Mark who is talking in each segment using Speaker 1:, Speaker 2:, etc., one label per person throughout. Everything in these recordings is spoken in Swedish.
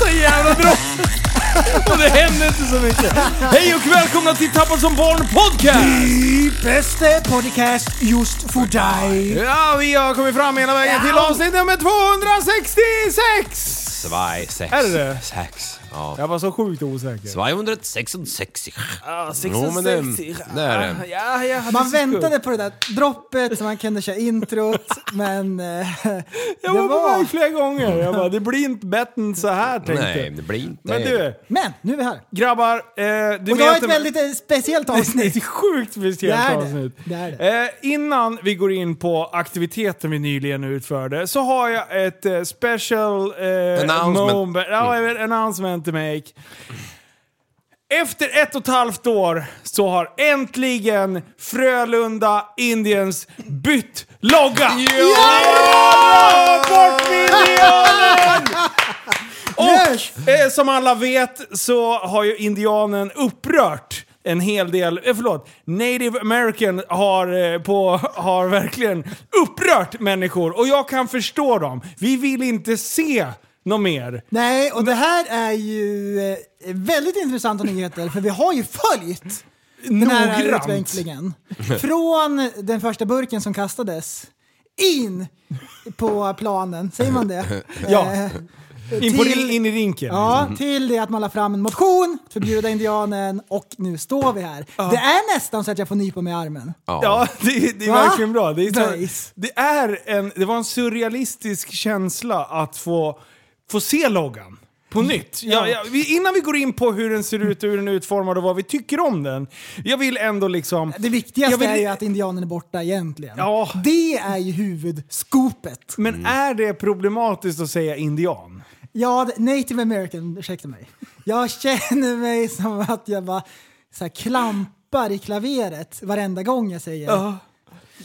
Speaker 1: Så jävla bra! Och det händer inte så mycket. Hej och välkomna till Tappad som barn podcast!
Speaker 2: I bästa podcast just för dig.
Speaker 1: Ja, vi har kommit fram hela vägen till avsnitt nummer 266!
Speaker 3: Zwei, sex.
Speaker 1: Är det det?
Speaker 3: Sex. Ja.
Speaker 1: Jag var så sjukt osäker.
Speaker 3: 266.
Speaker 1: Ja,
Speaker 3: Jo, men det- det är det.
Speaker 1: Ja, ja, det är
Speaker 2: Man
Speaker 1: så
Speaker 2: väntade
Speaker 1: skumt.
Speaker 2: på det där droppet så man kunde köra introt, men eh, det
Speaker 1: Jag var på
Speaker 2: var...
Speaker 1: väg flera gånger. Jag bara, det blir inte bättre än så här tänkte
Speaker 3: Nej,
Speaker 1: jag.
Speaker 3: det blir inte
Speaker 1: Men du,
Speaker 2: Men nu är vi här.
Speaker 1: grabbar. Eh, du
Speaker 2: Och det var
Speaker 1: vet-
Speaker 2: ett väldigt eh, speciellt
Speaker 1: Det är
Speaker 2: avsnitt.
Speaker 1: ett sjukt
Speaker 2: Det
Speaker 1: speciellt
Speaker 2: är det.
Speaker 1: avsnitt.
Speaker 2: Det är
Speaker 1: Eh, innan vi går in på aktiviteten vi nyligen utförde så har jag ett eh, special eh,
Speaker 3: Announcement.
Speaker 1: moment. Ja, ett announcement to make. Efter ett och ett halvt år så har äntligen Frölunda Indians bytt logga! Ja! Bort med indianen!
Speaker 2: Yes!
Speaker 1: Och eh, som alla vet så har ju indianen upprört en hel del, eh, förlåt, native american har, eh, på, har verkligen upprört människor och jag kan förstå dem. Vi vill inte se något mer.
Speaker 2: Nej, och det här är ju eh, väldigt intressanta nyheter för vi har ju följt den här
Speaker 1: Noggrant.
Speaker 2: utvecklingen. Från den första burken som kastades in på planen, säger man det?
Speaker 1: Ja.
Speaker 2: Eh,
Speaker 1: In, på,
Speaker 2: till-
Speaker 1: ri- in i rinken.
Speaker 2: Ja, till det att man la fram en motion, att förbjuda indianen och nu står vi här. Det är nästan så att jag får nypa mig i armen.
Speaker 1: Ja, det, det är
Speaker 2: Va?
Speaker 1: verkligen bra. Det, är så,
Speaker 2: Nice.
Speaker 1: det, är en, det var en surrealistisk känsla att få, få se loggan. På nytt. Ja, ja, vi, innan vi går in på hur den ser ut, hur den är utformad och vad vi tycker om den. Jag vill ändå liksom...
Speaker 2: Det viktigaste
Speaker 1: Jag vill-
Speaker 2: är ju att indianen är borta egentligen.
Speaker 1: Ja.
Speaker 2: Det är ju huvudskopet.
Speaker 1: Men är det problematiskt att säga indian?
Speaker 2: Ja, det- native american, ursäkta mig. Jag känner mig som att jag bara så här, klampar i klaveret varenda gång jag säger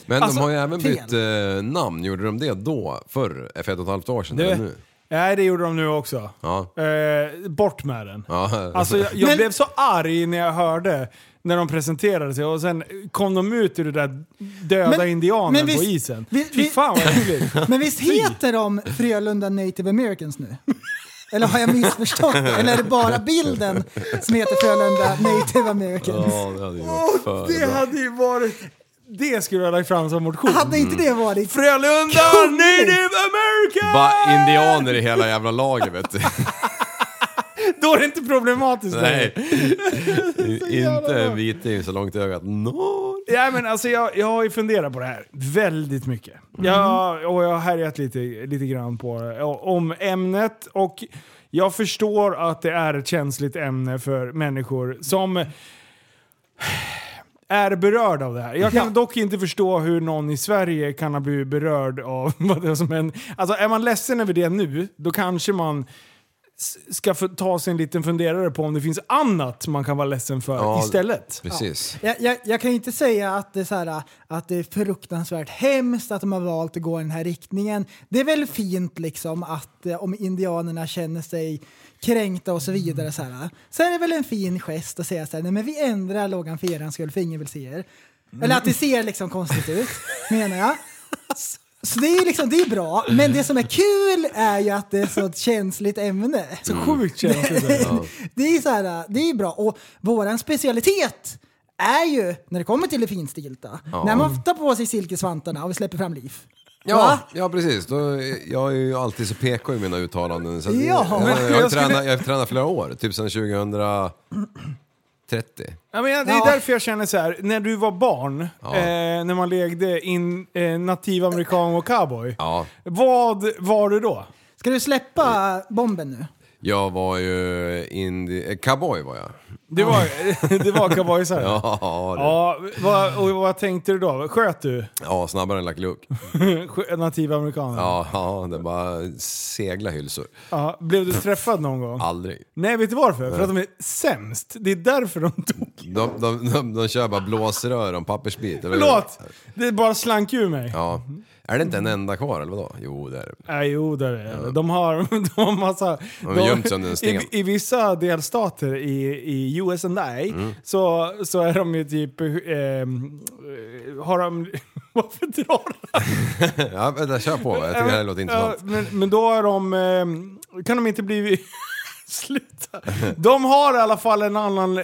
Speaker 3: Men
Speaker 1: Alltså,
Speaker 3: de har ju även
Speaker 2: fel.
Speaker 3: bytt eh, namn. Gjorde de det då? Förr? För ett och ett halvt år sedan?
Speaker 1: Det-
Speaker 3: Eller nu?
Speaker 1: Nej, det gjorde de nu också.
Speaker 3: Ja.
Speaker 1: Eh, bort med den.
Speaker 3: ja.
Speaker 1: Alltså jag, jag
Speaker 2: Men-
Speaker 1: blev så arg när jag hörde när de presenterade sig och sen kom de ut ur det där döda
Speaker 2: Men-
Speaker 1: indianen
Speaker 2: men
Speaker 1: på
Speaker 2: visst-
Speaker 1: isen.
Speaker 2: vi-
Speaker 1: Fy
Speaker 2: vi-
Speaker 1: fan vad äckligt.
Speaker 2: Men visst heter de Frölunda Native Americans nu? Eller har jag missförstått? Eller är det bara bilden som heter Frölunda Native Americans?
Speaker 3: Ja, det hade ju varit för
Speaker 1: Det
Speaker 3: bra.
Speaker 1: hade ju varit... Det skulle jag ha lagt fram som motion.
Speaker 2: Hade inte det varit...
Speaker 1: Frölunda Native American!
Speaker 3: Bara indianer i hela jävla laget vet du.
Speaker 1: Då är det inte problematiskt längre.
Speaker 3: Nej. inte en viting så långt i ögat. No.
Speaker 1: Ja, men alltså jag, jag har ju funderat på det här väldigt mycket. Jag, och jag har härjat lite, lite grann på det, och, om ämnet. Och jag förstår att det är ett känsligt ämne för människor som är berörda av det här. Jag kan dock inte förstå hur någon i Sverige kan ha blivit berörd av vad det är som händer. Alltså är man ledsen över det nu, då kanske man s- ska få ta sig en liten funderare på om det finns annat man kan vara ledsen för
Speaker 3: Ja,
Speaker 1: istället.
Speaker 3: Precis.
Speaker 2: Jag, jag, jag kan inte säga att det, är så här, att det är fruktansvärt hemskt att de har valt att gå i den här riktningen. Det är väl fint liksom att eh, om indianerna känner sig kränkta och så vidare så, här, så är det väl en fin gest att säga så här, nej men vi ändrar loggan för er skull för ingen vill se er. Eller att det ser liksom konstigt ut menar jag. Så det är, liksom, det är bra, men det som är kul är ju att det är så ett känsligt ämne.
Speaker 1: Så sjukt känns det.
Speaker 2: Det är, så här, det är bra. Och våran specialitet är ju, när det kommer till det finstilta, när man tar på sig silkesvantarna och vi släpper fram liv. Va?
Speaker 3: Ja, ja precis. Då, jag är ju alltid så PK i mina uttalanden. Så att-
Speaker 2: Ja,
Speaker 3: jag,
Speaker 2: men
Speaker 3: jag, har
Speaker 1: jag skulle-
Speaker 3: tränat, jag har tränat flera år, typ sedan 2030.
Speaker 1: Ja, men det är
Speaker 2: Ja.
Speaker 1: därför jag känner så här. när du var barn, eh, när man lekte in eh, nativamerikang och cowboy.
Speaker 3: Ja,
Speaker 1: Vad var du då?
Speaker 2: Ska du släppa bomben nu?
Speaker 3: jag var ju indi- eh, cowboy var jag.
Speaker 1: Det var, det var cowboysare?
Speaker 3: Ja, det.
Speaker 1: Ja, vad, och vad tänkte du då? Sköt du
Speaker 3: ja snabbare än Lucky Luke.
Speaker 1: Sk- nativa amerikaner?
Speaker 3: Ja, ja, det bara segla hylsor.
Speaker 1: Ja, Blev du träffad någon gång?
Speaker 3: Aldrig.
Speaker 1: Nej, vet du varför? För att de är sämst. Det är därför de tog...
Speaker 3: De, de, de, de kör bara blåsrör och en pappersbit. eller-
Speaker 1: Förlåt! Det bara slank ur mig.
Speaker 3: Ja. Är det inte en enda kvar eller vadå? Jo, det är det.
Speaker 1: Nej, jo det är det. De har, de har massa...
Speaker 3: har gömt sig under en sten.
Speaker 1: i, I vissa delstater i, i US and I
Speaker 3: Mm.
Speaker 1: så, så är de ju typ... ehm, Eh, har de... Varför drar han?
Speaker 3: Ja, vänta, kör på. Jag tycker det här låter intressant.
Speaker 1: men, men då är de... ehm, kan de inte bli... Sluta. De har i alla fall en annan eh,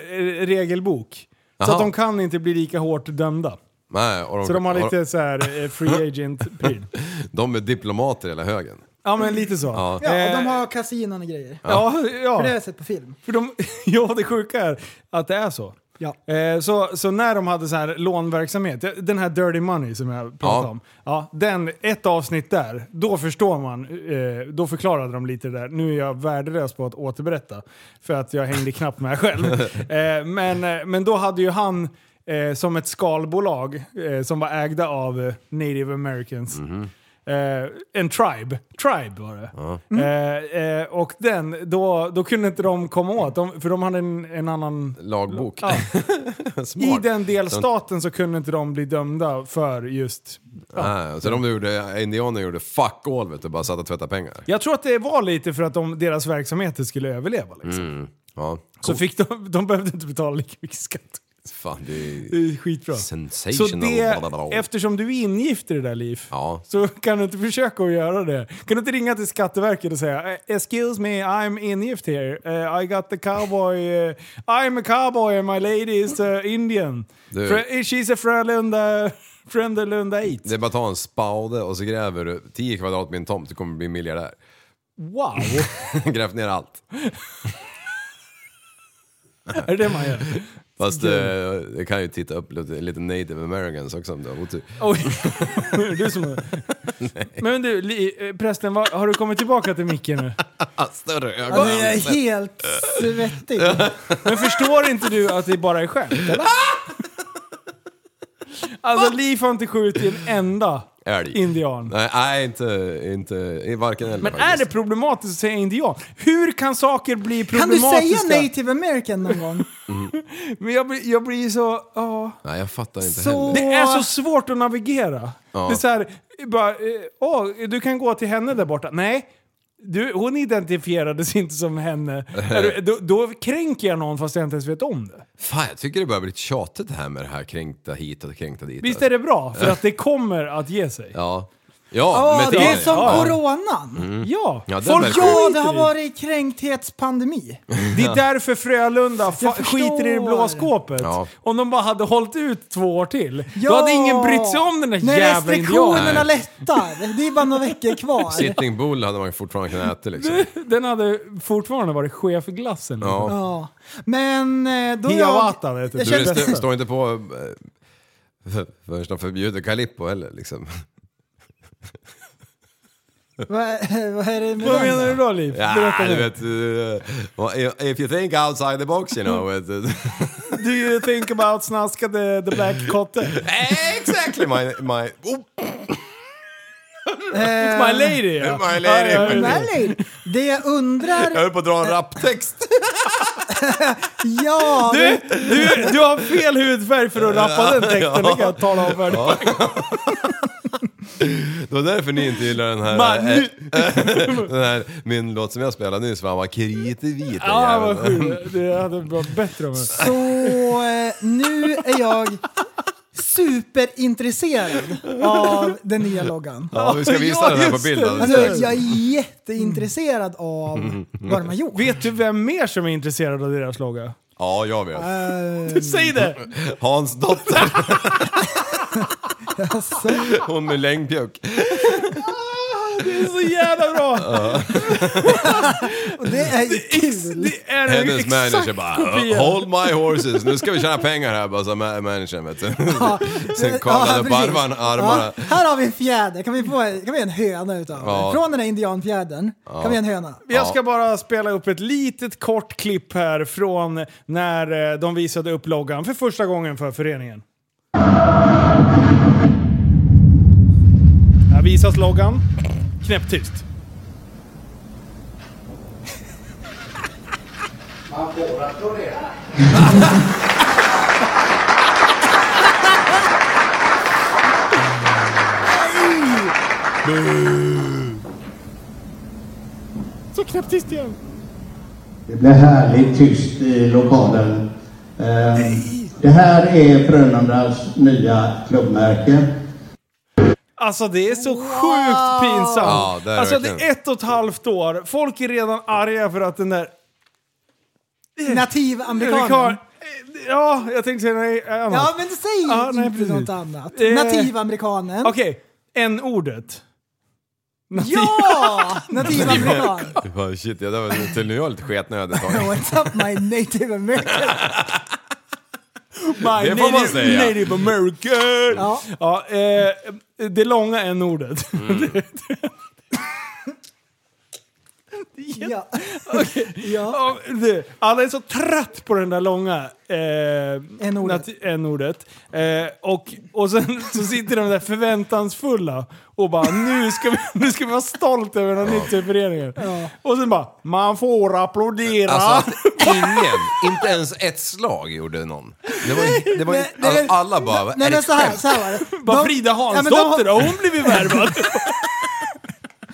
Speaker 1: regelbok. Så
Speaker 3: Jaha.
Speaker 1: att de kan inte bli lika hårt dömda.
Speaker 3: Nej, och de,
Speaker 1: Så de har
Speaker 3: och
Speaker 1: lite så här eh, free agent-pryl.
Speaker 3: de är diplomater hela högen.
Speaker 1: Ja men lite så.
Speaker 3: Ja.
Speaker 2: Ja, och
Speaker 1: Eh,
Speaker 2: de har kasinon och grejer.
Speaker 1: ja, ja.
Speaker 2: För det har jag sett på film.
Speaker 1: För de, ja, det sjuka är att det är så.
Speaker 2: Ja.
Speaker 1: Eh, så, så när de hade så här lånverksamhet, den här Dirty Money som jag pratade
Speaker 3: Ja.
Speaker 1: om. Ja, den, ett avsnitt där, då förstår man. Eh, då förklarade de lite det där. Nu är jag värdelös på att återberätta. För att jag hängde knappt med själv. Eh, men, eh, men då hade ju han eh, som ett skalbolag eh, som var ägda av eh, native americans. Eh, en tribe. Tribe var det. Eh, eh, och den, då, då kunde inte de komma åt, de, för de hade en, en annan...
Speaker 3: Lagbok.
Speaker 1: Ja. I
Speaker 3: Smart.
Speaker 1: den delstaten så kunde inte de bli dömda för just...
Speaker 3: Nej, så de gjorde, indianer gjorde fuck all vet du, bara satt och tvättade pengar.
Speaker 1: Jag tror att det var lite för att de, deras verksamheter skulle överleva. Liksom.
Speaker 3: Mm. Ja,
Speaker 1: Så fick de, de behövde inte betala lika mycket skatt.
Speaker 3: fan det är
Speaker 1: Det är skitbra. Så
Speaker 3: sensational.
Speaker 1: det,
Speaker 3: blablabla.
Speaker 1: eftersom du är ingift i det där liv,
Speaker 3: Ja.
Speaker 1: så kan du inte försöka att göra det. Kan du inte ringa till Skatteverket och säga "Eh, “Excuse me, I'm ingift here. Eh, I got the cowboy... eh, I'm a cowboy and my lady is eh, Indian.
Speaker 3: Du-
Speaker 1: Fra- she's a Frölunda... Frölunda 8.
Speaker 3: Det är bara att ta en spade och så gräver du 10 kvadrat med en tomt, du kommer bli miljardär.
Speaker 1: Wow!
Speaker 3: Grävt ner allt.
Speaker 1: är det det man gör?
Speaker 3: Fast eh, det kan ju titta upp lite, lite native americans också om du har otur.
Speaker 1: Oj, du som... Men du, Li- eh, prästen, vad- har du kommit tillbaka till micken nu?
Speaker 3: Ah, större ögon!
Speaker 2: Ja, det är helt
Speaker 1: Eh.
Speaker 2: svettigt.
Speaker 1: Men förstår inte du att det bara är skämt, eller? Alltså, Liv har inte skjutit en enda
Speaker 3: Älg.
Speaker 1: indian.
Speaker 3: Nej, nej, inte, inte varken eller
Speaker 1: Men är det problematiskt att säga indian? Hur kan saker bli
Speaker 2: Kan du
Speaker 1: problematiska?
Speaker 2: säga native american någon gång?
Speaker 1: Men jag blir, jag blir så... ja.
Speaker 3: Nej, jag fattar inte
Speaker 2: Så-
Speaker 3: heller.
Speaker 1: Det är så svårt att navigera.
Speaker 3: Ja.
Speaker 1: Det är så här, bara, eh, åh, du kan gå till henne där borta. Nej, du, hon identifierades inte som henne. Är du- då, då kränker jag någon fast jag inte ens vet om det.
Speaker 3: Fan, jag tycker det börjar bli tjatigt det här med det här kränkta hit och kränkta dit.
Speaker 1: Visst är det bra? För att det kommer att ge sig.
Speaker 3: Ja. Ja,
Speaker 2: Ja,
Speaker 3: men
Speaker 2: det är som
Speaker 3: ja.
Speaker 2: coronan.
Speaker 1: Ja,
Speaker 3: Mm. Ja, den
Speaker 1: folk
Speaker 3: verkar-
Speaker 2: Ja, det
Speaker 1: skiter
Speaker 2: har
Speaker 1: Mm. i.
Speaker 2: varit kränktetspandemi.
Speaker 1: Det är därför Frölunda fa-
Speaker 2: Jag
Speaker 1: skiter i det blå
Speaker 2: förstår.
Speaker 1: skåpet.
Speaker 3: Ja.
Speaker 1: Om de bara hade hållit ut två år till,
Speaker 2: Ja.
Speaker 1: då hade ingen brytt sig om den där
Speaker 2: När
Speaker 1: jävla indianen.
Speaker 2: restriktionerna lättar. Det är bara några veckor kvar.
Speaker 3: Sitting bull hade man fortfarande kunnat äta liksom.
Speaker 1: Den hade fortfarande varit chef för glassen.
Speaker 3: Ja.
Speaker 2: Ja. Men eh, då...
Speaker 1: Hiawatha vet du.
Speaker 2: jag
Speaker 3: Du, det
Speaker 2: känner,
Speaker 3: stå- står inte på... eh, för- Förrän de förbjuder Calippo heller liksom.
Speaker 2: vad, vad är det med
Speaker 1: Vad
Speaker 2: den
Speaker 1: menar
Speaker 2: då?
Speaker 1: du då Liv?
Speaker 3: Ja,
Speaker 1: Berätta
Speaker 3: Ah, du
Speaker 1: nu.
Speaker 3: vet... eh, If you think outside the box you know. eh, It,
Speaker 1: Do you think about snaska the, the black kotte?
Speaker 3: exactly my... my oh.
Speaker 1: It's my lady! Ja.
Speaker 3: My lady.
Speaker 1: Ja, ja, ja.
Speaker 2: Merlin, det jag
Speaker 3: Jag
Speaker 2: undrar...
Speaker 3: höll på att dra en rapptext.
Speaker 2: Ja,
Speaker 1: Du, du, du har fel hudfärg för att rappa den texten, det kan jag tala om för dig.
Speaker 3: Det var därför ni inte gillar den här... eh,
Speaker 1: Man, nu-
Speaker 3: den här min låt som jag spelade nyss, va? han var kritvit den
Speaker 1: Ja, Ah, vad
Speaker 3: jäveln.
Speaker 1: sjukt. Det hade varit bättre om jag...
Speaker 2: Så eh, nu är jag superintresserad av den nya loggan.
Speaker 3: Ja, vi ska visa
Speaker 1: Ja,
Speaker 3: den här på
Speaker 1: just
Speaker 3: bild
Speaker 1: det.
Speaker 3: alldeles
Speaker 2: Alltså,
Speaker 3: strax.
Speaker 2: jag är jätteintresserad av vad de har gjort.
Speaker 1: Vet du vem mer som är intresserad av deras logga?
Speaker 3: Ja, jag vet.
Speaker 2: Eh,
Speaker 1: Säg det!
Speaker 3: Hans dotter,
Speaker 2: alltså,
Speaker 3: hon med längdpjuck.
Speaker 1: Det är så jävla bra!
Speaker 2: och det är ju
Speaker 1: Ex,
Speaker 2: kul.
Speaker 1: det är en
Speaker 3: Hennes manager
Speaker 1: exakt
Speaker 3: bara
Speaker 1: kopia.
Speaker 3: “Hold my horses, nu ska vi tjäna pengar här” bara så ma- managern vet du.
Speaker 2: Ja,
Speaker 3: Sen
Speaker 2: ja,
Speaker 3: kavlade
Speaker 2: precis.
Speaker 3: barvan armarna.
Speaker 2: Ja, här har vi en fjäder. Kan vi få kan vi ha en höna utav
Speaker 3: Ja.
Speaker 2: det? Från den här indianfjädern kan vi ha en höna.
Speaker 1: Jag ska bara spela upp ett litet kort klipp här från när eh, de visade upp loggan för första gången för föreningen. Här visas loggan. Knäpptyst. Så knäpptyst igen.
Speaker 4: Det blev härligt tyst i lokalen. Eh, Det här är Frölundas nya klubbmärke.
Speaker 1: Alltså det är så sjukt pinsamt.
Speaker 3: Ja, det är det
Speaker 1: alltså det är
Speaker 3: verkligen.
Speaker 1: ett och ett halvt år. Folk är redan arga för att den där...
Speaker 2: Nativamerikanen.
Speaker 1: Ja, jag tänkte säga nej. annat.
Speaker 2: Ja men säg
Speaker 1: Ja, nej,
Speaker 2: inte
Speaker 1: precis.
Speaker 2: något annat.
Speaker 1: Eh,
Speaker 2: Nativamerikanen.
Speaker 1: Okej, n-ordet.
Speaker 2: Ja! Nativamerikan.
Speaker 3: Bara, Shit, jag var till nu är jag lite sketnödig ett tag.
Speaker 2: What's up my native American?
Speaker 1: My
Speaker 3: Det får man säga.
Speaker 1: Native American! Ja.
Speaker 2: Ja.
Speaker 1: eh, det långa n-ordet.
Speaker 2: Mm. Ja. ja.
Speaker 1: Ja, det- Alla är så trött på den där långa eh,
Speaker 2: N-ordet.
Speaker 1: nat- N-ordet. Eh, och, och sen så sitter de där förväntansfulla och bara nu ska vi, nu ska vi vara stolta över den här nytt i föreningen. Och sen bara man får applådera.
Speaker 3: Alltså, ingen, inte ens ett slag gjorde någon. Det var, det var,
Speaker 2: Nej, nej,
Speaker 3: alltså,
Speaker 2: nej,
Speaker 3: alla bara, "Är
Speaker 2: Nej
Speaker 3: det
Speaker 2: men så här,
Speaker 3: skämt?"
Speaker 2: så här var det.
Speaker 1: bara
Speaker 2: De-
Speaker 1: Frida
Speaker 2: men de-
Speaker 1: Hansdotter, ja, hon blev ju värvad.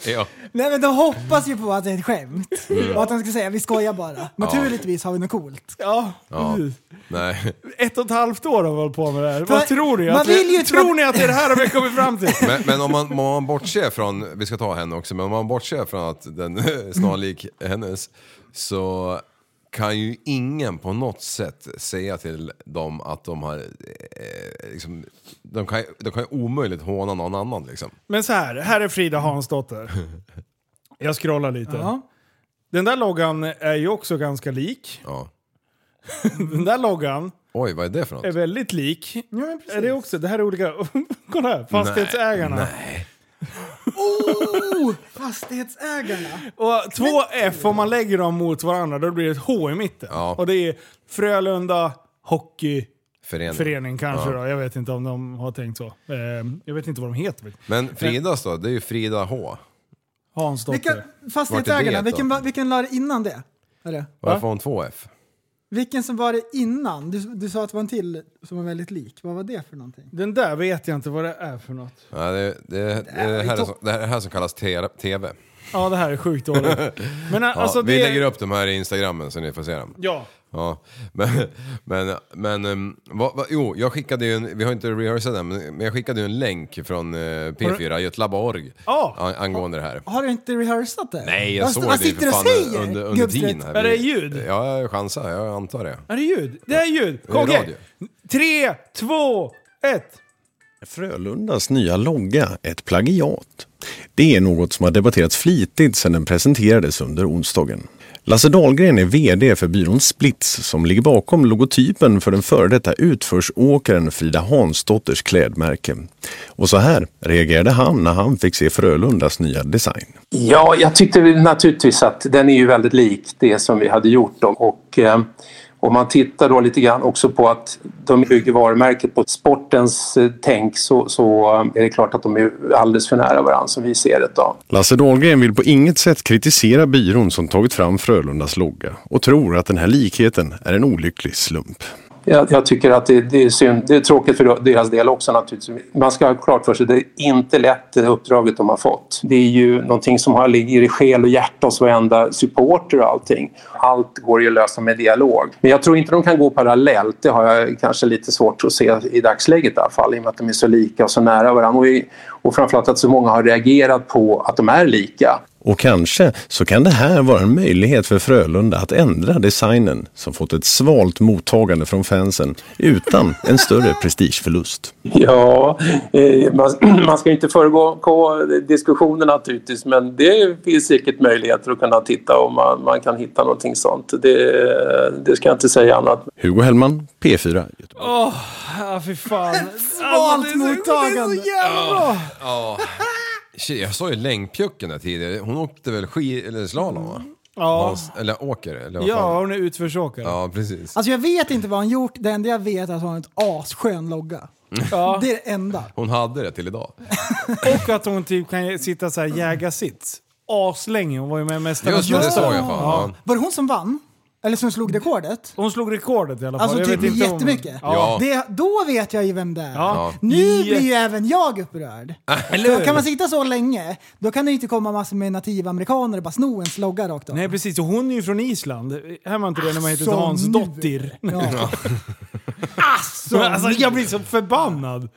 Speaker 3: Ja.
Speaker 2: Nej men de hoppas ju på att det är ett skämt.
Speaker 3: Mm.
Speaker 2: Och att de ska säga vi skojar bara. Naturligtvis har vi något coolt.
Speaker 1: ja,
Speaker 3: Ja.
Speaker 2: Mm.
Speaker 1: precis.
Speaker 3: Nej,
Speaker 1: Ett och ett halvt år har vi hållit på med det här. Vad
Speaker 2: För-
Speaker 1: tror ni?
Speaker 2: man
Speaker 1: Att,
Speaker 2: vill ju
Speaker 1: tror
Speaker 2: tro-
Speaker 1: ni att det är det här vi har kommit fram till?
Speaker 3: men, men om, man, om man bortser från, vi ska ta henne också, men om man bortser från att den är snarlik hennes så kan ju ingen på något sätt säga till dem att de har... Eh, liksom, de, kan, ju- de kan ju omöjligt håna någon annan liksom.
Speaker 1: Men så här, här är Frida Hansdotter. Jag scrollar lite.
Speaker 2: Ja.
Speaker 1: Den där loggan är ju också ganska lik.
Speaker 3: Ja.
Speaker 1: Den där loggan
Speaker 3: Oj, vad är det för
Speaker 1: är
Speaker 3: något?
Speaker 1: väldigt lik. är det också? Det här är olika... Kolla här, fastighetsägarna.
Speaker 2: Oh, fastighetsägarna.
Speaker 1: Och två F, om man lägger dem mot varandra, då blir det ett H i mitten.
Speaker 3: Ja.
Speaker 1: Och det är Frölunda Hockeyförening
Speaker 3: Förening.
Speaker 1: kanske
Speaker 3: Ja.
Speaker 1: då. Jag vet inte om de har tänkt så. Eh, jag vet inte vad de heter.
Speaker 3: Men Fridas då, det är ju Frida H.
Speaker 1: Hansdotter.
Speaker 2: Vilka, fastighetsägarna,
Speaker 3: då?
Speaker 2: vilken, var- vilken la det innan det? Eller?
Speaker 3: Varför har hon två F?
Speaker 2: Vilken som var det innan? Du, du sa att det var en till som var väldigt lik. Vad var det för någonting?
Speaker 1: Den där vet jag inte vad det är för något.
Speaker 3: Ja, det, det, det, här är som, det här är här som kallas te- TV.
Speaker 1: Ja, det här är sjukt dåligt. Men
Speaker 3: Ja,
Speaker 1: alltså
Speaker 3: vi
Speaker 1: det...
Speaker 3: lägger upp de här i Instagrammen så ni får se dem.
Speaker 1: Ja.
Speaker 3: Ja, men, men, men um, vad, vad, jo, jag skickade ju en, vi har inte rehearsat den, men men jag skickade ju en länk från eh, P4, Götlabborg,
Speaker 1: Ja.
Speaker 3: an- angående det här.
Speaker 2: Har du inte rehearsat det?
Speaker 3: Ah! Nej, jag
Speaker 2: Vad-
Speaker 3: såg
Speaker 2: Vad
Speaker 3: det ju
Speaker 2: sitter
Speaker 3: för
Speaker 2: du och
Speaker 3: fan
Speaker 2: säger?
Speaker 3: under, under
Speaker 2: gubbsträtt?
Speaker 3: tiden här.
Speaker 1: Är det
Speaker 3: Vi-
Speaker 1: ljud?
Speaker 3: Ja, jag chansar, jag antar det.
Speaker 1: Är det ljud? Det är ljud!
Speaker 3: Det är
Speaker 1: Kom igen!
Speaker 3: radio.
Speaker 1: Tre, två, ett!
Speaker 5: Frölundas nya logga, ett plagiat. Det är något som har debatterats flitigt sedan den presenterades under onsdagen. Lasse Dahlgren är VD för byrån Splits som ligger bakom logotypen för den före detta utförsåkaren Frida Hansdotters klädmärke. Och så här reagerade han när han fick se Frölundas nya design.
Speaker 6: Ja, jag tyckte väl naturligtvis att den är ju väldigt lik det som vi hade gjort. Då. Och, eh, Om man tittar då lite grann också på att de bygger varumärket på sportens eh, tänk så, så eh, är det klart att de är alldeles för nära varandra som vi ser det. Då.
Speaker 5: Lasse Dahlgren vill på inget sätt kritisera byrån som tagit fram Frölundas logga och tror att den här likheten är en olycklig slump.
Speaker 6: Jag, jag tycker att det, det är synd. Det är tråkigt för deras del också naturligtvis. Man ska ha klart för sig, det är inte lätt det uppdraget de har fått. Det är ju någonting som har, ligger i själ och hjärta hos varenda supporter och allting. Allt går ju att lösa med dialog. Men jag tror inte de kan gå parallellt. Det har jag kanske lite svårt att se i dagsläget i alla fall i och med att de är så lika och så nära varandra. Och, i- och framförallt att så många har reagerat på att de är lika.
Speaker 5: Och kanske så kan det här vara en möjlighet för Frölunda att ändra designen som fått ett svalt mottagande från fansen utan en större prestigeförlust.
Speaker 6: Ja, eh, man, man ska ju inte föregå diskussionen naturligtvis men det finns säkert möjligheter att kunna titta om man, man kan hitta någonting sånt. Det, det ska jag inte säga annat.
Speaker 5: Hugo Hellman, P4 Göteborg.
Speaker 1: Ja, fy fan.
Speaker 2: Svalt mottagande!
Speaker 3: Shit, jag sa ju längdpjucken där tidigare. Hon åkte väl skid eller slalom va?
Speaker 1: Ja,
Speaker 3: Hans- eller åker eller vad
Speaker 1: ja
Speaker 3: fan?
Speaker 1: hon är utförsåkare.
Speaker 3: Ja, precis.
Speaker 2: Alltså jag vet inte vad han gjort, det enda jag vet är att han har en asskön logga. Det är det enda.
Speaker 3: Hon hade det till idag.
Speaker 1: Och att hon typ kan sitta så här jägarsits. Aslänge, hon var ju med i Mästarnas
Speaker 3: Just det, det
Speaker 1: mästare.
Speaker 3: såg jag fan.
Speaker 2: Var det hon som vann? Eller som slog rekordet?
Speaker 1: Hon slog rekordet i alla fall.
Speaker 2: Alltså
Speaker 1: Jag vet
Speaker 2: typ
Speaker 1: inte om-
Speaker 2: jättemycket.
Speaker 3: Ja.
Speaker 2: Det, då vet jag ju vem det är.
Speaker 1: Ja.
Speaker 2: Nu
Speaker 1: I-
Speaker 2: blir ju även jag upprörd.
Speaker 1: Eller
Speaker 2: Då
Speaker 1: hur?
Speaker 2: kan man sitta så länge, då kan det ju inte komma massor med nativamerikaner och bara sno ens logga rakt av.
Speaker 1: Nej precis, och hon är ju från Island. Är man inte det när man heter
Speaker 2: Alltså,
Speaker 1: Hans
Speaker 2: nu.
Speaker 1: Dottir?
Speaker 2: Ja.
Speaker 1: Så, alltså, jag blir så förbannad!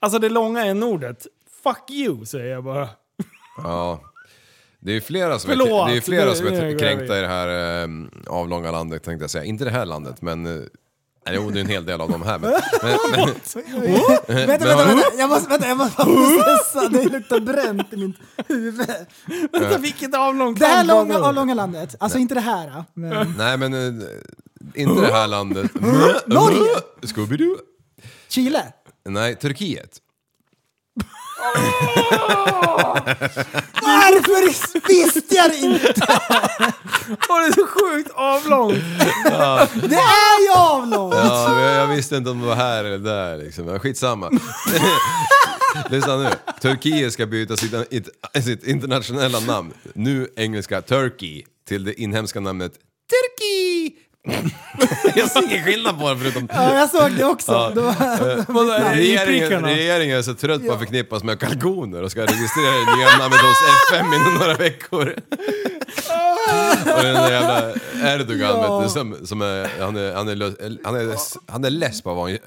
Speaker 1: Alltså det långa n-ordet. Fuck you säger jag bara.
Speaker 3: Ja. Det är ju flera som
Speaker 1: Förlåt,
Speaker 3: är, det är, flera
Speaker 1: det-
Speaker 3: som
Speaker 1: det
Speaker 3: är
Speaker 1: är
Speaker 3: kränkta i det här eh, avlånga landet tänkte jag säga. Inte det här landet men... Eh, nej, jo, det är en hel del av dem här. Men, men, men,
Speaker 2: Vänta, vänta, vänta. Jag måste, vänta, jag måste processa. Det luktar bränt i mitt huvud.
Speaker 1: Vänta, vilket avlångt
Speaker 2: Det här
Speaker 1: land var
Speaker 2: långa, avlånga landet, alltså inte det här. Men...
Speaker 3: nej men... Eh, inte det här landet.
Speaker 2: Norge!
Speaker 3: Scooby-Doo?
Speaker 2: Chile?
Speaker 3: Nej, Turkiet.
Speaker 2: Varför visste jag det inte?
Speaker 1: Åh, det är så sjukt avlångt!
Speaker 2: Det är ju avlångt!
Speaker 3: Ja, men jag, jag visste inte om det var här eller där liksom. Men skitsamma. Lyssna nu. Turkiet ska byta sitt, it- sitt internationella namn. Nu engelska Turkey till det inhemska namnet Turkey! jag såg ingen skillnad på det förutom...
Speaker 2: Ja, jag såg det också. Det var,
Speaker 1: Vadå, är det
Speaker 3: Eh, Regeringen,
Speaker 1: nyprickarna?
Speaker 3: regeringen är så trött på att förknippas med kalkoner och ska registrera det nya namnet hos FM inom några veckor. och den där jävla Erdogan vet du, som, som är, han, är, han, är, lö- han, är, han är less på att vara en,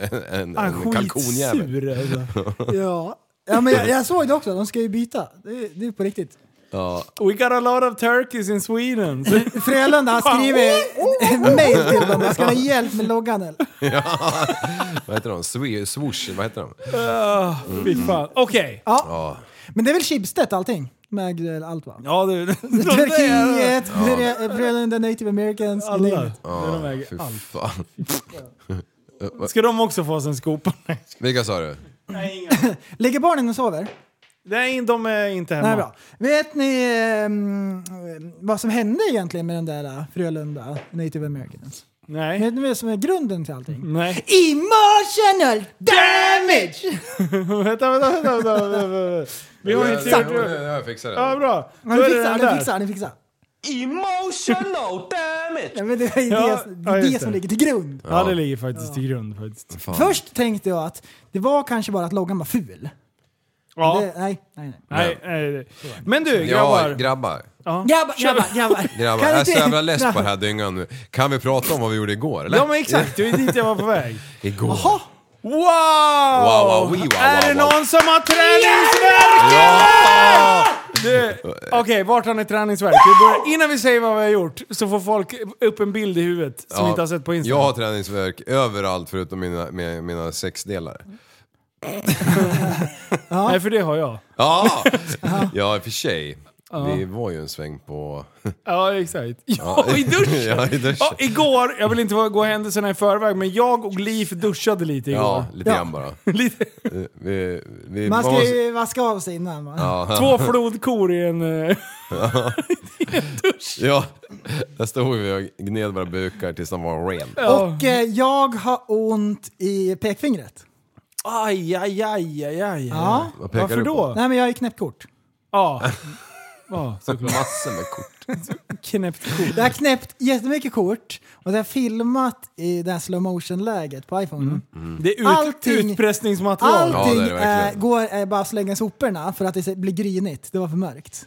Speaker 1: Han
Speaker 3: en, en
Speaker 1: är
Speaker 3: kalkonjävel.
Speaker 1: Ah, skitsur alltså.
Speaker 2: ja. Ja, men jag, jag såg det också, de ska ju byta. Det, är- det är på riktigt.
Speaker 1: We got a lot of turkeys in Sweden. Så-
Speaker 2: Mm. Frölunda har skrivit
Speaker 1: Oh,
Speaker 2: en mail till dem, jag ska ha hjälp med loggan. eller?
Speaker 3: Vad heter de? Swe- Swoosh? Vad heter de?
Speaker 1: Fy fan. Okej.
Speaker 2: Ja. Men det är väl Schibsted allting? Med allt va?
Speaker 1: Ja, det, de där-
Speaker 2: Turkiet, Fre- Frölunda Native Americans, you name
Speaker 1: Alla.
Speaker 2: it.
Speaker 1: De äger
Speaker 3: Fy
Speaker 1: allt.
Speaker 3: fan.
Speaker 1: Ska de också få sin skopa? Nej.
Speaker 3: Vilka sa du?
Speaker 2: Ligger barnen och sover?
Speaker 1: Nej, de är inte hemma.
Speaker 2: Nej, bra. Vet ni ehm, vad som hände egentligen med den där eh, Frölunda Native Americans?
Speaker 1: Nej.
Speaker 2: Vet ni vad som är grunden till allting?
Speaker 1: Nej.
Speaker 2: Emotional damage!
Speaker 1: vänta, vänta, vänta, vänta, vänta, vänta. Vi har inte
Speaker 3: Jag,
Speaker 1: gjort...
Speaker 3: jag, jag fixar
Speaker 1: Ja,
Speaker 3: det.
Speaker 1: bra. Då
Speaker 2: Ni
Speaker 1: är det
Speaker 2: fixar,
Speaker 1: den
Speaker 2: ni
Speaker 1: där.
Speaker 2: fixar, ni fixar.
Speaker 6: Emotional damage!
Speaker 2: Ja, men det är ju
Speaker 1: Ja,
Speaker 2: det, det,
Speaker 1: ja,
Speaker 2: är
Speaker 1: just
Speaker 2: det som
Speaker 1: det.
Speaker 2: ligger till grund.
Speaker 1: Ja, det ligger faktiskt till grund faktiskt.
Speaker 2: Först tänkte jag att det var kanske bara att loggan var ful.
Speaker 1: Ja.
Speaker 2: Det, nej, nej, nej.
Speaker 1: Nej, nej, nej. Men du
Speaker 3: Ja,
Speaker 1: grabbar.
Speaker 3: grabbar.
Speaker 2: Grabbar, grabbar, grabbar.
Speaker 3: Grabbar,
Speaker 2: Kan
Speaker 3: jag är så
Speaker 2: inte-
Speaker 3: jävla less på den här dyngan nu. Kan vi prata om vad vi gjorde igår? Eller?
Speaker 1: Ja men exakt, det är dit jag var på väg.
Speaker 3: Igår.
Speaker 1: Wow!
Speaker 3: Wow, wow, wee, wow,
Speaker 1: är det
Speaker 3: wow, wow.
Speaker 1: någon som har träningsvärk?
Speaker 3: Ja!
Speaker 1: Du, Okej, vart har ni träningsvärk? Vi börjar, innan vi säger vad vi har gjort så får folk upp en bild i huvudet som
Speaker 3: Ja,
Speaker 1: inte har sett på
Speaker 3: Jag har
Speaker 1: Instagram.
Speaker 3: träningsvärk överallt förutom mina, mina, mina sexdelar.
Speaker 1: Nej, för det har jag.
Speaker 3: Ja, ja i och för sig. Vi var ju en sväng på...
Speaker 1: Ja, exakt. Ja, i duschen!
Speaker 3: ja, i duschen.
Speaker 1: Ja, igår, jag vill inte gå händelserna i förväg, men jag och Liv duschade lite igår.
Speaker 3: Ja, lite
Speaker 2: Ja.
Speaker 3: grann bara.
Speaker 1: Lite,
Speaker 3: Vi, vi,
Speaker 2: Man
Speaker 3: man
Speaker 2: ska
Speaker 3: måste-
Speaker 2: ju vaska av sig innan va?
Speaker 1: två flodkor i en... eh,
Speaker 3: Ja, där stod vi och gned våra bukar tills de var ren.
Speaker 2: Och eh, jag har ont i pekfingret.
Speaker 1: Aj, aj, aj, aj, aj.
Speaker 2: Ja.
Speaker 3: Vad pekar
Speaker 1: Varför
Speaker 3: du på?
Speaker 1: då?
Speaker 2: Nej men jag har ju knäppt kort.
Speaker 1: Ja. ja, såklart.
Speaker 3: Massor med kort.
Speaker 1: Knäppt kort.
Speaker 2: Jag har knäppt jättemycket kort och det har filmat i det här slow motion läget på iPhone.
Speaker 1: Det är ut,
Speaker 2: Allting-
Speaker 1: utpressningsmaterial.
Speaker 2: Allting
Speaker 3: Mm. Ja, det är det verkligen.
Speaker 2: eh, går eh, bara att slänga i soporna för att det blir grynigt. Det var för mörkt.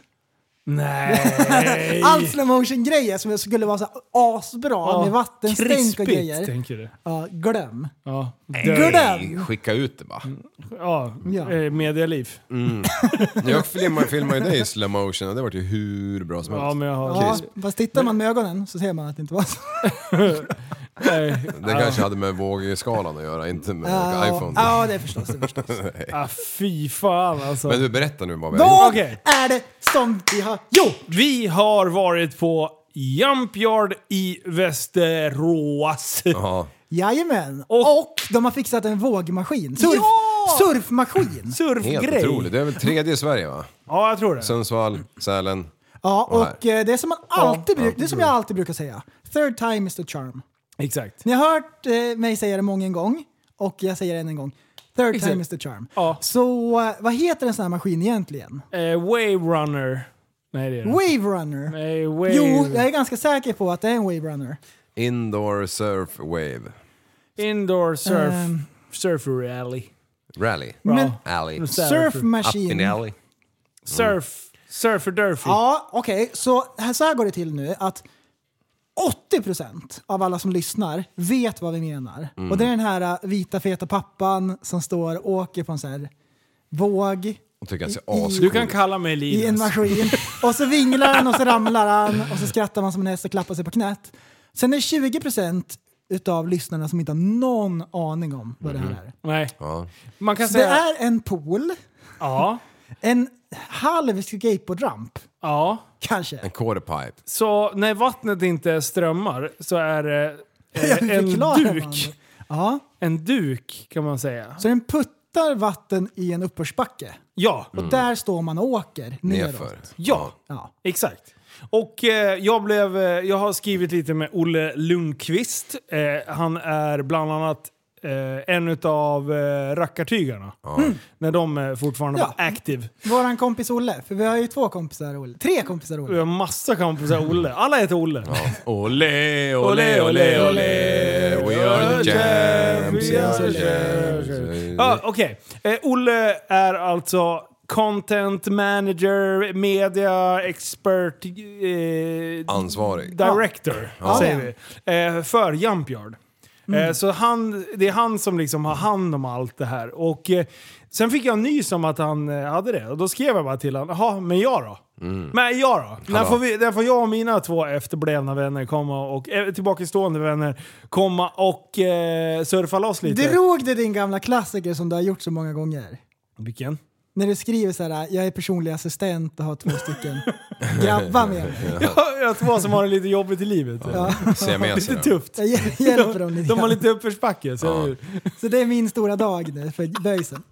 Speaker 1: Nej!
Speaker 2: Allt slow motion grejer som skulle vara så här asbra med vattenstänk och
Speaker 1: krispigt,
Speaker 2: grejer.
Speaker 1: tänker du.
Speaker 2: Ja, glöm.
Speaker 1: Ja.
Speaker 2: Glöm!
Speaker 3: Skicka ut det bara.
Speaker 1: Mm. Ja,
Speaker 2: Ja.
Speaker 1: eh, medialiv.
Speaker 3: Jag filmade, filmade ju dig i slow motion och det vart ju hur bra som
Speaker 1: Ja,
Speaker 3: helst.
Speaker 1: men jag har...
Speaker 2: Ja, fast tittar man med ögonen så ser man att det inte var så.
Speaker 1: Nej.
Speaker 3: Det kanske hade med vågskalan att göra, inte med
Speaker 2: Ja,
Speaker 3: iPhone.
Speaker 2: Ja, det är förstås. Det är förstås.
Speaker 1: Ah, fy fan alltså.
Speaker 3: Men du, berätta nu vad vi har gjort.
Speaker 2: Vad
Speaker 1: Okej.
Speaker 2: är det som vi har gjort?
Speaker 1: Vi har varit på Jump Yard i Västerås.
Speaker 3: Ja,
Speaker 2: Jajamän.
Speaker 1: Och-
Speaker 2: Och, de har fixat en vågmaskin. Surf,
Speaker 1: Ja!
Speaker 2: Surfmaskin.
Speaker 3: helt
Speaker 1: Surfgrej.
Speaker 3: otroligt. Det är väl tredje i Sverige va?
Speaker 1: Ja, jag tror det.
Speaker 3: Sundsvall, Sälen.
Speaker 2: Ja,
Speaker 3: Och
Speaker 2: och eh, det är som, man alltid bruk, det är som
Speaker 1: mm.
Speaker 2: jag alltid brukar säga. Third time is the charm.
Speaker 1: Exakt.
Speaker 2: Ni har hört eh, mig säga det många en gång och jag säger det än en gång. Third time is the charm.
Speaker 1: Ja.
Speaker 2: Så eh, vad heter en sån här maskin egentligen?
Speaker 1: Eh, wave Runner. Nej, det är det.
Speaker 2: Wave runner.
Speaker 1: Nej, wave.
Speaker 2: Jo, jag är ganska säker på att det är en wave runner.
Speaker 3: Indoor surf wave.
Speaker 1: Indoor surf.
Speaker 2: Ehm.
Speaker 1: Surf rally.
Speaker 3: Rally.
Speaker 2: Men
Speaker 3: Alley. Up
Speaker 2: surf
Speaker 3: in the
Speaker 2: machine.
Speaker 3: alley.
Speaker 1: Surf. Surfer derfy.
Speaker 2: Ja, okej. Så, här, så här går det till nu att 80% av alla som lyssnar vet vad vi menar. Och det är den här eh, vita feta pappan som står och åker på en sån här våg
Speaker 3: Och tycker att det
Speaker 2: I-
Speaker 3: är ascoolt.
Speaker 1: Du kan kalla mig
Speaker 2: i en
Speaker 1: Linus.
Speaker 2: maskin. Och så vinglar han och så ramlar han och så skrattar man som en häst och klappar sig på knät. Sen är det 20% utav lyssnarna som inte har någon aning om vad det här är.
Speaker 1: Nej.
Speaker 3: Ja.
Speaker 1: Man kan
Speaker 2: Så det
Speaker 1: säga...
Speaker 2: är en pool,
Speaker 1: Ja.
Speaker 2: en halv skateboardramp
Speaker 1: Ja.
Speaker 2: kanske.
Speaker 3: En quarterpipe.
Speaker 1: Så när vattnet inte strömmar så är det
Speaker 2: Jag
Speaker 1: eh,
Speaker 2: vill
Speaker 1: en
Speaker 2: förklara
Speaker 1: duk.
Speaker 2: vad- Ja,
Speaker 1: En duk kan man säga.
Speaker 2: så den puttar vatten i en uppförsbacke.
Speaker 1: Ja,
Speaker 2: Och där står man och åker neråt.
Speaker 3: Mm. Nerför.
Speaker 1: ja,
Speaker 2: Mm. Ja.
Speaker 1: exakt. Och eh, jag, blev, eh, jag har skrivit lite med Olle Lundqvist. Eh, han är bland annat eh, en av eh, rackartygarna. När de eh, fortfarande
Speaker 2: Ja.
Speaker 1: var active.
Speaker 2: Våran kompis Olle, för vi har ju två kompisar Olle. Tre kompisar
Speaker 1: Vi
Speaker 2: Olle.
Speaker 1: har massa kompisar Olle. Alla heter Olle.
Speaker 3: Olé, olé, olé, olé. We are the champs. We are the champs.
Speaker 1: Ja, Okej. Eh, Olle är alltså content manager, media expert, eh,
Speaker 3: Ansvarig.
Speaker 1: director, säger vi, eh, för Jumpyard. Eh, så han, det är han som liksom har hand om allt det här. Och eh, sen fick jag nys om att han eh, hade det. Och då skrev jag bara till honom, jaha, men jag då? Men jag då? När
Speaker 3: Mm. Hallå.
Speaker 1: får, vi, när får jag och mina två efterblivna vänner komma och, eh, tillbakastående vänner komma och eh, surfa loss lite?
Speaker 2: Drog det din gamla klassiker som du har gjort så många gånger?
Speaker 1: Vilken?
Speaker 2: När du skriver så här, jag är personlig assistent och har två stycken grabbar med mig.
Speaker 1: Ja, jag har två som har det lite jobbigt i livet. Lite
Speaker 3: Siameser.
Speaker 1: tufft.
Speaker 2: Jag hjäl- hjälper dem lite
Speaker 1: De har
Speaker 2: grann.
Speaker 1: lite uppförsbacke. Så
Speaker 3: Ja.
Speaker 1: är det-
Speaker 2: Så det är min stora dag nu för böjsen.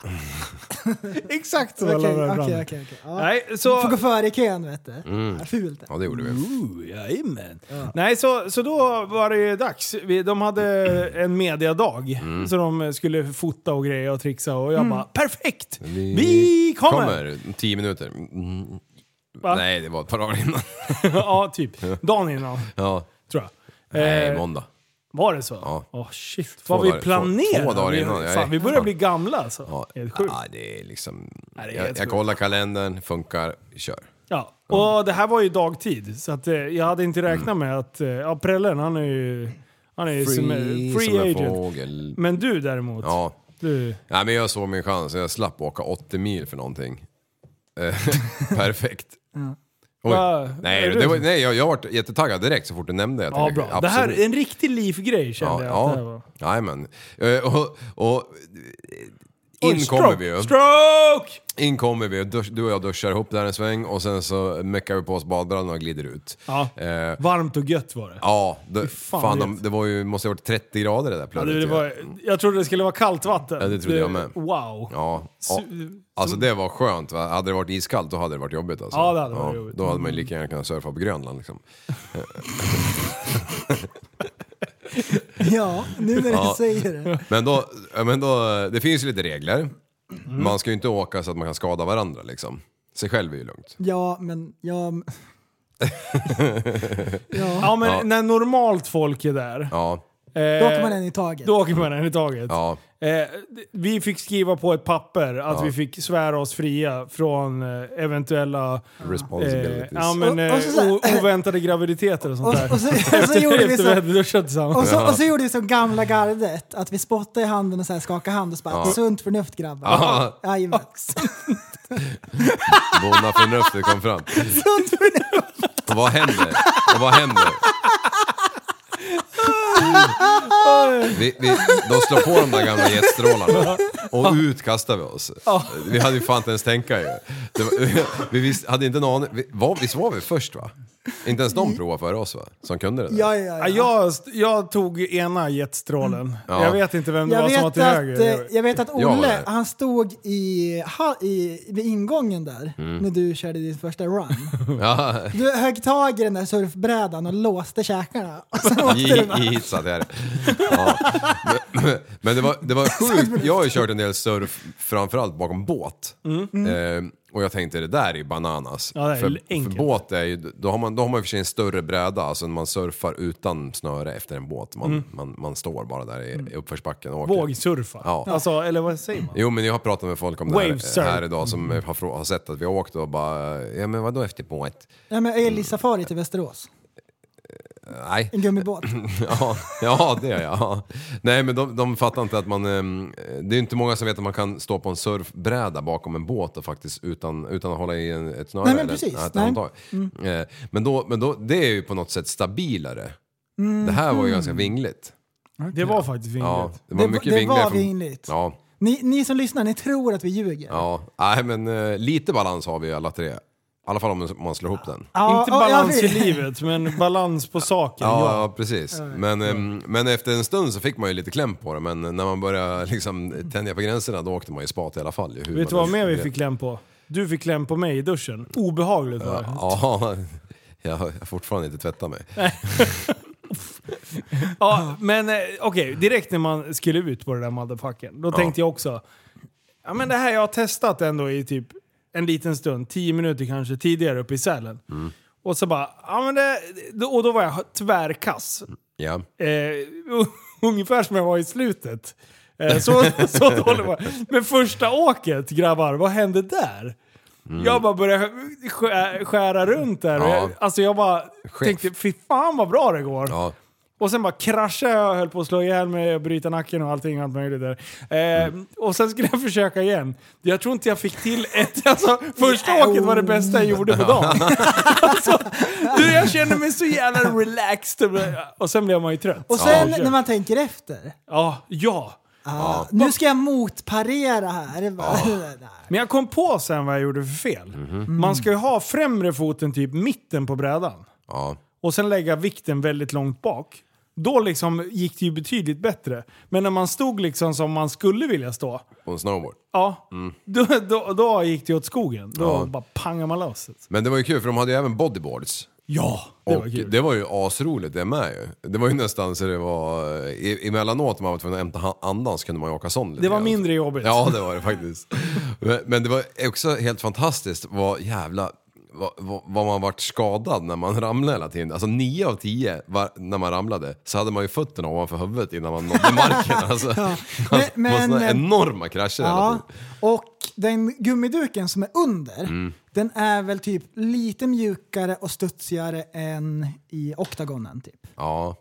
Speaker 1: Exakt så
Speaker 2: Okej,
Speaker 1: alla var
Speaker 2: okej,
Speaker 1: framme.
Speaker 2: okej. okej. Ja.
Speaker 1: Nej,
Speaker 2: Får
Speaker 1: så...
Speaker 2: gå före i kön vet du. Ja, Fult.
Speaker 3: Mm. Ja, det gjorde vi.
Speaker 1: Ooh, jajamän. Nej, så, så då var det ju dags. Vi, de hade en mediadag.
Speaker 3: Mm.
Speaker 1: Så de skulle fota och greja och trixa och jag
Speaker 2: Mm.
Speaker 1: bara perfekt! Vi, kommer!
Speaker 3: Kommer. Tio minuter. Mm.
Speaker 1: Va?
Speaker 3: Nej, det var ett par dagar innan.
Speaker 1: ja, typ. Dagen innan,
Speaker 3: Ja.
Speaker 1: tror jag.
Speaker 3: Nej,
Speaker 1: Eh,
Speaker 3: måndag.
Speaker 1: Var det så?
Speaker 3: Ja.
Speaker 1: Åh shit, vad
Speaker 3: dagar-
Speaker 1: vi
Speaker 3: två-
Speaker 1: planerar!
Speaker 3: två dagar
Speaker 1: Vi-
Speaker 3: innan, jag är-
Speaker 1: Fan, vi börjar bli gamla alltså.
Speaker 3: Ja.
Speaker 1: Helt sjukt.
Speaker 3: Ja, det är liksom...
Speaker 1: det är helt
Speaker 3: Jag, jag
Speaker 1: sjukt.
Speaker 3: kollar kalendern, funkar, kör.
Speaker 1: Ja, och det här var ju dagtid. Så att, eh, jag hade inte räknat med att... Eh, ja, Prellen han är ju... Han är ju som, eh, free
Speaker 3: som en
Speaker 1: agent.
Speaker 3: fågel.
Speaker 1: Men du däremot.
Speaker 3: Ja.
Speaker 1: Du,
Speaker 3: Nej, men jag såg min chans. Jag slapp åka 80 mil för någonting. Eh, Perfekt. Oj.
Speaker 1: Va?
Speaker 3: Nej,
Speaker 1: Är
Speaker 3: det
Speaker 1: du-
Speaker 3: var, nej, jag, jag var jättetaggad direkt så fort du nämnde det. Jag
Speaker 1: ja,
Speaker 3: tänkte,
Speaker 1: bra. Det här är en riktig livgrej kände
Speaker 3: Ja,
Speaker 1: jag att det här var.
Speaker 3: ja. Jajamän. Eh, Och, och,
Speaker 1: Oj,
Speaker 3: In kommer
Speaker 1: stroke,
Speaker 3: vi ju.
Speaker 1: Stroke!
Speaker 3: In kommer vi, dusch, du och jag duschar ihop där en sväng och sen så meckar vi på oss badbrallorna och glider ut.
Speaker 1: Ja.
Speaker 3: Eh,
Speaker 1: Varmt och gött var det.
Speaker 3: ja det,
Speaker 1: fan,
Speaker 3: fan,
Speaker 1: vet.
Speaker 3: de, det var ju, måste ha varit 30 grader det där
Speaker 1: Ja,
Speaker 3: plötsligt.
Speaker 1: Alltså, det, det var, jag trodde det skulle vara kallt vatten.
Speaker 3: Mm. Ja, det trodde jag med.
Speaker 1: Wow.
Speaker 3: Ja, ja.
Speaker 1: Su-
Speaker 3: Alltså det var skönt va? Hade det varit iskallt då hade det varit jobbigt alltså.
Speaker 1: Ja, det hade varit jobbigt.
Speaker 3: Då hade man ju lika gärna kunnat surfa på Grönland liksom.
Speaker 2: Ja, nu när du
Speaker 3: Ja.
Speaker 2: säger det.
Speaker 3: Men då, ja, men då, det finns ju lite regler.
Speaker 1: Mm.
Speaker 3: Man ska ju inte åka så att man kan skada varandra liksom. Sig själv är ju lugnt.
Speaker 2: Ja, men ja.
Speaker 1: Ja, men
Speaker 3: Ja.
Speaker 1: när normalt folk är där, eh,
Speaker 3: Ja,
Speaker 2: Då åker man en i taget.
Speaker 1: då åker man en i taget.
Speaker 3: ja.
Speaker 1: Eh, d- vi fick skriva på ett papper att vi fick svära oss fria från eh, eventuella eh,
Speaker 3: Responsibilities.
Speaker 1: ja, men, eh,
Speaker 2: Och- och så så här-
Speaker 1: o- oväntade graviditeter och sånt
Speaker 2: Och,
Speaker 1: där.
Speaker 2: och, så, och, liksom- så gjorde
Speaker 1: efter
Speaker 2: vi
Speaker 1: vi
Speaker 2: så,
Speaker 1: hade duschat
Speaker 2: och,
Speaker 1: tillsammans.
Speaker 2: så, och så gjorde vi så gamla gardet, att vi spottade i handen och så här skakade hand och så bara “sunt förnuft grabbar”.
Speaker 3: Ja.
Speaker 2: Jajamän.
Speaker 3: Bona förnuftet kom fram.
Speaker 2: Sunt förnuft!
Speaker 3: Och vad händer? Och vad händer? Vi, vi, de slår på de där gamla jetstrålarna och ut kastar vi oss. Vi hade ju fan inte ens tänka ju. Det var, vi visst, hade inte en aning. Vi, var, visst var vi först va? Inte ens de provade före oss va? Som kunde det där.
Speaker 2: Ja, ja,
Speaker 1: Ja,
Speaker 2: ja.
Speaker 1: jag, st- jag tog ena jetstrålen.
Speaker 3: Ja.
Speaker 1: Jag vet inte vem det
Speaker 2: Mm. Jag
Speaker 1: var som
Speaker 2: vet,
Speaker 1: var
Speaker 2: att,
Speaker 1: till höger.
Speaker 2: eh, jag vet att
Speaker 3: Jag var
Speaker 2: Olle,
Speaker 3: där.
Speaker 2: han stod i, ha, i, vid ingången där
Speaker 3: Mm.
Speaker 2: när du körde din första run.
Speaker 3: Ja,
Speaker 2: Du högg tag i den där surfbrädan och låste käkarna. Och sen åkte du bara.
Speaker 3: i, i hit satt jag. Ja. Men, men det var, det var sjukt. Jag har ju kört en del surf, framförallt bakom båt. Eh, och jag tänkte det där är bananas.
Speaker 1: Mm. Ja, det är
Speaker 3: för,
Speaker 1: enkelt.
Speaker 3: för båt är ju, då har man, då har man i och för sig en större bräda, alltså när man surfar utan snöre efter en båt. Man,
Speaker 1: Mm.
Speaker 3: man, man står bara där i, i uppförsbacken och åker.
Speaker 1: Vågsurfa.
Speaker 3: Ja.
Speaker 1: Alltså, eller vad säger man?
Speaker 3: Jo men jag har pratat med folk om det
Speaker 1: Wave surf. Mm.
Speaker 3: här, här idag som har, frå- har sett att vi har åkt och bara, ja men vadå efter båt?
Speaker 2: Ja, men Elisafari till typ Västerås.
Speaker 3: Nej,
Speaker 2: En gummibåt.
Speaker 3: Ja, ja det är jag. Ja. Nej men de, de fattar inte att man... ehm, Det är inte många som vet att man kan stå på en surfbräda bakom en båt och faktiskt utan, utan att hålla i en, ett snöre.
Speaker 2: Nej, men
Speaker 3: eller
Speaker 2: precis.
Speaker 3: ett
Speaker 2: Nej.
Speaker 3: handtag. Eh, Men, då, men då, det är ju på något sätt stabilare. Det här var ju ganska vingligt.
Speaker 1: Det var faktiskt vingligt.
Speaker 3: Ja, det
Speaker 2: Mm. Det
Speaker 3: var
Speaker 2: var-
Speaker 3: mycket
Speaker 2: det
Speaker 3: vinglar
Speaker 2: var
Speaker 3: från-
Speaker 2: vingligt.
Speaker 3: Ja,
Speaker 2: Ni, ni som lyssnar, ni tror att vi ljuger.
Speaker 3: ja. Nej men eh, lite balans har vi alla tre. I alla fall om man slår ihop den.
Speaker 2: Ja,
Speaker 1: Inte
Speaker 2: ja,
Speaker 1: balans
Speaker 2: ja, vi-
Speaker 1: i livet, men balans på saken.
Speaker 3: Ja,
Speaker 1: ja.
Speaker 3: ja precis. Men, ehm, men efter en stund så fick man ju lite kläm på det, men när man började liksom tänja på gränserna då åkte man ju spat i alla fall. ju, hur
Speaker 1: Vet du
Speaker 3: man
Speaker 1: vad mer vi
Speaker 3: vet.
Speaker 1: fick kläm på? Du fick kläm på mig i duschen. Obehagligt var det.
Speaker 3: Ja, jag har jag har fortfarande inte tvättat mig.
Speaker 1: Ja, men eh, okej, direkt när man skulle ut på det där motherfucken, då tänkte jag också, ja men det här jag har testat ändå i typ en liten stund, tio minuter kanske tidigare uppe i Sälen. Och så bara, ja men det, då- och då var jag tvärkass.
Speaker 3: Ja.
Speaker 1: Eh, ungefär som jag var i slutet. Eh, så, så dålig var jag. Men första åket, grabbar, vad hände där? Jag bara började skär, skära runt där. Och
Speaker 3: Ja.
Speaker 1: Jag, alltså jag bara
Speaker 3: Chef.
Speaker 1: tänkte, fy fan vad bra det går.
Speaker 3: Ja.
Speaker 1: Och sen bara kraschade jag och höll på att slå ihjäl mig och bryta nacken och allting allt möjligt där. Eh, Och sen skulle jag försöka igen. Jag tror inte jag fick till ett... Alltså, första åket var det bästa jag gjorde på dagen. alltså, du, jag kände mig så jävla relaxed. Och sen blev man ju trött.
Speaker 2: Och sen när man tänker efter.
Speaker 1: Ja, ja.
Speaker 2: Ah, Nu ska jag motparera här.
Speaker 1: Men jag kom på sen vad jag gjorde för fel.
Speaker 3: Mhm.
Speaker 1: Man ska ju ha främre foten typ mitten på brädan.
Speaker 3: Ja.
Speaker 1: och sen lägga vikten väldigt långt bak. Då liksom gick det ju betydligt bättre. Men när man stod liksom som man skulle vilja stå,
Speaker 3: På en snowboard.
Speaker 1: ja, då, då, då gick det åt skogen. Då
Speaker 3: Mm. Ja.
Speaker 1: bara pangade man loss.
Speaker 3: Men det var ju kul för de hade ju även bodyboards.
Speaker 1: Ja, det
Speaker 3: Och
Speaker 1: var kul.
Speaker 3: det var ju asroligt det med ju. Det var ju nästan så det var... e- Emellanåt när man var tvungen att hämta andan så kunde man ju åka sån lite
Speaker 1: Det var
Speaker 3: grann.
Speaker 1: mindre jobbigt.
Speaker 3: Ja det var det faktiskt. Men, men det var också helt fantastiskt vad jävla... Vad, vad, vad man vart skadad när man ramlade hela tiden. Alltså nio av tio var, när man ramlade så hade man ju fötterna ovanför huvudet innan man nådde marken. Alltså,
Speaker 2: Men-
Speaker 3: det var såna
Speaker 2: men-
Speaker 3: enorma krascher hela
Speaker 2: Ja.
Speaker 3: tiden.
Speaker 2: Och den gummiduken som är under, den är väl typ lite mjukare och studsigare än i oktagonen typ.
Speaker 3: Ja,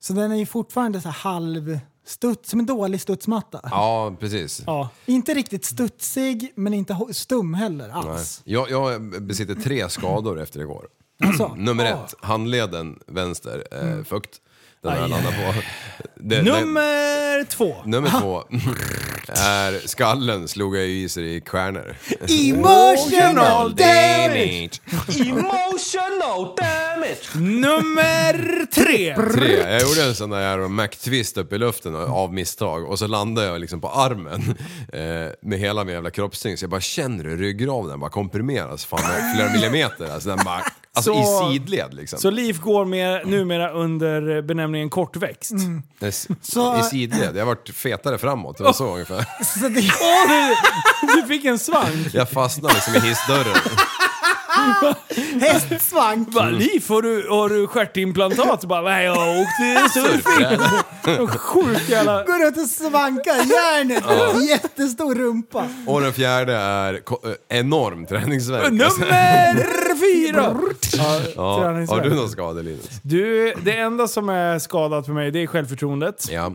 Speaker 2: Så den är ju fortfarande så här halv studs, som en dålig studsmatta.
Speaker 3: ja precis.
Speaker 1: Ja.
Speaker 2: Inte riktigt studsig, men inte ho- stum heller alls.
Speaker 3: Jag, jag besitter tre skador efter igår.
Speaker 2: Alltså,
Speaker 1: Ah.
Speaker 3: Nummer ett, handleden vänster, eh, fukt. den här landar på. Det- det-
Speaker 1: Mm. Nummer två.
Speaker 3: Nummer två är skallen slog jag i sig i stjärnor.
Speaker 1: Emotional damage!
Speaker 3: Damage!
Speaker 7: Emotional damage!
Speaker 1: Nummer tre.
Speaker 3: Tre, jag gjorde en sån där Mac-twist upp i luften av misstag och så landade jag liksom på armen eh, med hela min jävla kroppstyngd. Så jag bara känner hur ryggraden bara komprimeras fan med flera millimeter. Alltså den bara, alltså
Speaker 1: Så-
Speaker 3: i sidled liksom.
Speaker 1: Så Liv går med, numera under benämningen kortväxt.
Speaker 3: Den s-
Speaker 2: så-
Speaker 3: I sidled, jag vart fetare framåt. Det var
Speaker 1: Oh.
Speaker 3: så ungefär.
Speaker 2: Så det,
Speaker 1: Åh, du, du fick en svank!
Speaker 3: Jag fastnade liksom i hissdörren.
Speaker 2: hästsvank!
Speaker 1: Bara,
Speaker 3: Mm.
Speaker 1: Liv, har du, har du stjärtimplantat? Bara, nej, jag åkte surfing. Sjuk jävla...
Speaker 2: Går runt och svankar järnet. Jättestor rumpa.
Speaker 3: Och den fjärde är ko- eh, enorm träningsvärk.
Speaker 1: Nummer fyra!
Speaker 3: Ja,
Speaker 1: träningsvärk.
Speaker 3: har du någon skada Linus?
Speaker 1: Du, det enda som är skadat för mig, det är självförtroendet.
Speaker 3: Ja.
Speaker 1: Eh,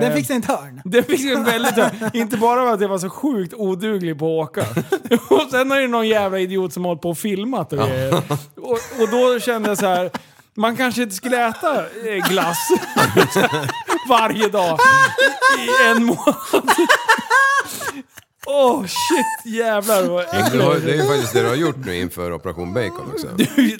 Speaker 2: Den fick sig en törn.
Speaker 1: Det fick jag väldigt högt. Inte bara för att jag var så sjukt oduglig på att åka. Och sen är det någon jävla idiot som har hållit på och filmat och grejer. Och, och då kände jag så här. Man kanske inte skulle äta eh, glass varje dag i- i en månad. Åh oh, shit, jävlar vad
Speaker 3: Du har, det är
Speaker 1: äckligt.
Speaker 3: ju faktiskt det du har gjort nu inför Operation Bacon också.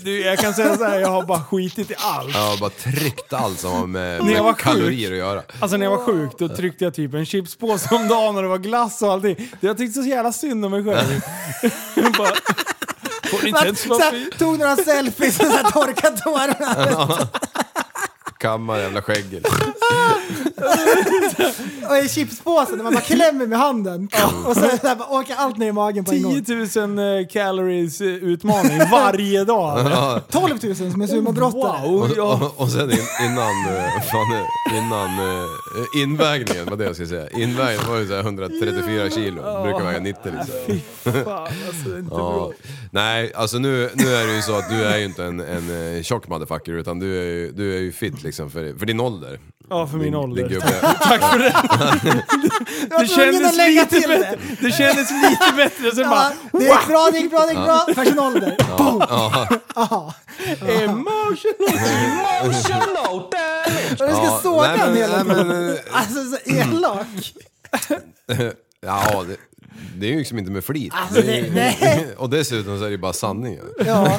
Speaker 1: Du, jag kan säga så här, jag har bara skitit i allt.
Speaker 3: Jag har bara tryckt allt som har med,
Speaker 1: När jag var
Speaker 3: med
Speaker 1: sjuk.
Speaker 3: kalorier att göra.
Speaker 1: Alltså när jag var sjuk, då tryckte jag typ en chipspåse om dagen och det var glass och allting. Jag tyckte så jävla synd om mig själv. Jag bara, Får inte ens
Speaker 2: Så
Speaker 1: vara fri.
Speaker 2: här, tog några selfies och så här, torkade tårarna.
Speaker 3: Kammar jävla skägget.
Speaker 2: Och i chipspåsen där man bara klämmer med handen. Och så, så här, bara, åker allt ner i magen på en gång.
Speaker 1: 10 000 eh, calories eh, utmaning varje dag.
Speaker 2: 12 000 som en sumodrottare.
Speaker 1: Wow! Jag,
Speaker 3: Och, och sen in, innan, eh, fan, eh, innan eh, invägningen, vad det jag skulle säga. Invägningen var ju så här 134 kilo, brukar väga 90 liksom.
Speaker 1: fan, alltså, det är inte
Speaker 3: Ja.
Speaker 1: bra.
Speaker 3: Nej, alltså nu, nu är det ju så att du är ju inte en, en eh, tjock motherfucker utan du är ju, du är ju fit liksom för, för din ålder.
Speaker 1: Ja, för min
Speaker 3: Din-
Speaker 1: ålder.
Speaker 3: Din gubbe.
Speaker 1: Tack för det.
Speaker 2: Jag var
Speaker 1: Det
Speaker 2: tvungen
Speaker 1: kändes
Speaker 2: att lägga
Speaker 1: lite
Speaker 2: till det.
Speaker 1: bättre. Det kändes lite bättre. Sen
Speaker 2: Ja,
Speaker 1: bara
Speaker 2: det gick bra, det gick bra, det gick bra. Personalder. Boom! Aha.
Speaker 1: emotional.
Speaker 7: Emotional damage!
Speaker 2: Och du ska
Speaker 3: Ja,
Speaker 2: såga
Speaker 3: nej, men-
Speaker 2: en hela
Speaker 3: nej, men,
Speaker 2: tiden.
Speaker 3: eh,
Speaker 2: Alltså så elak.
Speaker 3: Ja, det, det är ju liksom inte med flit.
Speaker 2: Alltså,
Speaker 3: Det är ju-
Speaker 2: det- nej.
Speaker 3: och dessutom så är det ju bara sanningen.
Speaker 2: Ja.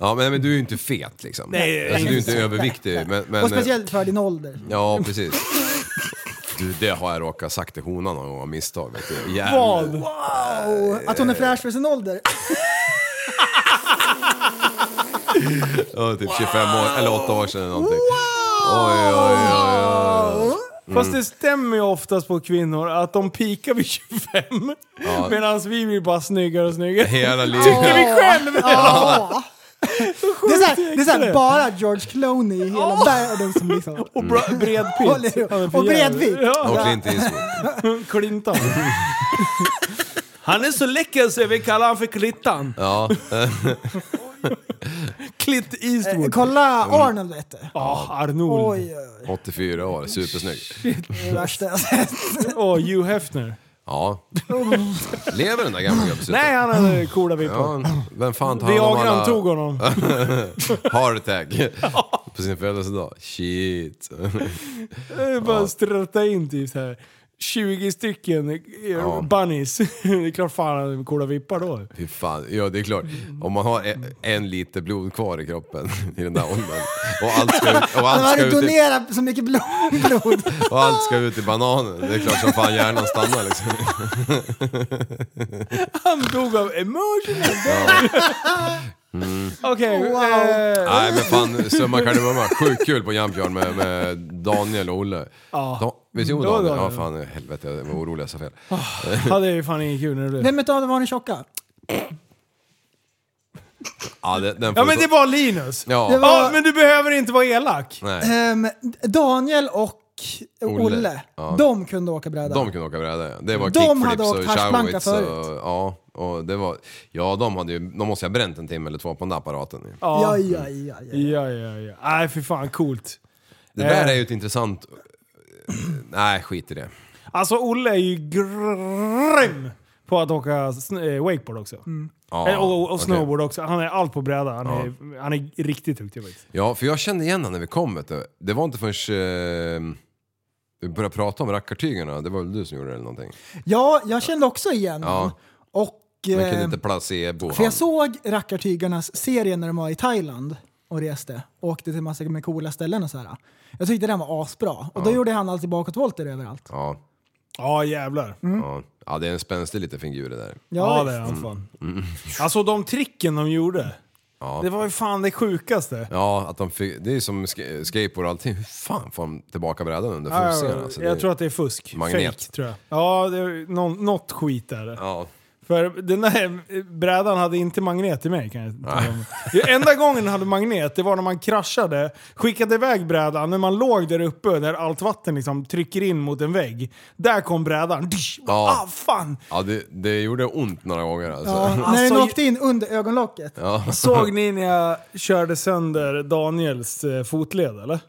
Speaker 3: Ja, men, men du är ju inte fet liksom.
Speaker 1: Nej,
Speaker 3: alltså, du är inte överviktig. Men, men, eh,
Speaker 2: Och speciellt för din ålder.
Speaker 3: Ja, precis. Du, det har jag råkat sagt till honan någon gång av misstag. Vet du. Jävlar.
Speaker 1: Vad?
Speaker 2: Wow. Att hon är fräsch för sin ålder.
Speaker 3: Ja, typ 25 år, eller 8 år sedan eller någonting. Oj, oj, oj, oj.
Speaker 1: Fast det stämmer ju oftast på kvinnor att de pikar vid 25. Medan vi blir bara snyggare och snyggare.
Speaker 3: Hela
Speaker 1: Tycker
Speaker 3: livet.
Speaker 1: vi själv!
Speaker 2: Ja. Det är såhär, det är såhär
Speaker 1: det.
Speaker 2: bara George Clooney i hela världen som liksom...
Speaker 1: Och bra, bred
Speaker 2: Håller
Speaker 1: pitt.
Speaker 2: ihop. Och bredvid.
Speaker 1: Ja,
Speaker 3: Och Clint Eastwood.
Speaker 1: Clintan. Han är så läcker så vi kallar han för Klittan.
Speaker 3: Ja,
Speaker 1: Clint Eastwood.
Speaker 2: Kolla Arnold vet du.
Speaker 1: Ja, Arnold.
Speaker 2: Eh, Oj, oj, oj.
Speaker 3: 84 år, supersnygg.
Speaker 2: Det är det värsta jag sett.
Speaker 1: Och Hugh Hefner.
Speaker 3: Ja. Lever den där gamla gubbsutten?
Speaker 1: Nej, han hade coola vippor.
Speaker 3: Ja, vem fan tar hand om alla...
Speaker 1: Viagran tog honom.
Speaker 3: Heart attack. På sin födelsedag. Shit.
Speaker 1: Det är Bara strötta in typ så här. 20 stycken eh, bunnies. Det är klart fan han hade coola vippar då.
Speaker 3: Fy fan. Ja, det är klart. Om man har en, en liter blod kvar i kroppen i den där åldern och allt ska, och
Speaker 2: Han
Speaker 3: allt ska,
Speaker 2: hade
Speaker 3: ut, i,
Speaker 2: donerat så mycket blod. blod.
Speaker 3: och allt ska ut i bananen. Det är klart som fan hjärnan stannar liksom.
Speaker 1: Han dog av emotional Okej.
Speaker 2: Wow.
Speaker 1: eh,
Speaker 3: Nej men fan, summa kardemumma. Sjukt kul på Jump Yard med, med Daniel och Olle.
Speaker 1: Ja.
Speaker 3: Da, visst jo
Speaker 1: Det var
Speaker 3: Daniel? Ja
Speaker 1: Daniel.
Speaker 3: fan helvete, jag var orolig jag sa fel.
Speaker 1: hade ju fan inget kul när det blev.
Speaker 2: Vem utav dem var den tjocka?
Speaker 3: Ja, det, den får
Speaker 1: Ja men
Speaker 3: stå-
Speaker 1: det var Linus.
Speaker 3: Ja.
Speaker 2: det var-
Speaker 1: Ja, men du behöver inte vara elak.
Speaker 3: Nej,
Speaker 2: Ehm, Daniel och Olle,
Speaker 3: Olle. Ja.
Speaker 2: de kunde åka bräda.
Speaker 3: de kunde åka bräda ja. Det var
Speaker 2: De hade
Speaker 3: kickflips
Speaker 2: åkt
Speaker 3: och
Speaker 2: haschplanka
Speaker 3: showits och...
Speaker 2: förut.
Speaker 3: Ja, och det var... Ja, de hade ju... De måste ju ha bränt en timme eller två på den där apparaten ju.
Speaker 2: Ja, ja, ja, ja.
Speaker 1: Ja, ja, ja. Nej, för fan coolt.
Speaker 3: Det där
Speaker 1: Eh.
Speaker 3: är ju ett intressant... Nej, skit i det.
Speaker 1: Alltså Olle är ju grym på att åka sn- eh, wakeboard också.
Speaker 3: Ja,
Speaker 1: Eh, och, och
Speaker 3: okej.
Speaker 1: snowboard också. Han är allt på bräda. Han, är, han är riktigt duktig faktiskt.
Speaker 3: Ja, för jag kände igen honom när vi kom. Vet du. Det var inte förrän eh, vi började prata om rackartygarna. Det var väl du som gjorde det eller någonting?
Speaker 2: Ja, jag kände också igen
Speaker 3: Ja.
Speaker 2: honom. Och...
Speaker 3: Men
Speaker 2: eh,
Speaker 3: kunde inte placebo.
Speaker 2: För
Speaker 3: han.
Speaker 2: jag såg Rackartygarnas serie när de var i Thailand och reste. Och åkte till massa med coola ställen och så här. Jag tyckte den var asbra. Och då gjorde han alltid bakåtvolter överallt.
Speaker 3: Ja,
Speaker 1: Ja, jävlar.
Speaker 3: ja. ja, det är en spänstig liten figur det där.
Speaker 1: Ja,
Speaker 2: Ja,
Speaker 1: det är han fan.
Speaker 3: Mm.
Speaker 1: Alltså de tricken de gjorde. Det var ju fan det sjukaste.
Speaker 3: Ja, att de fick, det är som sk- skateboard och allting. Hur fan får de tillbaka brädan under
Speaker 1: Ja,
Speaker 3: fotscenen? Alltså,
Speaker 1: jag
Speaker 3: det-
Speaker 1: tror att det är fusk.
Speaker 3: Magnet.
Speaker 1: Fake, tror jag. Ja, det är någon, något skit där.
Speaker 3: Ja.
Speaker 1: För den där brädan hade inte magnet i mig kan jag tala om. Det Enda gången den hade magnet, det var när man kraschade, skickade iväg brädan, när man låg där uppe där allt vatten liksom trycker in mot en vägg. Där kom brädan. Dysch!
Speaker 3: Ja.
Speaker 1: Ah, fan!
Speaker 3: Ja, det, det gjorde ont några gånger alltså.
Speaker 2: Ja,
Speaker 3: Ja.
Speaker 2: när den
Speaker 1: Alltså,
Speaker 2: åkte in under ögonlocket.
Speaker 1: Såg ni när jag körde sönder Daniels eh, fotled eller?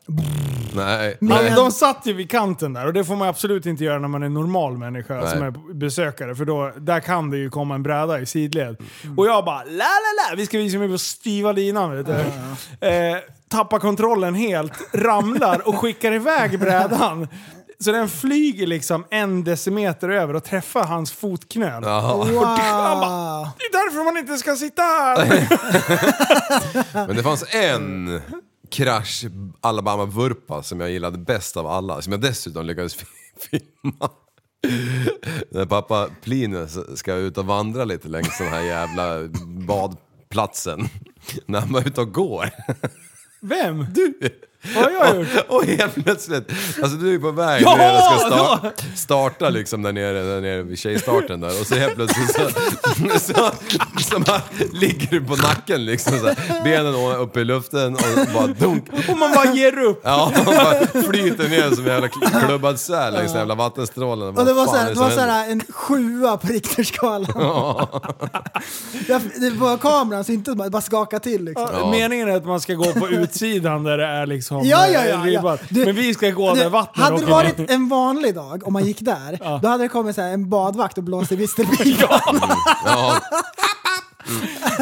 Speaker 3: Nej.
Speaker 2: Men-
Speaker 3: nej.
Speaker 1: Eh, De satt ju vid kanten där och det får man absolut inte göra när man är en normal människa
Speaker 3: Nej.
Speaker 1: som är besökare. För då, där kan det ju komma en bräda i sidled. Och jag bara la la la, vi ska visa mig på styva linan vet du. Eh, tappar kontrollen helt, ramlar och skickar iväg brädan. Så den flyger liksom en decimeter över och träffar hans fotknöl.
Speaker 3: Ja.
Speaker 2: Wow!
Speaker 1: Det är därför man inte ska sitta här!
Speaker 3: Men det fanns en krasch Alabama-vurpa som jag gillade bäst av alla, som jag dessutom lyckades filma. När pappa Plinus ska ut och vandra lite längs den här jävla badplatsen. När han var ute och går.
Speaker 1: Vem? Du! Vad har jag gjort?
Speaker 3: Och helt plötsligt, alltså du är på väg
Speaker 1: Ja,
Speaker 3: ner och ska sta- starta liksom där nere, där nere vid tjejstarten där och så helt plötsligt så, så, så bara, ligger du på nacken liksom så här, benen uppe i luften och bara dunk.
Speaker 1: Och man bara ger upp.
Speaker 3: Ja, och bara flyter ner som en jävla kl- klubbad säl längs den jävla vattenstrålen.
Speaker 2: Och
Speaker 3: Vad
Speaker 2: det var,
Speaker 3: fan
Speaker 2: såhär,
Speaker 3: är
Speaker 2: det
Speaker 3: som
Speaker 2: var såhär
Speaker 3: händer?
Speaker 2: en sjua på Richterskalan. Jag- det var kameran så inte bara skaka till liksom.
Speaker 1: Ja. Meningen är att man ska gå på utsidan där det är liksom
Speaker 2: Ja, ja,
Speaker 1: eh,
Speaker 2: ja,
Speaker 1: ribbat.
Speaker 2: ja. Du-
Speaker 1: Men vi ska gå där
Speaker 2: Du,
Speaker 1: vattnet
Speaker 2: hade det
Speaker 1: åker
Speaker 2: varit
Speaker 1: ner.
Speaker 2: en vanlig dag, om man gick där, då hade det kommit så här, en badvakt och blåst i vistelpipan.
Speaker 3: Ja,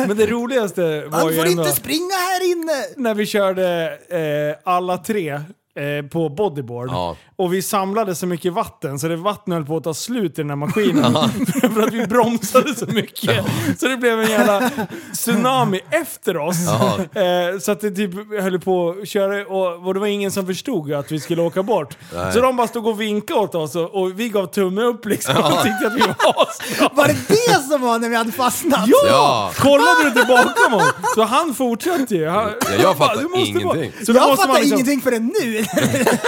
Speaker 1: Men det roligaste var
Speaker 2: Han
Speaker 1: ju
Speaker 2: får
Speaker 1: ändå
Speaker 2: inte springa här inne!
Speaker 1: när vi körde eh, alla tre eh, på bodyboard.
Speaker 3: Ja.
Speaker 1: Och vi samlade så mycket vatten så det vattnet höll på att ta slut i den här maskinen. För att vi bromsade så mycket. Så det blev en jävla tsunami efter oss.
Speaker 3: Ja.
Speaker 1: Eh, så att det typ höll på att köra och, och det var ingen som förstod att vi skulle åka bort. Så de bara stod och vinkade åt oss och, och vi gav tumme upp liksom. Och tyckte att vi var asbra.
Speaker 2: Var det det som var när vi hade fastnat?
Speaker 1: Ja!
Speaker 3: Ja.
Speaker 1: Kollade du inte bakom honom? Så han fortsatte ju. Han,
Speaker 3: Ja, jag
Speaker 1: han bara,
Speaker 3: fattar
Speaker 1: "Du måste
Speaker 3: ingenting."
Speaker 1: vara-" Så då,
Speaker 2: Jag
Speaker 1: måste man
Speaker 2: fattar
Speaker 1: liksom,
Speaker 2: ingenting förrän nu!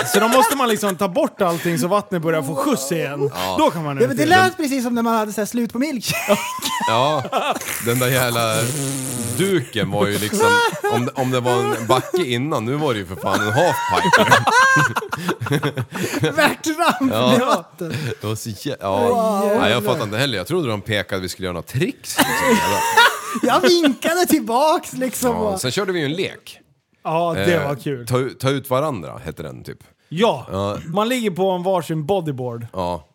Speaker 1: så då måste man liksom ta bort allting så vattnet börjar få skjuts igen. Då kan man
Speaker 2: Ja, men det
Speaker 1: ut.
Speaker 2: lät precis som när man hade så här slut på milkshake.
Speaker 3: ja, den där jävla duken var ju liksom, om, om det var en backe innan, nu var det ju för fan en halfpipe.
Speaker 2: Värtramp med vatten.
Speaker 3: Det var så jä- ja. Nej, jag fattar inte heller. Jag trodde de pekade att vi skulle göra några tricks. Liksom.
Speaker 2: Jag vinkade tillbaks liksom.
Speaker 3: Ja.
Speaker 2: och-
Speaker 3: Sen körde vi ju en lek.
Speaker 1: Ja, det
Speaker 3: Eh,
Speaker 1: var kul.
Speaker 3: Ta, ta ut varandra, hette den typ.
Speaker 1: Ja, man ligger på en varsin bodyboard.
Speaker 3: Ja,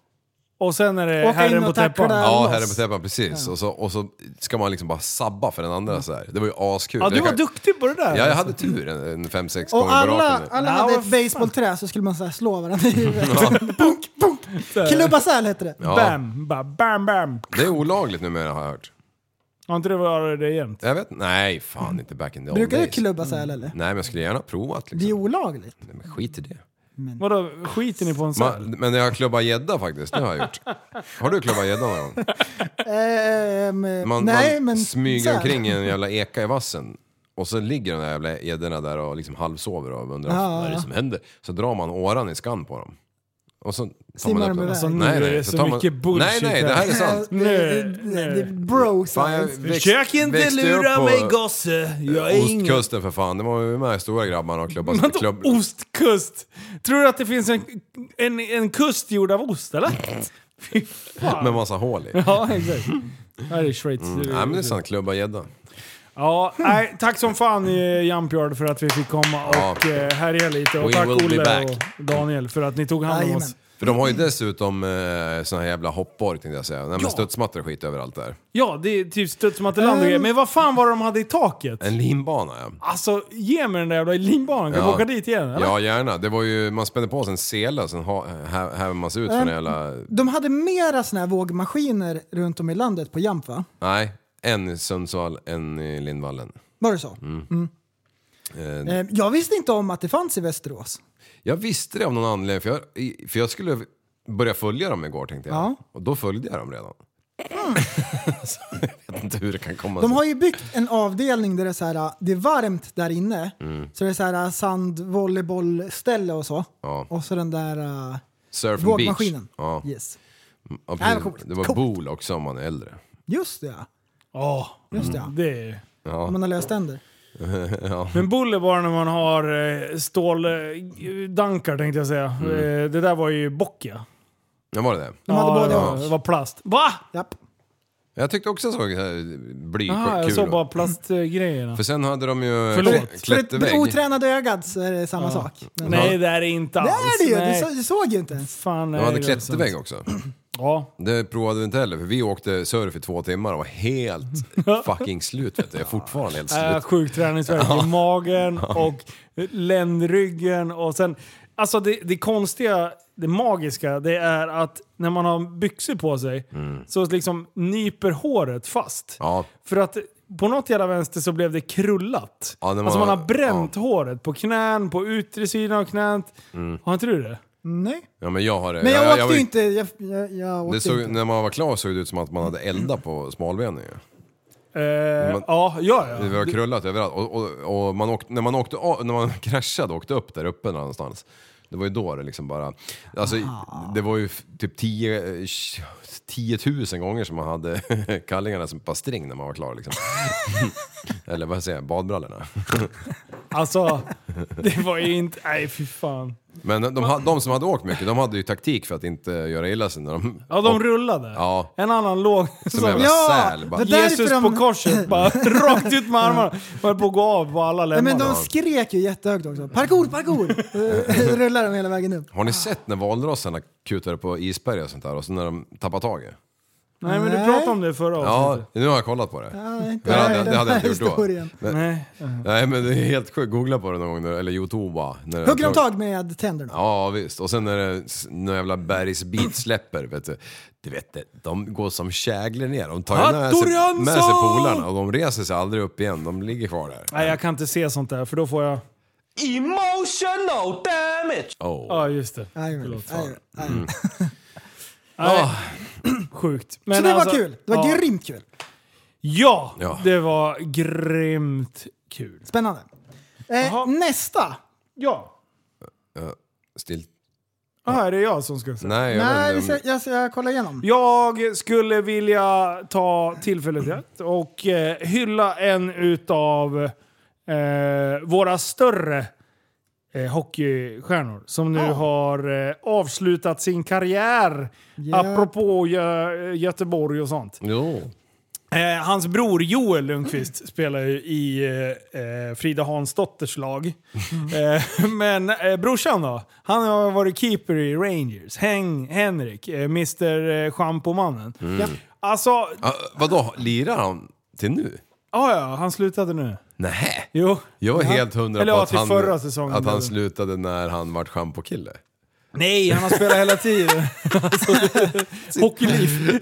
Speaker 1: Och sen är det
Speaker 2: Åka in
Speaker 1: herren på
Speaker 2: och tackla
Speaker 1: täppan.
Speaker 2: där.
Speaker 3: ja
Speaker 2: Loss.
Speaker 3: herre på täppan, precis. Och, så, och så ska man liksom bara sabba för den andra så här. Det var ju askul.
Speaker 1: Ja, du
Speaker 3: Jag
Speaker 1: var
Speaker 3: kan-
Speaker 1: duktig på det där.
Speaker 3: Ja, jag hade tur en- en fem sex gånger
Speaker 2: Alltså. Och
Speaker 3: på
Speaker 2: alla,
Speaker 3: raken.
Speaker 2: alla
Speaker 1: Ja,
Speaker 2: hade
Speaker 1: vad
Speaker 2: ett basebollträ så skulle man så här slå varandra i huvudet. Punk, punk. Klubbasäl hette det.
Speaker 3: Ja.
Speaker 1: Bam, ba, bam, bam.
Speaker 3: Det är olagligt numera har jag hört.
Speaker 1: Har inte det varit det jämt?
Speaker 3: Jag vet Nej, fan inte back in the old
Speaker 2: Brukar du
Speaker 3: days.
Speaker 2: klubbasäl eller?
Speaker 3: Nej, men jag skulle gärna provat
Speaker 2: Det är
Speaker 3: liksom.
Speaker 2: olagligt.
Speaker 3: Nej, men skit i det.
Speaker 1: Vadå, skiter ni på en
Speaker 3: Ma,
Speaker 1: säl?
Speaker 3: men jag har klubbat gädda faktiskt, det har jag gjort. Har du klubbat gädda någon gång?
Speaker 2: Ehm,
Speaker 3: Man,
Speaker 2: nej,
Speaker 3: man
Speaker 2: men
Speaker 3: smyger
Speaker 2: säl.
Speaker 3: omkring i en jävla eka i vassen. Och så ligger de där jävla gäddorna där och liksom halvsover och undrar
Speaker 2: Ja,
Speaker 3: vad är
Speaker 2: ja.
Speaker 3: det som händer. Så drar man åran i skan på dem. Och så tar
Speaker 2: Simmar
Speaker 3: man upp
Speaker 2: de iväg?
Speaker 1: Alltså, nu
Speaker 3: Nej,
Speaker 1: är
Speaker 3: nej,
Speaker 1: det
Speaker 3: så
Speaker 1: så,
Speaker 3: tar man-
Speaker 1: mycket bullshit
Speaker 3: Nej, nej, det här är sant.
Speaker 2: Det- det- det- det- Bro
Speaker 3: Fan, jag
Speaker 2: science.
Speaker 3: växt-
Speaker 1: Försök inte
Speaker 3: växte upp
Speaker 1: lura
Speaker 3: på
Speaker 1: mig gosse, jag är ingen...
Speaker 3: Ostkusten för fan, det var ju med stora grabbarna och klubbar.
Speaker 1: Vadå
Speaker 3: Klubb...
Speaker 1: Ostkust! Tror du att det finns en, en, en kust gjord av ost
Speaker 3: Mm.
Speaker 1: eller? Fy fan.
Speaker 3: Med massa hål i.
Speaker 1: Ja, exakt. Det här är Schweiz.
Speaker 3: Mm. Nej men det är sant, klubba gädda.
Speaker 1: Ja, nej, tack som fan eh, Jumpyard för att vi fick komma och
Speaker 3: Ja.
Speaker 1: eh, härja lite. Och
Speaker 3: We
Speaker 1: tack
Speaker 3: will be
Speaker 1: Olle
Speaker 3: back.
Speaker 1: och Daniel för att ni tog hand om
Speaker 2: Jajamän.
Speaker 1: oss.
Speaker 3: För de har ju dessutom eh, såna här jävla hoppborg tänkte jag säga. Nej, men
Speaker 1: Ja.
Speaker 3: studsmattor och skit överallt där.
Speaker 1: Ja, det är typ studsmatteland och grejer. Men vad fan var det de hade i taket?
Speaker 3: En linbana ja.
Speaker 1: Alltså, ge mig den där jävla linbanan. Kan
Speaker 3: Ja.
Speaker 1: vi åka dit igen? Eller?
Speaker 3: Ja, gärna. Det var ju, man spände på sig en sele, sen ha- hä- häver man sig ut från en jävla...
Speaker 2: De hade mera såna här vågmaskiner runt om i landet på Jamp va?
Speaker 3: Nej, en i Sundsvall, en i Lindvallen.
Speaker 2: Var det så?
Speaker 3: Mm. Eh,
Speaker 2: Eh, Jag visste inte om att det fanns i Västerås.
Speaker 3: Jag visste det av någon anledning, för jag, i- för jag skulle börja följa dem igår tänkte jag.
Speaker 2: Ja.
Speaker 3: Och då följde jag dem redan.
Speaker 1: Mm.
Speaker 3: så jag vet inte hur det kan komma
Speaker 2: De
Speaker 3: sig.
Speaker 2: har ju byggt en avdelning där det är, så här, äh, det är varmt där inne.
Speaker 3: Mm.
Speaker 2: Så det är så här sandvolleybollställe och så.
Speaker 3: Ja.
Speaker 2: Och så den där uh,
Speaker 3: Surf and beach.
Speaker 2: vågmaskinen.
Speaker 3: Ja.
Speaker 2: Yes.
Speaker 3: Ja,
Speaker 2: Ja,
Speaker 3: precis.
Speaker 2: vad coolt.
Speaker 3: det var
Speaker 2: Coolt.
Speaker 3: bol också om man är äldre.
Speaker 2: Just det ja.
Speaker 1: Ja,
Speaker 2: Just det, ja.
Speaker 3: Mm.
Speaker 1: det är ju...
Speaker 2: Om man har löst tänder.
Speaker 1: Men buller bara när man har eh, ståldankar tänkte jag säga.
Speaker 3: Mm.
Speaker 1: Eh, Det där var ju Bocchia.
Speaker 3: Ja, var det det?
Speaker 2: De hade både
Speaker 1: ja,
Speaker 2: och.
Speaker 1: det var plast. Va?
Speaker 2: Japp.
Speaker 3: Jag tyckte också jag såg eh, bly
Speaker 1: Aha, jag
Speaker 3: kul.
Speaker 1: såg bara plastgrejerna.
Speaker 3: För sen hade de ju
Speaker 1: Förlåt.
Speaker 3: kl-
Speaker 2: För ett,
Speaker 3: klättervägg.
Speaker 2: ett otränat ögat så är det samma sak. Men,
Speaker 1: Nej, det är det inte
Speaker 2: det
Speaker 1: alls.
Speaker 2: är det ju! Du,
Speaker 1: Nej.
Speaker 2: så, du såg ju inte ens.
Speaker 1: Fan,
Speaker 3: De
Speaker 1: nej,
Speaker 3: hade
Speaker 1: det är sant.
Speaker 3: klättervägg också.
Speaker 1: Ja.
Speaker 3: Det provade vi inte heller, för vi åkte surf i två timmar och var helt fucking slut. Vet du. Jag är fortfarande helt
Speaker 1: Äh,
Speaker 3: slut.
Speaker 1: sjuk träningsvärk i magen och ländryggen och sen... Alltså det, det konstiga, det magiska, det är att när man har byxor på sig så liksom nyper håret fast.
Speaker 3: Ja.
Speaker 1: För att på något jävla vänster så blev det krullat.
Speaker 3: Ja, när man
Speaker 1: alltså man har
Speaker 3: har-
Speaker 1: bränt håret på knän, på yttre sidan av knäet. Har inte du det?
Speaker 2: Nej.
Speaker 3: Ja, men jag har det.
Speaker 2: Men jag, åkte
Speaker 3: var-
Speaker 2: ju inte. Jag, jag, jag åkte
Speaker 3: Det såg,
Speaker 2: inte.
Speaker 3: när man var klar såg det ut som att man hade eldat på smalbenen ju.
Speaker 1: Eh,
Speaker 3: Man-
Speaker 1: ja, ja,
Speaker 3: Det
Speaker 1: ja.
Speaker 3: var krullat överallt. Och, och, och man åkte, när, man åkte, av- när man kraschade och åkte upp där uppe någonstans. Det var ju då det liksom bara... Alltså, det var ju f- typ 10 10 000 gånger som man hade kallingarna som ett par string när man var klar liksom. Eller vad säger jag, badbrallorna.
Speaker 1: Alltså, det var ju inte... Nej, fy fan.
Speaker 3: Men de, ha- de som hade åkt mycket, de hade ju taktik för att inte göra illa sig när de...
Speaker 1: Ja, de
Speaker 3: och-
Speaker 1: rullade.
Speaker 3: Ja.
Speaker 1: En annan låg...
Speaker 3: Som en jävla
Speaker 2: Ja,
Speaker 3: säl. Bara,
Speaker 2: det där-
Speaker 1: Jesus
Speaker 2: Därför de-
Speaker 1: på korset, bara rakt ut med armarna. Man höll på att gå av på alla
Speaker 2: Nej,
Speaker 1: lemmar.
Speaker 2: men de skrek ju jättehögt också. Parkour, parkour! Rullar de hela vägen upp.
Speaker 3: Har ni sett när valrossarna kutar på isberg och sånt där och så när de tappar taget?
Speaker 1: Nej, men du
Speaker 2: Nej.
Speaker 1: pratade om det förra
Speaker 3: Ja,
Speaker 1: avsnittet.
Speaker 3: nu har jag kollat på det.
Speaker 2: Ja, inte
Speaker 3: Det hade,
Speaker 2: den
Speaker 3: det hade jag inte
Speaker 2: här
Speaker 3: gjort då.
Speaker 2: historien.
Speaker 3: Men,
Speaker 1: Nej.
Speaker 3: nej men det är helt sjukt, googla på det någon gång, när- eller youtube bara. När det-
Speaker 2: Hugger de tag med tänderna?
Speaker 3: Ja visst, och sen när det s- någon jävla bergsbit släpper, vet du. Du vet, det, de går som käglor ner. De tar ju med
Speaker 1: Hattori
Speaker 3: sig,
Speaker 1: Hansson!
Speaker 3: med sig polarna och de reser sig aldrig upp igen, de ligger kvar där.
Speaker 1: Nej, jag kan inte se sånt där för då får jag...
Speaker 7: Emotional damage.
Speaker 3: Oh.
Speaker 1: Ja, just det.
Speaker 2: Jajamän.
Speaker 1: Förlåt.
Speaker 2: Jajamän.
Speaker 1: Nej. Sjukt. Men
Speaker 2: Så det
Speaker 1: alltså-
Speaker 2: var kul. Det var
Speaker 1: ja.
Speaker 2: grymt kul.
Speaker 1: Ja,
Speaker 3: Ja.
Speaker 1: det var grymt kul.
Speaker 2: Spännande.
Speaker 1: Jaha.
Speaker 2: Eh, nästa.
Speaker 1: Ja.
Speaker 3: Still.
Speaker 1: Ah, är det jag som ska säga?
Speaker 3: Nej, jag
Speaker 2: Nej,
Speaker 3: men,
Speaker 2: vi ska, jag ska kolla igenom.
Speaker 1: Jag skulle vilja ta tillfället i akt och eh, hylla en utav eh, våra större eh, hockeystjärnor som nu
Speaker 2: Ja.
Speaker 1: har eh, avslutat sin karriär
Speaker 2: Ja.
Speaker 1: apropå Gö- Göteborg och sånt.
Speaker 3: Jo.
Speaker 1: Eh, hans bror Joel Lundqvist spelar ju i eh, eh, Frida Hansdotters lag. Eh, men eh, brorsan då? Han har varit keeper i Rangers. Hen- Henrik, eh, Mr eh, Schampomannen. Alltså,
Speaker 3: Ah, vadå, lirar han till nu?
Speaker 1: ja ja, han slutade nu.
Speaker 3: Nej.
Speaker 1: Jo.
Speaker 3: Jag var helt hundra
Speaker 1: Eller
Speaker 3: på
Speaker 1: ja,
Speaker 3: att
Speaker 1: till
Speaker 3: han,
Speaker 1: förra säsongen
Speaker 3: att
Speaker 1: blev
Speaker 3: han
Speaker 1: det.
Speaker 3: slutade när han vart schampokille.
Speaker 1: Nej, han har spelat hela tiden. alltså, hockeyliv.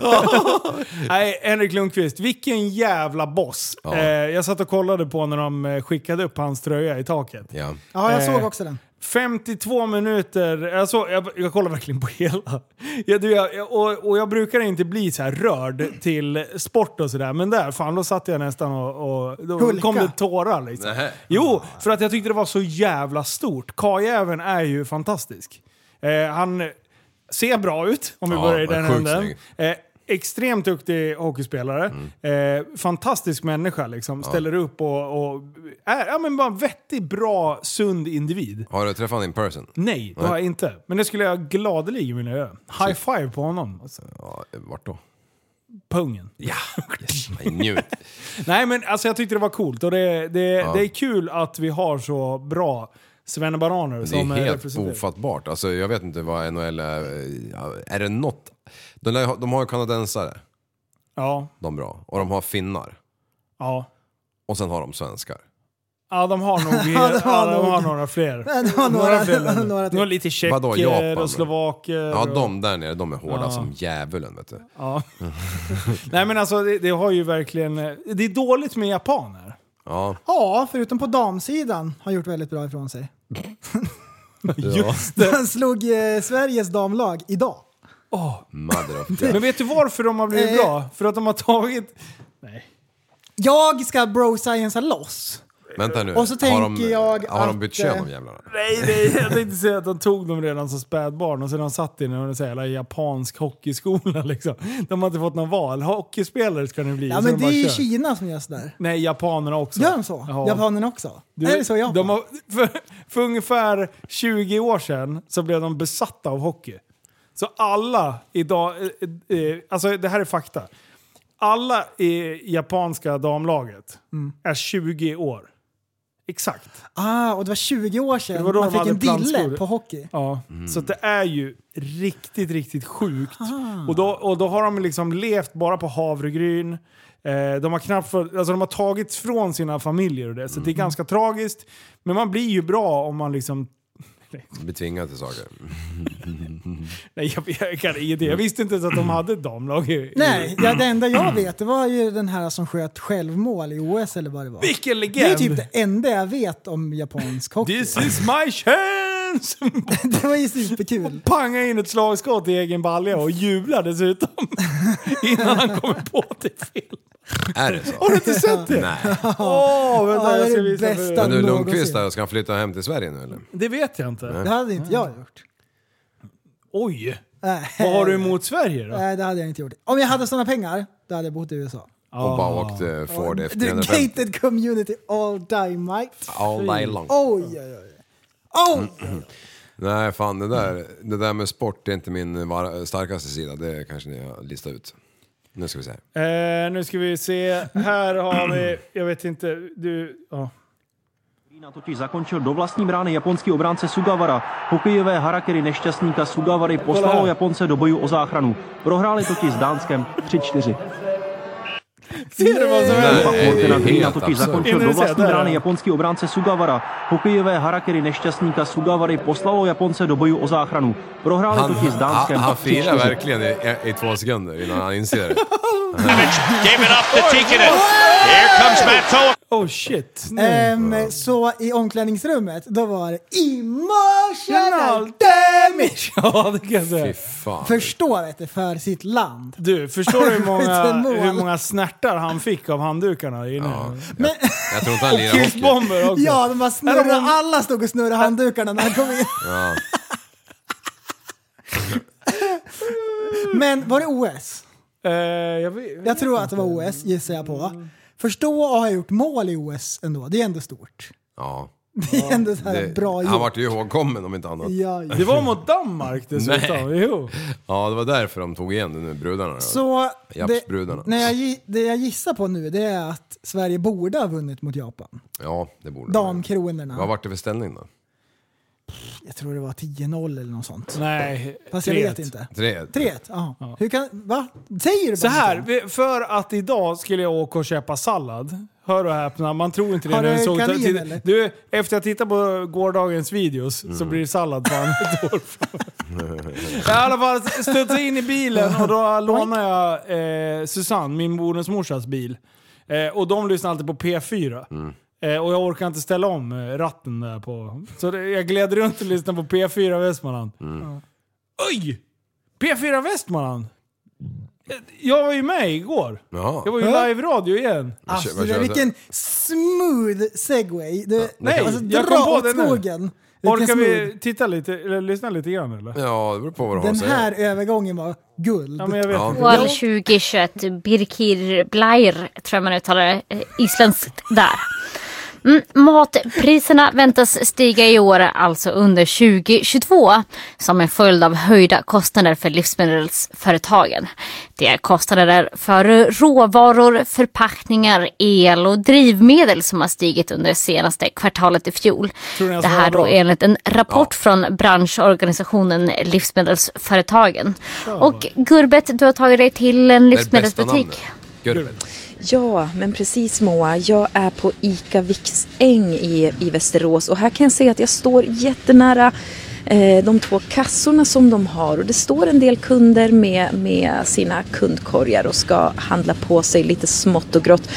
Speaker 1: Nej, Henrik Lundqvist, vilken jävla boss.
Speaker 3: Ja.
Speaker 1: Eh, jag satt och kollade på när de eh, skickade upp hans tröja i taket.
Speaker 3: Ja.
Speaker 2: Ja, jag
Speaker 1: Eh,
Speaker 2: såg också den.
Speaker 1: 52 minuter, alltså, jag, jag kollar verkligen på hela. Jag, du, jag, jag- och, och jag brukar inte bli så här rörd till sport och sådär, men där fan då satt jag nästan och... och då
Speaker 2: Hulka.
Speaker 1: kom det tårar liksom.
Speaker 3: Nähä.
Speaker 1: Jo, för att jag tyckte det var så jävla stort. Karljäveln är ju fantastisk. Eh, han ser bra ut, om vi
Speaker 3: Ja,
Speaker 1: börjar i
Speaker 3: han är
Speaker 1: den
Speaker 3: sjukt
Speaker 1: änden.
Speaker 3: snygg. Mm.
Speaker 1: Eh, extremt duktig hockeyspelare. Eh, fantastisk människa liksom. Ställer upp och, och är ja, men bara en vettig, bra, sund individ.
Speaker 3: Har du träffat honom in person?
Speaker 1: Nej, det har jag inte. Men det skulle jag gladeligen vilja göra. High five på honom. Alltså,
Speaker 3: Ja, vart då?
Speaker 1: pungen.
Speaker 3: Ja, njut.
Speaker 1: Nej men alltså jag tyckte det var coolt och det, det, det är kul att vi har så bra svennebananer
Speaker 3: Det är
Speaker 2: eh,
Speaker 1: som eh,
Speaker 3: helt
Speaker 1: representerar.
Speaker 3: ofattbart. Alltså, jag vet inte vad NHL är. ja, Är det något? De, lär ju ha- de har ju kanadensare,
Speaker 1: Ja,
Speaker 3: de bra. Och de har finnar.
Speaker 1: ja.
Speaker 3: Och sen har de svenskar.
Speaker 1: Ja, de har nog, eh, ja, de har, några fler.
Speaker 2: de har några-
Speaker 1: fler länder.
Speaker 2: några till.
Speaker 1: De har lite
Speaker 3: Vadå, Japan,
Speaker 1: tjecker
Speaker 3: eller?
Speaker 1: och slovaker.
Speaker 3: Ja,
Speaker 1: och-
Speaker 3: de där nere, de är hårda som djävulen vet du.
Speaker 1: Ja. Nej men alltså det, det har ju verkligen... eh, Det är dåligt med japaner.
Speaker 3: Ja,
Speaker 2: Ja, förutom på damsidan har gjort väldigt bra ifrån sig.
Speaker 1: Just
Speaker 2: Han slog eh, Sveriges damlag idag.
Speaker 3: mother of
Speaker 1: Men
Speaker 3: God.
Speaker 1: vet du varför de har blivit
Speaker 2: Eh.
Speaker 1: bra? För att de har tagit...
Speaker 2: Jag ska bro sciencea loss.
Speaker 3: Vänta nu,
Speaker 2: Och så tänker
Speaker 3: har, de,
Speaker 2: jag
Speaker 3: har de
Speaker 2: att,
Speaker 3: bytt kön
Speaker 2: eh,
Speaker 3: de jävlarna?
Speaker 1: Nej, nej, jag tänkte säga att de tog dem redan som spädbarn och sen har de satt i en sån här jävla japansk hockeyskola liksom. De har inte fått något val. Hockeyspelare ska ni bli.
Speaker 2: Ja,
Speaker 1: Så
Speaker 2: men
Speaker 1: de
Speaker 2: det
Speaker 1: bara
Speaker 2: är ju
Speaker 1: kör.
Speaker 2: Kina som gör sådär.
Speaker 1: Nej, japanerna också.
Speaker 2: Gör de så?
Speaker 1: Ja.
Speaker 2: Japanerna också?
Speaker 1: Du,
Speaker 2: är det så i Japan?
Speaker 1: de har, för, för ungefär 20 år sedan så blev de besatta av hockey. Så alla idag, eh, eh, alltså det här är fakta. Alla i japanska damlaget
Speaker 2: Mm.
Speaker 1: är 20 år. Exakt.
Speaker 2: Ah, och det var 20 år sedan
Speaker 1: Det var då
Speaker 2: man
Speaker 1: de
Speaker 2: fick en
Speaker 1: hade
Speaker 2: dille
Speaker 1: plantskor.
Speaker 2: på hockey.
Speaker 1: Ja.
Speaker 2: Mm.
Speaker 1: Så att det är ju riktigt, riktigt sjukt. Och då, och då har de liksom levt bara på havregryn. Eh, de har knappt för, alltså de har tagits från sina familjer och det, så det är
Speaker 2: Mm.
Speaker 1: ganska tragiskt. Men man blir ju bra om man liksom
Speaker 3: Betvingad till saker.
Speaker 1: Nej, jag, jag kan ingenting. Jag visste inte ens att de hade ett damlag. i-
Speaker 2: Mm. Nej, ja, det enda jag vet det var ju den här som sköt självmål i OS eller vad det var.
Speaker 1: Vilken
Speaker 2: Det är
Speaker 1: legend!
Speaker 2: typ det enda jag vet om japansk hockey.
Speaker 1: This is my chance!
Speaker 2: det var ju superkul.
Speaker 1: Panga in ett slagskott i egen balja och jubla dessutom. Innan han kommer på att det är fel.
Speaker 3: Är det
Speaker 1: Har
Speaker 3: så?
Speaker 1: du inte sett det?
Speaker 3: Nej.
Speaker 1: Åh, vänta,
Speaker 2: Ja, det är
Speaker 1: jag ska
Speaker 2: det
Speaker 1: visa för
Speaker 2: bästa.
Speaker 1: er.
Speaker 3: Men du
Speaker 2: Någonsin.
Speaker 3: Lundqvist där, ska han flytta hem till Sverige nu eller?
Speaker 1: Det vet jag inte.
Speaker 2: Det hade inte jag gjort.
Speaker 1: Oj!
Speaker 2: Nej.
Speaker 1: Vad har du emot Sverige då?
Speaker 2: Nej, det hade jag inte gjort. Om jag hade sådana pengar, då hade jag bott i USA.
Speaker 3: Och bara åkt eh, Ford
Speaker 2: The
Speaker 3: F350.
Speaker 2: gated community all die might.
Speaker 3: All day long.
Speaker 2: Oj, oj, oj. Oj!
Speaker 3: Nej fan det där, det där med sport är inte min var- starkaste sida, det kanske ni har listat ut. Nu ska vi se. här.
Speaker 1: Eh, nu ska vi se. Här har vi... Jag vet inte. Du... Ja.
Speaker 7: Totiž zakončil do vlastní brány japonský obránce Sugawara. Hokejové harakiri nešťastníka Sugawary poslalo Japonce do boju o záchranu. Prohráli totiž s Dánskem 3-4.
Speaker 1: Ser du vad som
Speaker 3: Nej,
Speaker 1: händer?
Speaker 3: det är
Speaker 7: Kontina
Speaker 3: helt
Speaker 7: totiž
Speaker 3: absurt.
Speaker 7: zakončil do vlastní
Speaker 1: Indonésie,
Speaker 7: brány
Speaker 1: teda.
Speaker 7: japonský obránce Sugawara. Hokejové harakiri nešťastníka Sugawary poslalo Japonce do boju o záchranu. Prohráli
Speaker 3: Han,
Speaker 7: totiž s
Speaker 3: han,
Speaker 7: Dánskem
Speaker 3: han firar
Speaker 7: 3-4.
Speaker 3: verkligen i, i två sekunder innan han inser det.
Speaker 8: Gave it up to Tikkanen. Here comes Matto.
Speaker 1: Oh shit. Nej.
Speaker 2: Ehm, så i omklädningsrummet, då var det emotional damage!
Speaker 1: Ja, det kan jag säga.
Speaker 3: Fy fan.
Speaker 2: Förstå vet du, för sitt land.
Speaker 1: Du, förstår du hur
Speaker 2: Skjuten mål.
Speaker 1: många, hur många snärtar han fick av handdukarna inne?
Speaker 3: Ja, jag, jag tror inte han lirar hockey.
Speaker 1: Kissbomber också.
Speaker 2: Ja, de bara
Speaker 1: Är
Speaker 2: snurrade,
Speaker 1: de om-
Speaker 2: alla stod och snurrade handdukarna när han kom in. Men var det OS?
Speaker 1: Eh, jag vet,
Speaker 2: Jag tror att det var OS, gissar jag på. Förstå att ha gjort mål i OS ändå, det är ändå stort.
Speaker 3: Ja,
Speaker 2: Det är ändå så här
Speaker 3: det,
Speaker 2: bra
Speaker 3: han
Speaker 2: gjort.
Speaker 3: vart ju ihågkommen om inte annat.
Speaker 2: Ja, ja.
Speaker 1: det var mot Danmark dessutom. Jo.
Speaker 3: Ja, det var därför de tog igen det nu, brudarna.
Speaker 2: Så
Speaker 3: Japsbrudarna.
Speaker 2: det, när jag, gi- det jag gissar på nu det är att Sverige borde ha vunnit mot Japan.
Speaker 3: Ja, det borde de. Vad
Speaker 2: Damkronorna.
Speaker 3: vart det för ställning då?
Speaker 2: Jag tror det var 10-0 eller något sånt.
Speaker 1: Nej,
Speaker 2: Fast jag
Speaker 1: tre
Speaker 2: vet
Speaker 1: ett.
Speaker 2: inte.
Speaker 3: 3
Speaker 2: 3-1? Ja. Hur kan... Va? Säger du
Speaker 1: Så
Speaker 2: bara
Speaker 1: här,
Speaker 2: inte?
Speaker 1: vi- för att idag skulle jag åka och köpa sallad. Hör och häpna, man tror inte det
Speaker 2: Har
Speaker 1: när
Speaker 2: du
Speaker 1: jag såg
Speaker 2: kanin,
Speaker 1: till-
Speaker 2: eller?
Speaker 1: Du, efter att ha tittat på gårdagens videos så blir det sallad fan ett år framöver. Jag har i alla fall studsade in i bilen och då lånade jag eh, Susanne, min bonusmorsas bil. Eh, och de lyssnar alltid på P4. Eh, och jag orkar inte ställa om eh, ratten där på... Så det, jag gled runt och lyssnade på P4 Västmanland. Oj! P4 Västmanland! Eh, Jag var ju med igår.
Speaker 3: Jaha.
Speaker 1: Jag var ju live-radio igen.
Speaker 2: Alltså,
Speaker 3: Vad
Speaker 2: det där,
Speaker 3: kör-
Speaker 2: vilken smooth segway. Du,
Speaker 1: Nej,
Speaker 2: alltså,
Speaker 1: jag
Speaker 2: dra
Speaker 1: kom på
Speaker 2: åt
Speaker 1: det nu.
Speaker 2: skogen. Vilken
Speaker 1: Orkar
Speaker 2: smooth.
Speaker 1: vi titta lite, eller lyssna lite grann eller?
Speaker 3: Ja, det beror på vad du har
Speaker 2: Den
Speaker 3: att säga.
Speaker 2: här övergången var guld.
Speaker 1: Ja, men jag vet
Speaker 3: Ja.
Speaker 1: inte.
Speaker 3: Wow.
Speaker 8: Wall 2021, Birkir Blair, tror jag man uttalar det, eh, isländskt där.
Speaker 9: Mm, matpriserna väntas stiga i år, alltså under 2022, som en följd av höjda kostnader för livsmedelsföretagen. Det är kostnader för råvaror, förpackningar, el och drivmedel som har stigit under senaste kvartalet i fjol.
Speaker 10: Tror ni att
Speaker 9: Det
Speaker 10: det
Speaker 9: här
Speaker 10: var
Speaker 9: då
Speaker 10: bra?
Speaker 9: enligt en rapport från branschorganisationen Livsmedelsföretagen. Och Gurbet, du har tagit dig till en livsmedelsbutik.
Speaker 11: Ja, men precis Moa. Jag är på ICA Viksäng i, i Västerås och här kan jag se att jag står jättenära eh, de två kassorna som de har och det står en del kunder med, med sina kundkorgar och ska handla på sig lite smått och grått.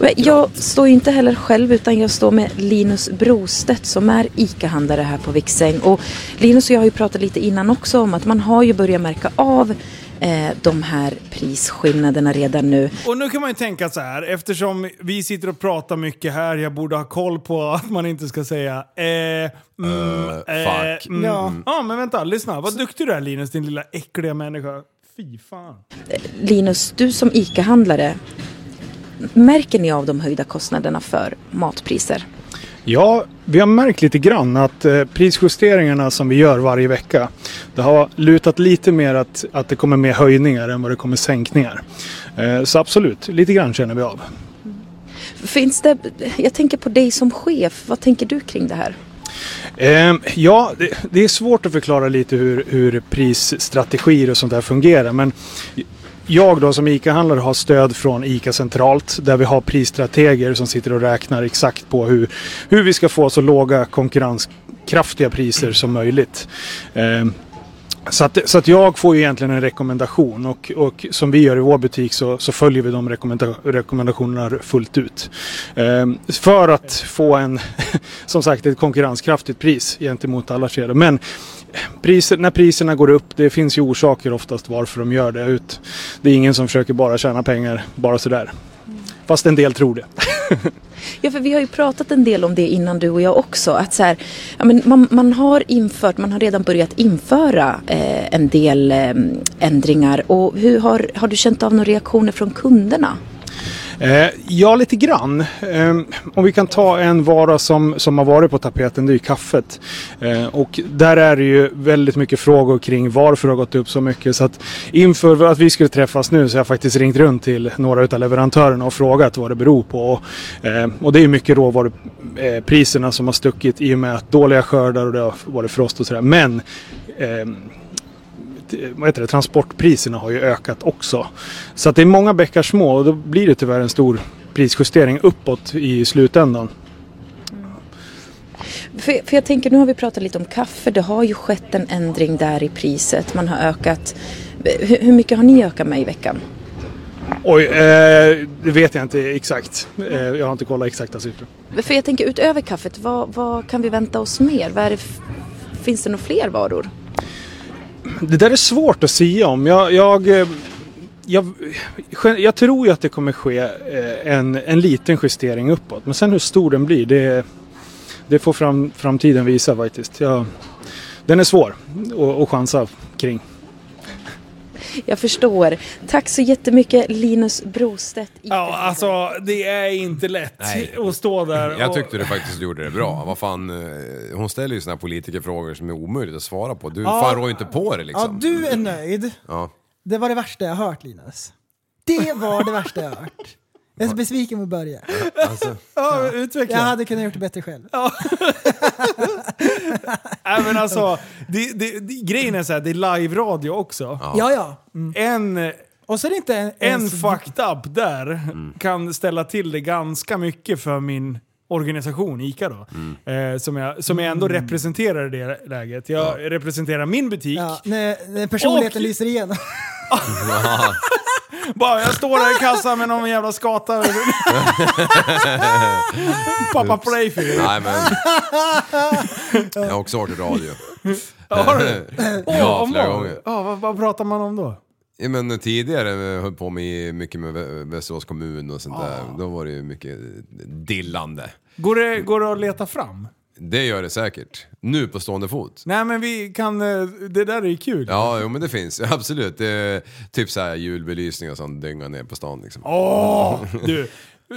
Speaker 11: Men Jag står ju inte heller själv utan jag står med Linus Brostedt som är ICA-handlare här på Viksäng och Linus och jag har ju pratat lite innan också om att man har ju börjat märka av eh, de här prisskillnaderna redan nu.
Speaker 5: Och nu kan man ju tänka så här, eftersom vi sitter och pratar mycket här, jag borde ha koll på att man inte ska säga eh, mm,
Speaker 3: Eh, fuck.
Speaker 5: mm. Ja.
Speaker 11: Ja.
Speaker 5: ja, men vänta, lyssna. Vad duktig du är Linus, din lilla äckliga människa. Fy fan.
Speaker 11: Linus, du som ICA-handlare, märker ni av de höjda kostnaderna för matpriser?
Speaker 1: Ja, vi har märkt lite grann att eh, prisjusteringarna som vi gör varje vecka, det har lutat lite mer att, att det kommer mer höjningar än vad det kommer sänkningar. Eh, så absolut, lite grann känner vi av.
Speaker 11: Finns det, jag tänker på dig som chef, vad tänker du kring det här?
Speaker 1: Ehm, ja, det, det är svårt att förklara lite hur, hur prisstrategier och sånt där fungerar. Men jag då som ICA-handlare har stöd från ICA centralt där vi har prisstrateger som sitter och räknar exakt på hur, hur vi ska få så låga konkurrenskraftiga priser som möjligt. Ehm, så att, så att jag får ju egentligen en rekommendation och, och som vi gör i vår butik så, så följer vi de rekommenda, rekommendationerna fullt ut. Ehm, för att få en, som sagt, ett konkurrenskraftigt pris gentemot alla kedjor. Men priser, när priserna går upp, det finns ju orsaker oftast varför de gör det. Ut. Det är ingen som försöker bara tjäna pengar bara sådär. Fast en del tror det.
Speaker 11: Ja, för vi har ju pratat en del om det innan du och jag också. Att så här, ja, men man, man har infört, man har redan börjat införa eh, en del eh, ändringar. Och hur har, har du känt av några reaktioner från kunderna?
Speaker 1: Eh, ja, lite grann. Eh, om vi kan ta en vara som, som har varit på tapeten, det är ju kaffet. Eh, och där är det ju väldigt mycket frågor kring varför det har gått upp så mycket. Så att inför att vi skulle träffas nu så har jag faktiskt ringt runt till några utav leverantörerna och frågat vad det beror på. Och, eh, och det är ju mycket råvarupriserna som har stuckit i och med att dåliga skördar och det har varit frost och sådär. Men ehm, t- vad heter det, transportpriserna har ju ökat också. Så att det är många bäckar små och då blir det tyvärr en stor prisjustering uppåt i slutändan.
Speaker 11: För, för jag tänker, nu har vi pratat lite om kaffe. Det har ju skett en ändring där i priset. Man har ökat. Hur, hur mycket har ni ökat med i veckan?
Speaker 1: Oj, eh, det vet jag inte exakt. Eh, jag har inte kollat exakta siffror.
Speaker 11: För jag tänker utöver kaffet, vad, vad kan vi vänta oss mer? Vad är det, f- finns det några fler varor?
Speaker 1: Det där är svårt att säga om. Jag, jag, eh, jag, jag tror ju att det kommer ske eh, en, en liten justering uppåt. Men sen hur stor den blir, det, det får fram, framtiden visa faktiskt. Jag, den är svår att- att chansa kring.
Speaker 11: Jag förstår. Tack så jättemycket Linus Brostedt.
Speaker 5: Ja, alltså det är inte lätt
Speaker 3: Nej.
Speaker 5: att stå där och...
Speaker 3: Jag tyckte du faktiskt gjorde det bra. Vad fan, eh, hon ställer ju såna här politikerfrågor som är omöjligt att svara på. Du
Speaker 2: Ja.
Speaker 3: fan rår ju inte på det
Speaker 2: Ja,
Speaker 3: liksom.
Speaker 2: du är nöjd.
Speaker 3: Ja.
Speaker 2: Det var det värsta jag hört, Linus. Det var det värsta jag hört. Jag är så besviken på att börja.
Speaker 3: Alltså,
Speaker 5: Ja, utveckla.
Speaker 2: Jag hade kunnat gjort det bättre själv.
Speaker 5: Nej men alltså, det, det, det, grejen är så här, det är live-radio också.
Speaker 2: Ja, ja. Mm.
Speaker 5: En...
Speaker 2: Och så är det inte en,
Speaker 5: en
Speaker 2: ens-
Speaker 5: fucked up där
Speaker 3: Mm.
Speaker 5: kan ställa till det ganska mycket för min organisation, ICA då.
Speaker 3: Mm.
Speaker 5: Eh, som, jag, som jag
Speaker 2: Mm.
Speaker 5: ändå representerar i det läget. Jag representerar min butik.
Speaker 2: Ja, när, när personligheten
Speaker 5: Och-
Speaker 2: lyser igenom.
Speaker 5: Bara jag står där i kassan med någon jävla skata. Pappa Playfield.
Speaker 3: Nej men, jag har också varit i radio.
Speaker 5: Har du?
Speaker 3: ja,
Speaker 5: Åh,
Speaker 3: flera
Speaker 5: vad-
Speaker 3: gånger.
Speaker 5: Ja, vad, vad pratar man om då?
Speaker 3: Ja, men tidigare eh, höll på med mycket med Vä- Västerås kommun och sånt
Speaker 1: Ah.
Speaker 3: där. Då var det ju mycket eh, dillande.
Speaker 5: Går det, går det att leta fram?
Speaker 3: Det gör det säkert. Nu på stående fot.
Speaker 5: Nej men vi kan... eh, Det där är ju kul.
Speaker 3: Ja, jo, men det finns. Absolut. Det är typ så här julbelysning och sånt dynga ner på stan liksom.
Speaker 5: Åh! Du,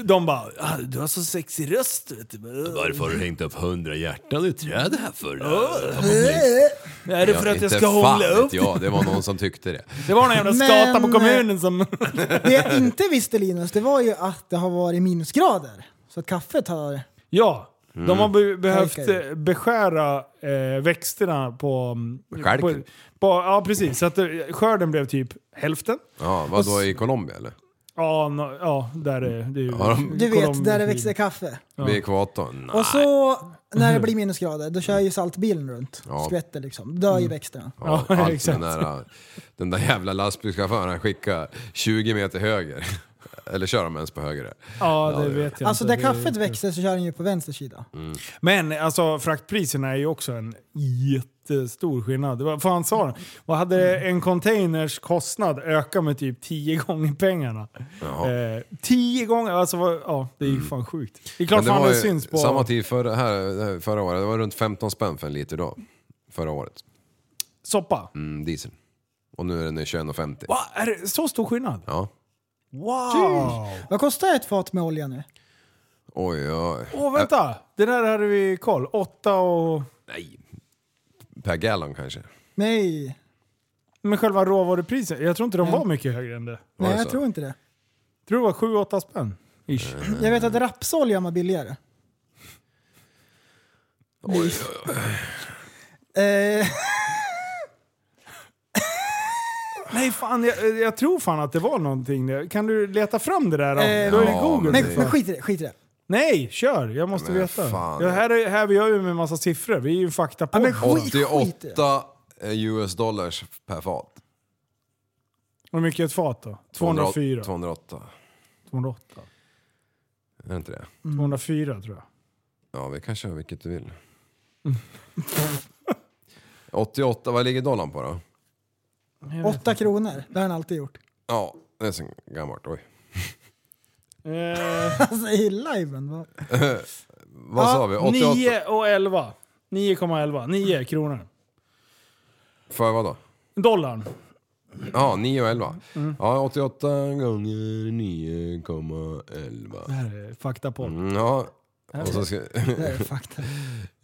Speaker 1: De bara, ah, du har så sexig röst vet du.
Speaker 12: Varför har du hängt upp hundra hjärtan i träd här för?
Speaker 1: Är det för att jag
Speaker 3: inte
Speaker 1: ska
Speaker 3: fan
Speaker 1: hålla
Speaker 3: vet
Speaker 1: upp?
Speaker 3: jag, det var någon som tyckte det.
Speaker 1: Det var någon jävla
Speaker 2: Men-
Speaker 1: skata på kommunen som...
Speaker 2: Det jag inte visste Linus, det var ju att det har varit minusgrader. Så att kaffet har...
Speaker 1: Ja,
Speaker 2: Mm.
Speaker 1: de har be- behövt
Speaker 2: Okej.
Speaker 1: eh, beskära eh, växterna på... mm, på,
Speaker 3: Stjälken.
Speaker 1: på ja, precis. Så att eh, skörden blev typ hälften.
Speaker 3: Ja, vadå i Colombia eller?
Speaker 1: Ja, nå- ja där är det ju...
Speaker 3: Ja, de-
Speaker 2: Du vet,
Speaker 1: Colombia-
Speaker 2: där det växer kaffe.
Speaker 3: Vid ekvatorn?
Speaker 2: Och så när det blir minusgrader, då kör ju saltbilen runt.
Speaker 3: Ja.
Speaker 2: Skvätter liksom. Dör ju
Speaker 1: Mm.
Speaker 2: växterna.
Speaker 3: Ja, allt exakt. Den, där, den där jävla lastbilschauffören han skickar 20 meter höger. Eller kör de ens på höger? där?
Speaker 1: Ja, det Mm. vet jag
Speaker 2: Alltså
Speaker 1: inte.
Speaker 2: där kaffet växer så kör den ju på vänster sida.
Speaker 1: Men alltså fraktpriserna är ju också en jättestor skillnad. Det var- Fan sa de? Vad hade en containers kostnad ökat med typ tio gånger pengarna? Eh, tio gånger? Alltså vad- ja, det är ju fan sjukt. Det är klart
Speaker 3: Men
Speaker 1: fan
Speaker 3: Mm. var
Speaker 1: det
Speaker 3: ju
Speaker 1: syns på...
Speaker 3: Samma tid förra, här, här förra året, det var runt 15 spänn för en liter då. Förra året.
Speaker 1: Soppa?
Speaker 3: Mm, diesel. Och nu är den i 21,50.
Speaker 1: Va? Är det så stor skillnad?
Speaker 3: Ja.
Speaker 1: Wow!
Speaker 2: Vad kostar ett fat med olja nu?
Speaker 3: Oj, oj.
Speaker 1: Åh vänta! Det där hade vi koll. Åtta och...
Speaker 3: Ä- Per gallon kanske.
Speaker 2: Nej.
Speaker 1: Men själva råvarupriset? Jag tror inte de
Speaker 2: Nej.
Speaker 1: var mycket högre än det.
Speaker 2: Nej, jag tror inte det.
Speaker 1: tror det var sju, åtta spänn. Ish.
Speaker 2: Jag vet att rapsolja var billigare.
Speaker 3: Oj, oj,
Speaker 2: Eh,
Speaker 1: Nej fan, jag, jag tror fan att det var någonting där. Kan du leta fram det där då?
Speaker 2: Eh,
Speaker 1: då är det
Speaker 2: ja,
Speaker 1: Google.
Speaker 2: men-
Speaker 1: för fan.
Speaker 2: men skit i det, skit i det.
Speaker 1: Nej, kör! Jag måste
Speaker 3: Men
Speaker 1: veta.
Speaker 3: fan.
Speaker 1: Ja, här, är, här vi gör ju med massa siffror. Vi är ju en faktapodd.
Speaker 3: oj. 88 US dollars per fat.
Speaker 1: Hur mycket är ett fat då? 204?
Speaker 3: 208.
Speaker 1: 208?
Speaker 3: Är det inte det?
Speaker 1: 204 tror jag.
Speaker 3: Ja, vi kan köra vilket du vill.
Speaker 1: Mm.
Speaker 3: 88, vad ligger dollarn på då?
Speaker 2: Åtta kronor, det har han alltid gjort.
Speaker 3: Ja, det är så gammalt. Oj.
Speaker 2: alltså i liven. va?
Speaker 3: vad sa vi? 88?
Speaker 1: 9 och 11. 9,11. 9 kronor.
Speaker 3: För vad då?
Speaker 1: Dollarn.
Speaker 3: Ja, 9 och 11.
Speaker 1: Mm.
Speaker 3: Ja, 88 gånger 9,11.
Speaker 1: Det här är faktapodd.
Speaker 3: Mm, Ja.
Speaker 1: Här
Speaker 3: Och så ska...
Speaker 1: är- det här är fakta.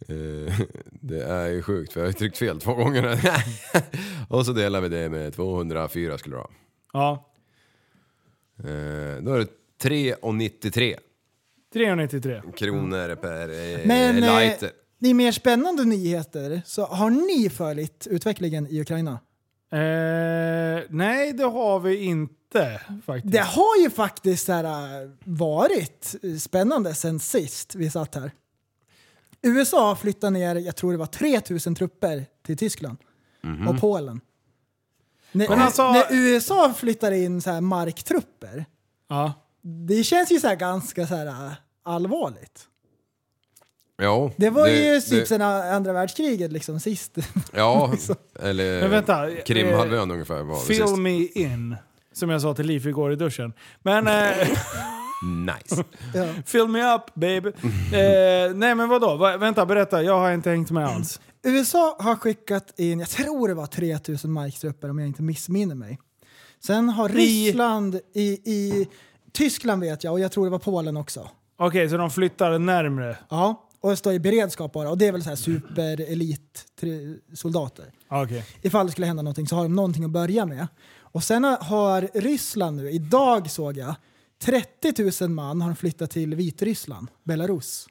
Speaker 3: Eh, det är ju sjukt för jag har ju tryckt fel två gånger. och så delar vi det med 204 skulle det vara.
Speaker 1: Ja,
Speaker 3: Eh, Då är det 3,93
Speaker 1: 393.
Speaker 3: kronor per eh,
Speaker 2: Men eh,
Speaker 3: lighter.
Speaker 2: det är mer spännande nyheter. Så har ni följt utvecklingen i Ukraina?
Speaker 1: Eh, nej, det har vi inte faktiskt.
Speaker 2: Det har ju faktiskt så här, äh, varit eh, spännande sen sist vi satt här. USA flyttade ner, jag tror det var 3000 trupper till Tyskland och Polen. När,
Speaker 1: Men alltså-
Speaker 2: när USA flyttar in så här marktrupper,
Speaker 1: Ja.
Speaker 2: det känns ju så här ganska så här äh, allvarligt.
Speaker 3: Ja,
Speaker 2: Det var ju
Speaker 3: det-
Speaker 2: typ sen andra världskriget liksom sist.
Speaker 3: Ja,
Speaker 2: liksom.
Speaker 3: eller
Speaker 1: Men vänta, eh,
Speaker 3: Krimhalvön ungefär var det
Speaker 1: Fill
Speaker 3: sist.
Speaker 1: me in. Som jag sa till Liv igår i duschen. Men... Eh,
Speaker 3: Nice.
Speaker 1: Fill me up baby. Eh, nej men vadå? Va, vänta, berätta. Jag har inte hängt med alls.
Speaker 2: USA har skickat in, jag tror det var 3000 marktrupper om jag inte missminner mig. Sen har Ryssland i, i Tyskland vet jag och jag tror det var Polen också.
Speaker 1: Okej, så de flyttar närmre.
Speaker 2: Ja, och det står i beredskap bara och det är väl så här superelit tri- soldater.
Speaker 1: Okej.
Speaker 2: Ifall det skulle hända någonting så har de någonting att börja med. Och sen har Ryssland nu, idag såg jag, 30 000 man har de flyttat till Vitryssland, Belarus.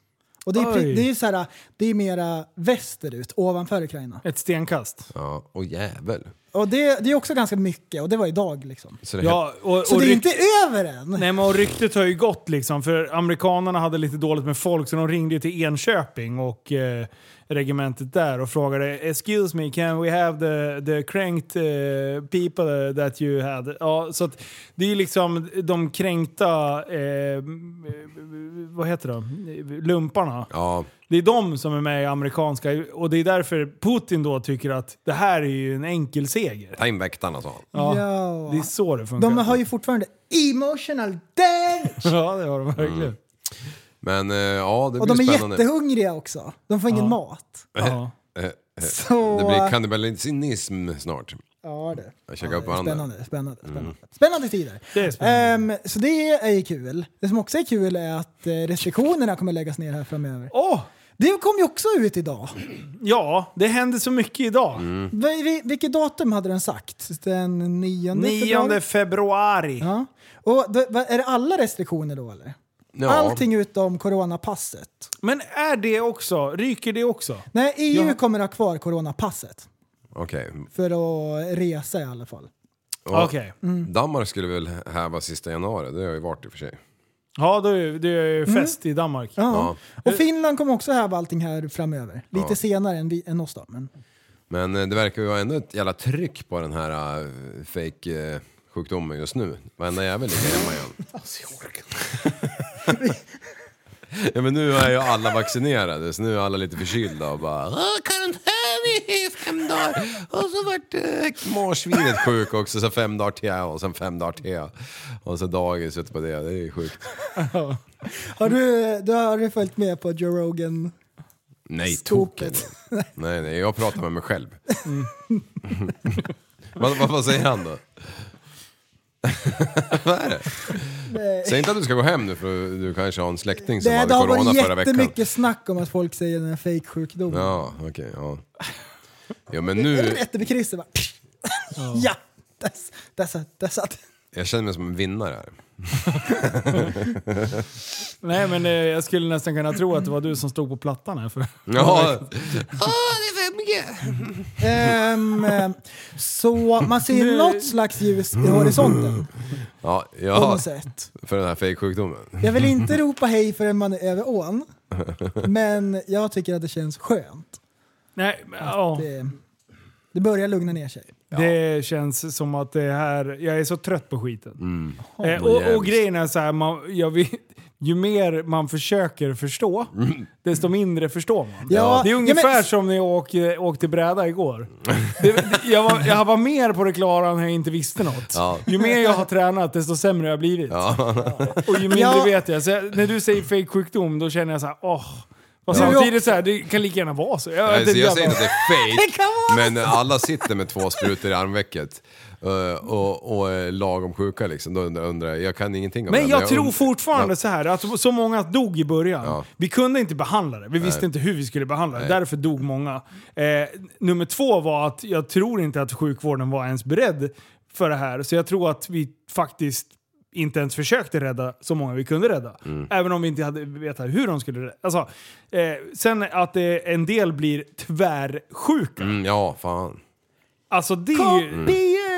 Speaker 2: Och det är,
Speaker 1: Oj.
Speaker 2: pri- det är, så här, det är mera västerut, ovanför Ukraina.
Speaker 1: Ett stenkast.
Speaker 3: Ja, och jävel.
Speaker 2: Och det, det är också ganska mycket och det var idag liksom.
Speaker 3: Så
Speaker 1: Ja, och, och
Speaker 2: Så det är
Speaker 1: ryk-
Speaker 2: inte över än!
Speaker 1: Nej men och ryktet har ju gått liksom, för amerikanerna hade lite dåligt med folk så de ringde ju till Enköping och eh, regementet där och frågade “Excuse me, can we have the, the cranked eh, people that you had?” ja, Så att det är ju liksom de kränkta, eh, vad heter de, lumparna.
Speaker 3: Ja.
Speaker 1: Det är de som är med i amerikanska och det är därför Putin då tycker att det här är ju en enkel seger.
Speaker 3: Ta in väktarna sa han.
Speaker 1: Ja,
Speaker 2: Ja.
Speaker 1: Det är så det funkar.
Speaker 2: De har ju fortfarande emotional damage!
Speaker 1: Ja, det har de verkligen.
Speaker 3: Mm. Men eh, ja, det
Speaker 2: Och
Speaker 3: blir
Speaker 2: de är
Speaker 3: spännande.
Speaker 2: jättehungriga också. De får ingen mat.
Speaker 3: Eh, eh, eh.
Speaker 2: Så-
Speaker 3: Det blir kannibalism snart.
Speaker 2: Ja, det.
Speaker 3: Jag käkar upp varandra.
Speaker 2: Spännande, spännande.
Speaker 3: Mm.
Speaker 2: Spännande tider.
Speaker 1: Det är
Speaker 2: Ehm, så det är ju kul. Det som också är kul är att eh, restriktionerna kommer läggas ner här framöver.
Speaker 1: Oh!
Speaker 2: Det kom ju också ut idag.
Speaker 1: Ja, det hände så mycket idag.
Speaker 2: Vi- vi- Vilket datum hade den sagt? Den 9
Speaker 1: 9 februari.
Speaker 2: Ja. Och det, va- är det alla restriktioner då eller?
Speaker 1: Ja.
Speaker 2: Allting utom coronapasset.
Speaker 1: Men är det också, ryker det också?
Speaker 2: Nej, EU
Speaker 1: Ja.
Speaker 2: kommer ha kvar coronapasset.
Speaker 3: Okej.
Speaker 2: För att resa i alla fall.
Speaker 3: Och
Speaker 2: Okej. Mm.
Speaker 3: Danmark skulle väl häva sista januari, det har ju varit i och för sig.
Speaker 1: Ja, då är det är ju fest i Danmark.
Speaker 2: Mm. Ja. Och Finland kommer också häva allting här framöver. Lite
Speaker 3: Ja. Mm.
Speaker 2: senare än, vi, än oss då. Men.
Speaker 3: Men eh, det verkar ju vara ändå ett jävla tryck på den här eh, fake eh, sjukdomen just nu. Varenda jävel ligger hemma igen. Ja men nu är ju alla vaccinerade så nu är alla lite förkylda och bara "Ah, Karantän i fem dagar! Och så vart eh, marsvinet sjuk också så fem dagar till och sen fem dagar till. Och så dagis ute på det, det är ju sjukt.
Speaker 2: Har, du, du, har du följt med på Joe Rogan?
Speaker 3: Nej, token.
Speaker 2: Stopet.
Speaker 3: Nej, nej, jag pratar med mig själv. vad, vad, vad säger han då? vad är det?
Speaker 2: Nej.
Speaker 3: Säg inte att du ska gå hem nu för du kanske har en släkting som
Speaker 2: Det,
Speaker 3: hade
Speaker 2: det har
Speaker 3: corona
Speaker 2: varit
Speaker 3: förra veckan.
Speaker 2: jättemycket snack om att folk säger den är fejksjukdom.
Speaker 3: Ja, okej, ja. Ja men nu,
Speaker 2: Rätt över krysset bara. Ja, that's, that's, it, that's it.
Speaker 3: jag känner mig som en vinnare här.
Speaker 1: Nej, men eh, jag skulle nästan kunna tro att det var du som stod på plattan här. För.
Speaker 3: Ja.
Speaker 2: Ehm, eh, så man ser
Speaker 1: Nu-
Speaker 2: något slags ljus i horisonten.
Speaker 3: Ja,
Speaker 2: På
Speaker 3: ja.
Speaker 2: något sätt.
Speaker 3: För den här fejksjukdomen.
Speaker 2: Jag vill inte ropa hej förrän man är över ån, men jag tycker att det känns skönt.
Speaker 1: Nej, men, ja.
Speaker 2: Det, det börjar lugna ner sig.
Speaker 1: Det känns som att det här, jag är så trött på skiten.
Speaker 3: Mm.
Speaker 1: Eh,
Speaker 3: Åh,
Speaker 1: och,
Speaker 3: jävlar.
Speaker 1: och grejen är så här, man, jag vet, ju mer man försöker förstå,
Speaker 3: Mm.
Speaker 1: desto mindre förstår man.
Speaker 2: Ja,
Speaker 1: det är
Speaker 2: ja,
Speaker 1: ungefär
Speaker 2: men-
Speaker 1: som när jag åkte, åkte bräda igår. Det, det- jag, var, jag var mer på det klara när jag inte visste något.
Speaker 3: Ja.
Speaker 1: Ju mer jag har tränat, desto sämre har jag blivit. Och ju mindre
Speaker 2: Ja.
Speaker 1: vet jag. Så jag, när du säger fake sjukdom då känner jag så här, åh. Och
Speaker 3: Ja.
Speaker 1: samtidigt så här, det kan lika gärna vara så. Jag,
Speaker 3: Nej,
Speaker 1: det-
Speaker 3: så jag säger inte att det är
Speaker 2: Det kan
Speaker 3: fake, men alla sitter med två sprutor i armvecket. eh, och, och är lagom sjuka liksom. Då undrar- undrar jag, jag kan ingenting om det.
Speaker 1: Men jag tror
Speaker 3: und-
Speaker 1: fortfarande så här att så många dog i början. Vi kunde inte behandla det. Vi visste inte hur vi skulle behandla det.
Speaker 3: Nej.
Speaker 1: Därför dog många. Eh, nummer två var att jag tror inte att sjukvården var ens beredd för det här. Så jag tror att vi faktiskt inte ens försökte rädda så många vi kunde rädda.
Speaker 3: Mm.
Speaker 1: Även om vi inte hade vetat hur de skulle rädda. Alltså, eh, sen att eh, en del blir tvärsjuk.
Speaker 3: Mm, ja, fan.
Speaker 1: Alltså det är ju...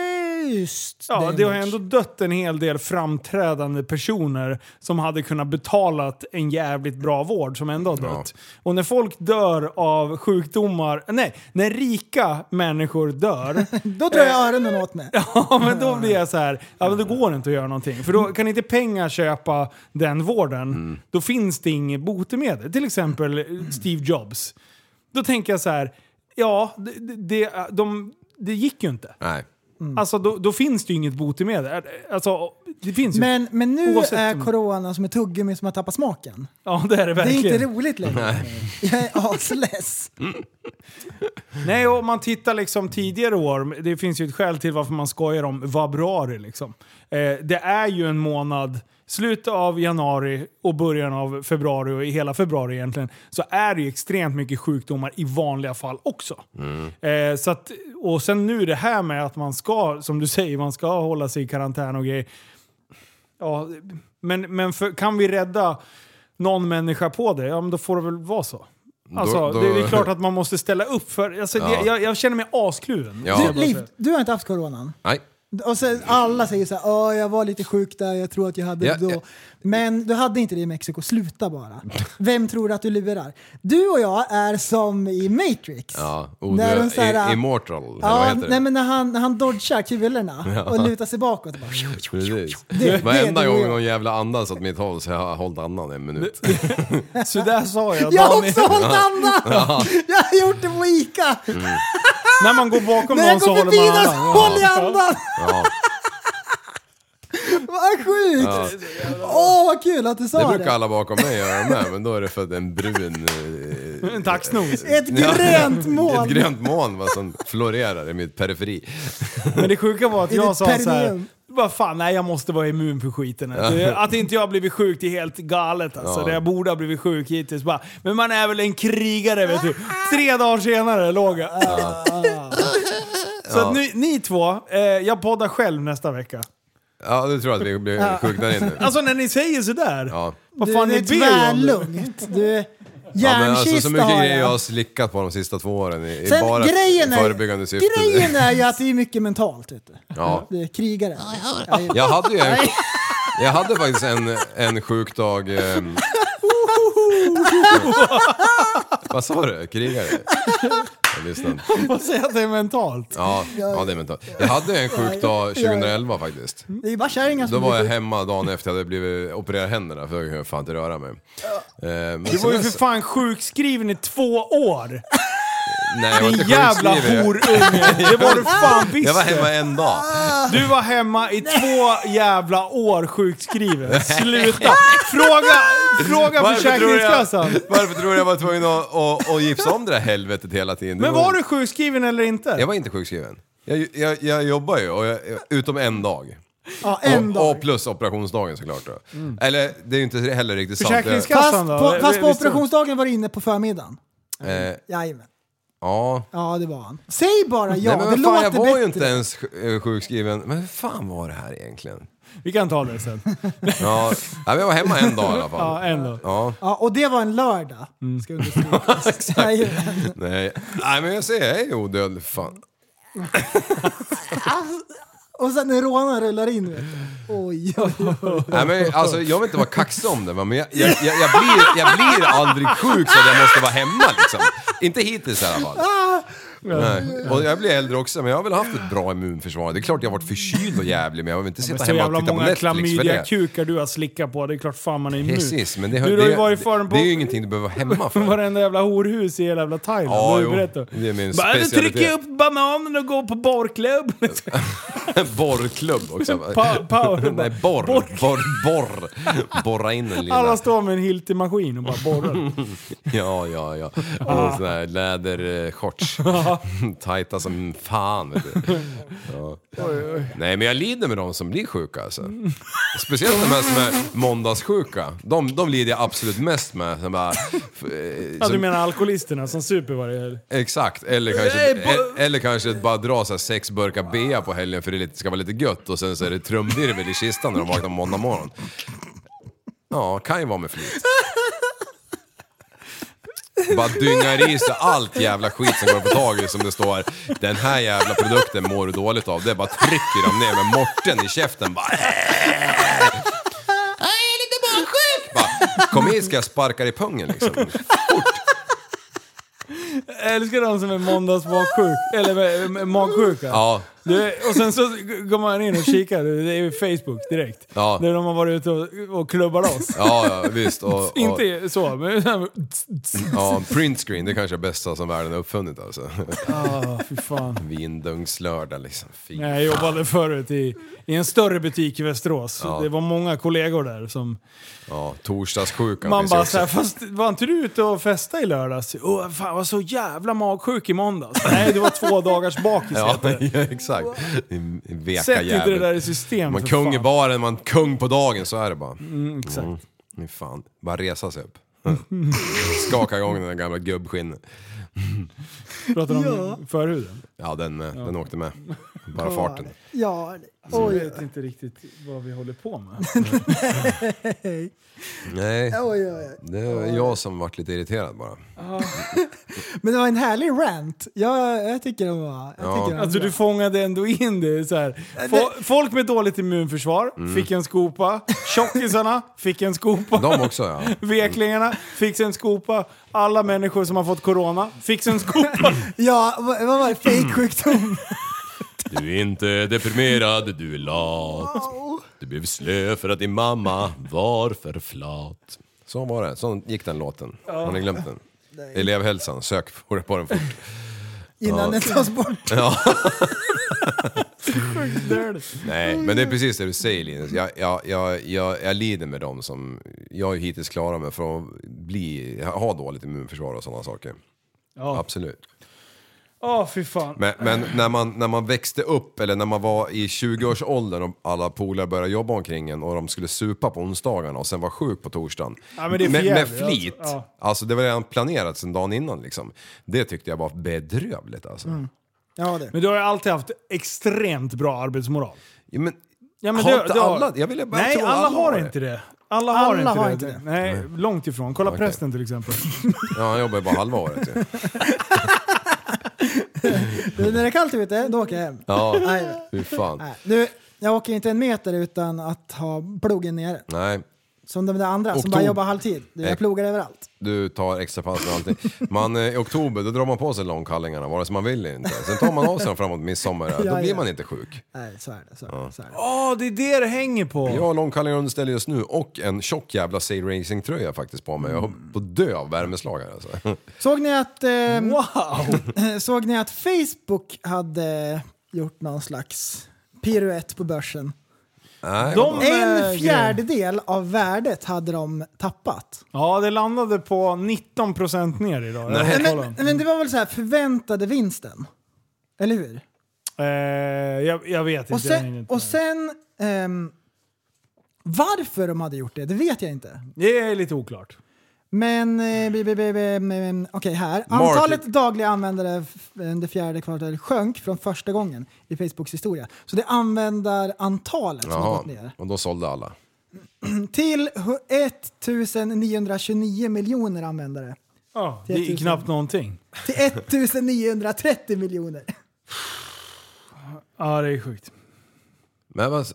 Speaker 2: Kopiöst!
Speaker 1: Ja, det har ju
Speaker 2: damage.
Speaker 1: ändå dött en hel del framträdande personer som hade kunnat betalat en jävligt bra vård som ändå har dött. Och när folk dör av sjukdomar, nej, när rika människor dör,
Speaker 2: Då drar jag öronen åt mig.
Speaker 1: Eh, ja typ. men då blir jag så här, ja men då går det inte att göra någonting. För då kan inte pengar köpa den vården, då finns det inget botemedel. Till exempel eh, Steve Jobs. Då tänker jag så här, ja, det, det, de, det gick ju inte.
Speaker 3: Nej.
Speaker 1: Alltså då, då finns det ju inget botemedel. Alltså, det finns ju
Speaker 2: Men, men nu
Speaker 1: Oavsett
Speaker 2: är
Speaker 1: om-
Speaker 2: corona som ett tuggummi som har tappat smaken.
Speaker 1: Ja, det är det verkligen.
Speaker 2: Det är inte roligt längre.
Speaker 1: Nej.
Speaker 2: Jag är asless.
Speaker 1: Nej, och om man tittar liksom tidigare år, det finns ju ett skäl till varför man skojar om vabruari. Liksom. Eh, det är ju en månad, slutet av januari och början av februari och i hela februari egentligen, så är det ju extremt mycket sjukdomar i vanliga fall också. Eh, så att, och sen nu det här med att man ska, som du säger, man ska hålla sig i karantän och grejer. Ja, men men för, kan vi rädda någon människa på det, ja men då får det väl vara så. Alltså,
Speaker 3: Då- då-
Speaker 1: Det, det är klart att man måste ställa upp för... Alltså,
Speaker 3: Ja.
Speaker 1: det, jag, jag känner mig askluven. Alltså,
Speaker 3: Ja.
Speaker 1: Så jag
Speaker 2: Du,
Speaker 1: bara
Speaker 2: Liv,
Speaker 1: säger.
Speaker 2: du har inte haft coronan.
Speaker 3: Nej.
Speaker 2: Och sen alla säger så här, "Åh, jag var lite sjuk där, jag tror att jag hade
Speaker 3: Ja,
Speaker 2: det då.
Speaker 3: ja.
Speaker 2: Men du hade inte det i Mexiko, sluta bara. Vem tror att du lurar? Du och jag är som i Matrix.
Speaker 3: Ja,
Speaker 2: När de
Speaker 3: odö-
Speaker 2: så här-
Speaker 3: i- immortal, eller vad
Speaker 2: Ja,
Speaker 3: heter det?
Speaker 2: nej, men när han, när han dodgar kulorna
Speaker 3: Ja.
Speaker 2: och lutar sig bakåt. och Bara,
Speaker 3: Precis.
Speaker 2: Det-
Speaker 3: Varenda
Speaker 2: det- det-
Speaker 3: gång någon jävla andas åt mitt håll så har jag hållit andan en minut.
Speaker 1: Så där sa jag.
Speaker 2: jag har
Speaker 1: Daniel.
Speaker 2: också hållit andan!
Speaker 3: Ja.
Speaker 2: Jag har gjort det på ICA!
Speaker 1: När man går bakom
Speaker 2: När
Speaker 1: någon
Speaker 2: jag
Speaker 1: så
Speaker 2: går
Speaker 1: håller man
Speaker 2: förbi den så
Speaker 1: andan.
Speaker 2: håller jag andan!
Speaker 3: Ja.
Speaker 2: Vad
Speaker 3: Ja.
Speaker 2: sjukt! Åh, vad kul att du sa
Speaker 3: Det
Speaker 2: det!
Speaker 3: brukar alla bakom mig göra med, men då är det för att en brun eh,
Speaker 1: En taxnos.
Speaker 2: Ett grönt moln.
Speaker 3: Ett grönt moln va, som florerar i mitt periferi.
Speaker 1: Men det sjuka var att
Speaker 3: I
Speaker 1: jag
Speaker 3: ditt
Speaker 1: sa såhär...
Speaker 3: perineum.
Speaker 1: Vad fan, nej jag måste vara immun för skiten. här.
Speaker 3: Ja.
Speaker 1: Det- Att inte jag har blivit sjuk det är helt galet alltså.
Speaker 3: Ja.
Speaker 1: Det jag borde ha blivit sjuk hittills. Bara, men man är väl en krigare vet du. Tre dagar senare låg jag.
Speaker 3: Ja.
Speaker 1: Så
Speaker 3: Ja.
Speaker 1: att nu, ni två, eh, jag poddar själv nästa vecka.
Speaker 3: Ja, du tror att vi blir sjuka där inne.
Speaker 1: Alltså när ni säger sådär.
Speaker 3: Ja.
Speaker 1: Vad fan
Speaker 2: du
Speaker 1: ni
Speaker 2: är
Speaker 1: ber om?
Speaker 2: tvärlugnt. Du är
Speaker 3: Ja, men alltså, så
Speaker 2: järnkista
Speaker 3: mycket
Speaker 2: har
Speaker 3: grejer jag
Speaker 2: jag.
Speaker 3: har slickat på de sista två åren i, i
Speaker 2: Sen,
Speaker 3: bara
Speaker 2: grejen, är,
Speaker 3: förebyggande syfte.
Speaker 2: grejen är ju att det är mycket mentalt. Vet du.
Speaker 3: Ja.
Speaker 2: Det är krigare.
Speaker 3: Jag hade ju en, jag hade faktiskt en, en sjukdag... ehm, vad sa du? Krigare? Jag lyssnade inte.
Speaker 1: Vad säger att det är mentalt?
Speaker 3: Ja, ja, det är mentalt. Jag hade en sjukdag 2011 faktiskt.
Speaker 2: Det är ju bara kärringar
Speaker 3: Då
Speaker 2: som
Speaker 3: var jag
Speaker 2: sjuka.
Speaker 3: hemma dagen efter jag hade blivit opererat händerna för jag kunde fan inte röra mig. Eh, men
Speaker 1: Du var ju
Speaker 3: sen dess-
Speaker 1: för fan sjukskriven i två år.
Speaker 3: Nej, jag var
Speaker 1: Din
Speaker 3: inte
Speaker 1: jävla
Speaker 3: sjukskriven.
Speaker 1: horunge. Det var du fan visst.
Speaker 3: Jag var hemma en dag.
Speaker 1: Du var hemma i två jävla år sjukskriven. Sluta! Fråga, fråga Försäkringskassan.
Speaker 3: Tror jag, varför tror du jag var tvungen att, att, att gipsa om det där helvetet hela tiden? Det
Speaker 1: Men var du sjukskriven eller inte?
Speaker 3: Jag var inte sjukskriven. Jag, jag, jag jobbar ju, och jag, utom en dag.
Speaker 2: Ja, en
Speaker 3: och,
Speaker 2: dag.
Speaker 3: och plus operationsdagen såklart då.
Speaker 2: Mm.
Speaker 3: Eller det är ju inte heller riktigt sant.
Speaker 2: Fast på, fast på operationsdagen var du inne på förmiddagen.
Speaker 3: Eh,
Speaker 2: Jajamän.
Speaker 3: ja.
Speaker 2: Ja, det var han. Säg bara ja,
Speaker 3: Nej, men
Speaker 2: det
Speaker 3: vad fan, jag
Speaker 2: låter
Speaker 3: var
Speaker 2: bättre.
Speaker 3: ju inte ens sj- eh, sjukskriven. Men hur fan var det här egentligen?
Speaker 1: Vi kan ta det sen.
Speaker 3: Ja, nej, men jag var hemma en dag i alla fall.
Speaker 1: Ja, eh. en dag.
Speaker 3: Ja.
Speaker 2: Ja, och det var en lördag.
Speaker 3: Mm.
Speaker 2: Ska understrykas. Jajamän.
Speaker 3: Nej. nej, men jag säger jag är ju odödlig för fan.
Speaker 2: och sen när rånaren rullar in vet du. Oj, oj, oj.
Speaker 3: Nej, men, alltså, jag vill inte vara kaxig om det, va, men jag, jag, jag, jag, blir, jag blir aldrig sjuk så att jag måste vara hemma liksom. Inte hittills i alla fall.
Speaker 2: Ah!
Speaker 3: Nej. Och jag blir äldre också, men jag har väl haft ett bra immunförsvar. Det är klart jag har varit förkyld och jävlig, men jag vill inte
Speaker 1: Men
Speaker 3: sitta
Speaker 1: så
Speaker 3: hemma och
Speaker 1: jävla
Speaker 3: titta på
Speaker 1: många
Speaker 3: Netflix för det.
Speaker 1: klamydiakukar du har slickat på. Det är klart fan man är immun.
Speaker 3: Precis, men det, har-
Speaker 1: du har ju varit förrän
Speaker 3: det,
Speaker 1: på
Speaker 3: det är ju ingenting du behöver vara hemma för.
Speaker 1: varenda jävla horhus i hela jävla Thailand.
Speaker 3: Ja,
Speaker 1: det har du
Speaker 3: jo.
Speaker 1: berättat.
Speaker 3: Det är min
Speaker 1: Bara, nu trycker jag
Speaker 3: specialitet.
Speaker 1: upp bananen och går på borrklubb.
Speaker 3: Borrklubb också. va?
Speaker 1: Pa- power-
Speaker 3: Nej, borr. Borr, borr. Borra in en lilla.
Speaker 1: Alla står med en Hilti-maskin och bara borrar.
Speaker 3: Ja, ja, ja.
Speaker 1: Ah.
Speaker 3: Och sån här lädershorts.
Speaker 1: Ja.
Speaker 3: Tajta som fan. Vet du. Ja.
Speaker 1: Oj, oj.
Speaker 3: Nej, men jag lider med de som blir sjuka alltså. Speciellt de här som är måndagssjuka. De, de lider jag absolut mest med. Som bara, f- eh,
Speaker 1: Ja, du
Speaker 3: som-
Speaker 1: menar alkoholisterna som super varje helg?
Speaker 3: Exakt, eller kanske, e- eller kanske bara dra så här sex burkar bea på helgen för det är lite- ska vara lite gött och sen så är det trumvirvel i kistan när de vaknar på måndag morgon. Ja, kan ju vara med flit. Bara dyngar i sig allt jävla skit som går på tag i som det står den här jävla produkten mår du dåligt av. Det bara trycker de ner med morten i käften bara.
Speaker 8: Jag är lite barnsjuk!
Speaker 3: bara Kom hit ska jag sparka dig i pungen liksom.
Speaker 1: Jag älskar de som är måndagsmagsjuk, eller eh, magsjuka.
Speaker 3: Ja.
Speaker 1: Du, och sen så går man in och kikar, det är ju Facebook direkt.
Speaker 3: Ja.
Speaker 1: Där de har varit ute och, och klubbar oss.
Speaker 3: Ja, ja visst. Och, och,
Speaker 1: Inte så, men...
Speaker 3: Ja, printscreen, det kanske är det bästa som världen har uppfunnit alltså.
Speaker 1: Ah, fy fan.
Speaker 3: Vindungslördag liksom. Fy.
Speaker 1: Nej, jag jobbade förut i, i en större butik i Västerås.
Speaker 3: Ja.
Speaker 1: Det var många kollegor där som...
Speaker 3: Ja, torsdagssjukan
Speaker 1: Man
Speaker 3: finns ju
Speaker 1: bara
Speaker 3: också.
Speaker 1: såhär, fast var inte du ute och festade i lördags? Åh, fan jag var så jävla magsjuk i måndags. Nej, det var två dagars bakis
Speaker 3: Ja,
Speaker 1: heter det.
Speaker 3: ja, exakt. Din Veka
Speaker 1: Sätt inte
Speaker 3: jävel.
Speaker 1: det där i system,
Speaker 3: Man
Speaker 1: för
Speaker 3: kung i
Speaker 1: fan.
Speaker 3: baren, man kung på dagen, så är det bara.
Speaker 1: Mm, exakt.
Speaker 3: Ni fan, bara resa sig upp. Skaka igång den där gamla gubbskinnen.
Speaker 1: Pratar om
Speaker 2: Ja.
Speaker 1: förhuden?
Speaker 3: Ja, den, eh, den åkte med. Bara
Speaker 1: Ja.
Speaker 3: farten.
Speaker 2: Ja, det-
Speaker 1: Jag
Speaker 2: oj.
Speaker 1: vet inte riktigt vad vi håller på med.
Speaker 2: Hej.
Speaker 3: Nej,
Speaker 2: Oj, oj, oj.
Speaker 3: det var jag som vart lite irriterad bara.
Speaker 2: Ja. Men det var en härlig rant. Jag, jag tycker den var... Jag tycker den var
Speaker 1: Alltså
Speaker 2: bra.
Speaker 1: du fångade ändå in det så här. Fo- Folk med dåligt immunförsvar
Speaker 3: Mm.
Speaker 1: fick en skopa. Tjockisarna fick en skopa.
Speaker 3: De också ja.
Speaker 1: Veklingarna fick en skopa. Alla människor som har fått corona fick en skopa.
Speaker 2: ja, vad, vad var det? Fejksjukdom?
Speaker 3: Du är inte deprimerad, du är lat. Du blev slö för att din mamma var för flat. Så var det, så gick den låten.
Speaker 2: Ja.
Speaker 3: Har ni glömt den? Elevhälsan, sök på den fort.
Speaker 2: Innan den tas bort.
Speaker 3: Ja. Nej, men det är precis det du säger Linus. Jag, jag, jag, jag, jag lider med dem som... Jag är ju hittills klarat mig från att bli, ha dåligt immunförsvar och sådana saker.
Speaker 1: Ja.
Speaker 3: Absolut.
Speaker 1: Åh, fy fan.
Speaker 3: Men, men när, man, när man växte upp eller när man var i 20-årsåldern och alla polare började jobba omkring en och de skulle supa på onsdagarna och sen vara sjuk på torsdagen.
Speaker 1: Ja, men det är för
Speaker 3: med, med
Speaker 1: jävligt,
Speaker 3: flit.
Speaker 1: alltså.
Speaker 3: Alltså,
Speaker 1: Ja.
Speaker 3: det var redan planerat sedan dagen innan liksom. Det tyckte jag var bedrövligt alltså.
Speaker 1: Mm.
Speaker 2: Ja, det.
Speaker 1: Men du har ju alltid haft extremt bra arbetsmoral.
Speaker 3: Ja, men,
Speaker 1: det-
Speaker 3: har inte
Speaker 1: det
Speaker 3: alla- jag ville bara
Speaker 1: Nej,
Speaker 3: tro att
Speaker 1: alla
Speaker 3: alla
Speaker 1: har
Speaker 3: har
Speaker 1: inte det. Alla har,
Speaker 2: Alla
Speaker 1: inte,
Speaker 2: har
Speaker 1: det.
Speaker 2: inte det.
Speaker 1: Nej, långt ifrån. Kolla
Speaker 3: Okej.
Speaker 1: prästen till exempel.
Speaker 3: Ja, han jobbar ju bara halva året ju.
Speaker 2: Du, när det är kallt ute, då åker jag hem.
Speaker 3: Ja,
Speaker 2: Nej.
Speaker 3: hur fan.
Speaker 2: Nej, du, jag åker inte en meter utan att ha plogen nere.
Speaker 3: Nej.
Speaker 2: Som de där andra som
Speaker 3: Oktober.
Speaker 2: bara jobbar halvtid. Du,
Speaker 3: Nej.
Speaker 2: jag plogar överallt.
Speaker 3: Du tar extra pass och allting. Man, eh, I oktober då drar man på sig långkallingarna vare sig man vill eller inte. Sen tar man av sig dem framåt midsommar.
Speaker 2: Ja,
Speaker 3: då blir
Speaker 2: ja.
Speaker 3: man inte sjuk.
Speaker 2: Nej, så är det. Så är det, så är det.
Speaker 1: Åh, det är det det hänger på.
Speaker 3: Jag har långkallingar under ställ just nu och en tjock jävla Sail Racing-tröja faktiskt på mig. Jag höll på att dö av värmeslag här alltså.
Speaker 2: Såg ni att... Eh, såg ni att Facebook hade gjort någon slags piruett på börsen?
Speaker 3: Nej,
Speaker 1: De-
Speaker 2: En
Speaker 1: väger.
Speaker 2: fjärdedel av värdet hade de tappat.
Speaker 1: Ja, det landade på 19% ner idag. Jag
Speaker 2: Nej,
Speaker 1: har kollat.
Speaker 2: Men, men det var väl så här förväntade vinsten? Eller hur?
Speaker 1: Eh, jag, jag vet
Speaker 2: Och
Speaker 1: inte. jag hinner
Speaker 2: sen,
Speaker 1: inte.
Speaker 2: och sen ehm, varför de hade gjort det, det vet jag inte.
Speaker 1: Det är lite oklart.
Speaker 2: Men eh, bi- bi- bi- bi- mm, okej här.
Speaker 1: Mark-
Speaker 2: Antalet dagliga användare f- under fjärde kvartalet sjönk från första gången i Facebooks historia. Så det är användarantalet som har
Speaker 3: Jaha,
Speaker 2: gått ner.
Speaker 3: och då sålde alla.
Speaker 2: Till hu- 1929 miljoner användare.
Speaker 1: Ja, det är knappt någonting.
Speaker 2: Till 1930 miljoner.
Speaker 1: Ja, det är sjukt.
Speaker 3: Men vad...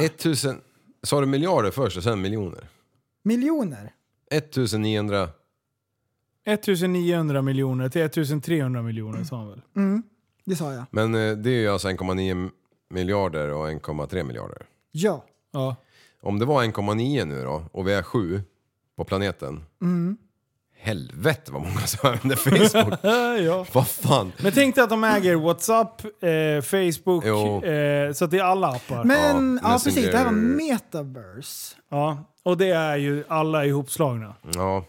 Speaker 3: 1000... Sa du miljarder först och sen miljoner?
Speaker 2: Miljoner.
Speaker 3: 1900...
Speaker 1: 1900 miljoner till 1300 miljoner sa han väl?
Speaker 2: Mm, det sa jag.
Speaker 3: Men eh, det är ju alltså 1,9 miljarder och 1,3 miljarder.
Speaker 2: Ja.
Speaker 1: Ja.
Speaker 3: Om det var 1,9 nu då och vi är 7 på planeten.
Speaker 2: Mm.
Speaker 3: Helvete vad många som använder Facebook.
Speaker 1: Eh, ja.
Speaker 3: vad fan.
Speaker 1: Men tänk dig att de äger Whatsapp, eh, Facebook,
Speaker 3: Jo.
Speaker 1: eh, så att det är alla appar.
Speaker 2: Men, ja, precis. Det här var metaverse.
Speaker 1: Ja, och det är ju alla ihopslagna.
Speaker 3: Ja.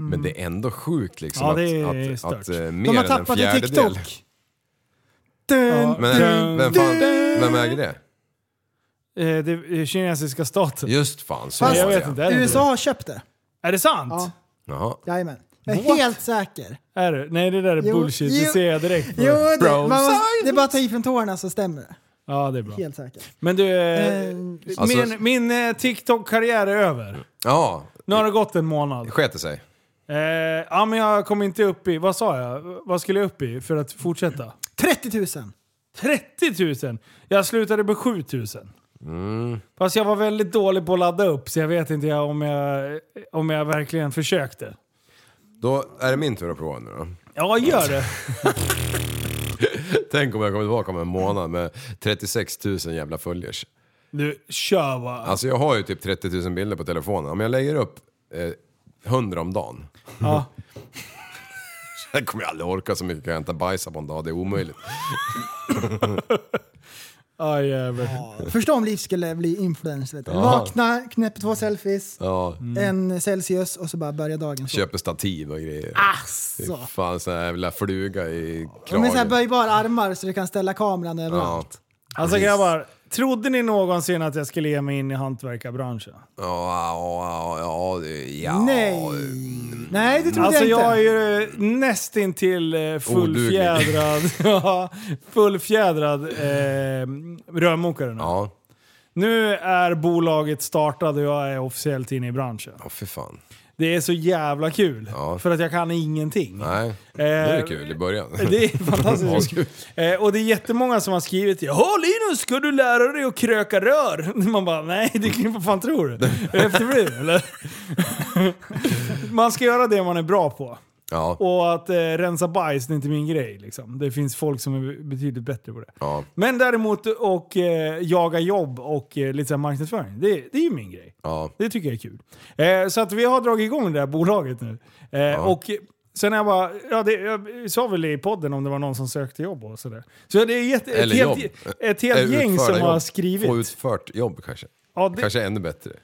Speaker 3: Men det är ändå sjukt liksom
Speaker 1: Ja,
Speaker 3: att,
Speaker 1: det är
Speaker 3: att,
Speaker 1: stört.
Speaker 3: att, eh,
Speaker 1: De har
Speaker 3: mer än en
Speaker 1: tappat i
Speaker 3: fjärdedel.
Speaker 1: TikTok.
Speaker 2: Dun,
Speaker 3: Men
Speaker 2: dun,
Speaker 3: vem,
Speaker 2: dun.
Speaker 3: fan, vem äger det?
Speaker 1: Eh, det är kinesiska staten.
Speaker 3: Just fan, så
Speaker 1: Fast- Jag
Speaker 3: var det.
Speaker 1: vet inte, är det
Speaker 2: USA
Speaker 1: det?
Speaker 2: har köpt det.
Speaker 1: Är det sant?
Speaker 2: Ja.
Speaker 3: Jaha.
Speaker 2: Jajamän. Jag är
Speaker 1: What?
Speaker 2: helt säker.
Speaker 1: Är det? Nej, det där är
Speaker 2: Jo,
Speaker 1: bullshit. Det
Speaker 2: jo.
Speaker 1: ser jag direkt. på.
Speaker 2: Jo, det, man, måste- det är bara att ta i från tårna så stämmer det.
Speaker 1: Ja, det är bra.
Speaker 2: Helt säkert.
Speaker 1: Men du, eh,
Speaker 2: Eh,
Speaker 1: min, min eh, TikTok-karriär är över.
Speaker 3: Ja,
Speaker 1: Nu har det gått en månad.
Speaker 3: sket det sig.
Speaker 1: Eh, ja, men jag kom inte upp i... Vad sa jag? Vad skulle jag upp i för att fortsätta?
Speaker 2: 30 000!
Speaker 1: 30 000! Jag slutade på 7 000. Fast jag var väldigt dålig på att ladda upp, så jag vet inte jag- om jag, om jag verkligen försökte.
Speaker 3: Då är det min tur att prova nu då.
Speaker 1: Ja, gör det!
Speaker 3: Tänk om jag kommer tillbaka om en månad med 36 000 jävla följers.
Speaker 1: Du, kör bara.
Speaker 3: Alltså jag har ju typ 30 000 bilder på telefonen. Om jag lägger upp eh, 100 om dagen.
Speaker 1: Ja.
Speaker 3: Jag kommer jag aldrig orka så mycket. Kan jag inte bajsa på en dag? Det är omöjligt.
Speaker 1: Ja, jävlar.
Speaker 2: Förstå om Liv skulle bli influencer. Vet du.
Speaker 3: Ja.
Speaker 2: Vakna, knäpper två selfies,
Speaker 3: Ja.
Speaker 1: Mm.
Speaker 2: en Celsius och så bara börjar dagen så.
Speaker 3: Köper stativ och grejer.
Speaker 2: Asså.
Speaker 3: Fy Fan, sån här jävla fluga i
Speaker 2: De är så här
Speaker 3: kragen.
Speaker 2: böjbara armar så du kan ställa kameran överallt.
Speaker 3: Ja.
Speaker 1: Alltså grabbar, trodde ni någonsin att jag skulle ge mig in i hantverkarbranschen?
Speaker 3: Ja, ja, ja, ja, ja.
Speaker 2: Nej. Nej, det trodde
Speaker 1: Alltså
Speaker 2: jag inte.
Speaker 1: jag är ju eh, nästintill eh, fullfjädrad,
Speaker 3: Oh,
Speaker 1: Ja, fullfjädrad eh, rörmokare nu.
Speaker 3: Ja,
Speaker 1: Nu är bolaget startat och jag är officiellt inne i branschen.
Speaker 3: ja för fan.
Speaker 1: Det är så jävla kul,
Speaker 3: Ja.
Speaker 1: för att jag kan ingenting. Eh,
Speaker 3: Nej, det är kul i början.
Speaker 1: Det är fantastiskt.
Speaker 3: Askul.
Speaker 1: Eh, och det är jättemånga som har skrivit Jaha Linus, ska du lära dig att kröka rör? Man bara, nej det kan vad fan tror du? Efterbliv eller? man ska göra det man är bra på.
Speaker 3: Ja,
Speaker 1: Och att eh, rensa bajs det är inte min grej liksom. Det finns folk som är betydligt bättre på det.
Speaker 3: ja,
Speaker 1: Men däremot och eh, jaga jobb och eh, lite så här marknadsföring, det, det är ju min grej.
Speaker 3: ja.
Speaker 1: Det tycker jag är kul. Eh, så att vi har dragit igång det här bolaget nu. Eh, Och Sen är jag bara, ja, det, jag sa väl i podden om det var någon som sökte jobb och sådär. Så det är jätte, ett,
Speaker 3: Eller
Speaker 1: helt,
Speaker 3: jobb.
Speaker 1: ett helt
Speaker 3: Eh,
Speaker 1: gäng
Speaker 3: utförda
Speaker 1: som har
Speaker 3: jobb.
Speaker 1: skrivit.
Speaker 3: Få utfört jobb kanske.
Speaker 1: Ja, det-
Speaker 3: Kanske ännu bättre.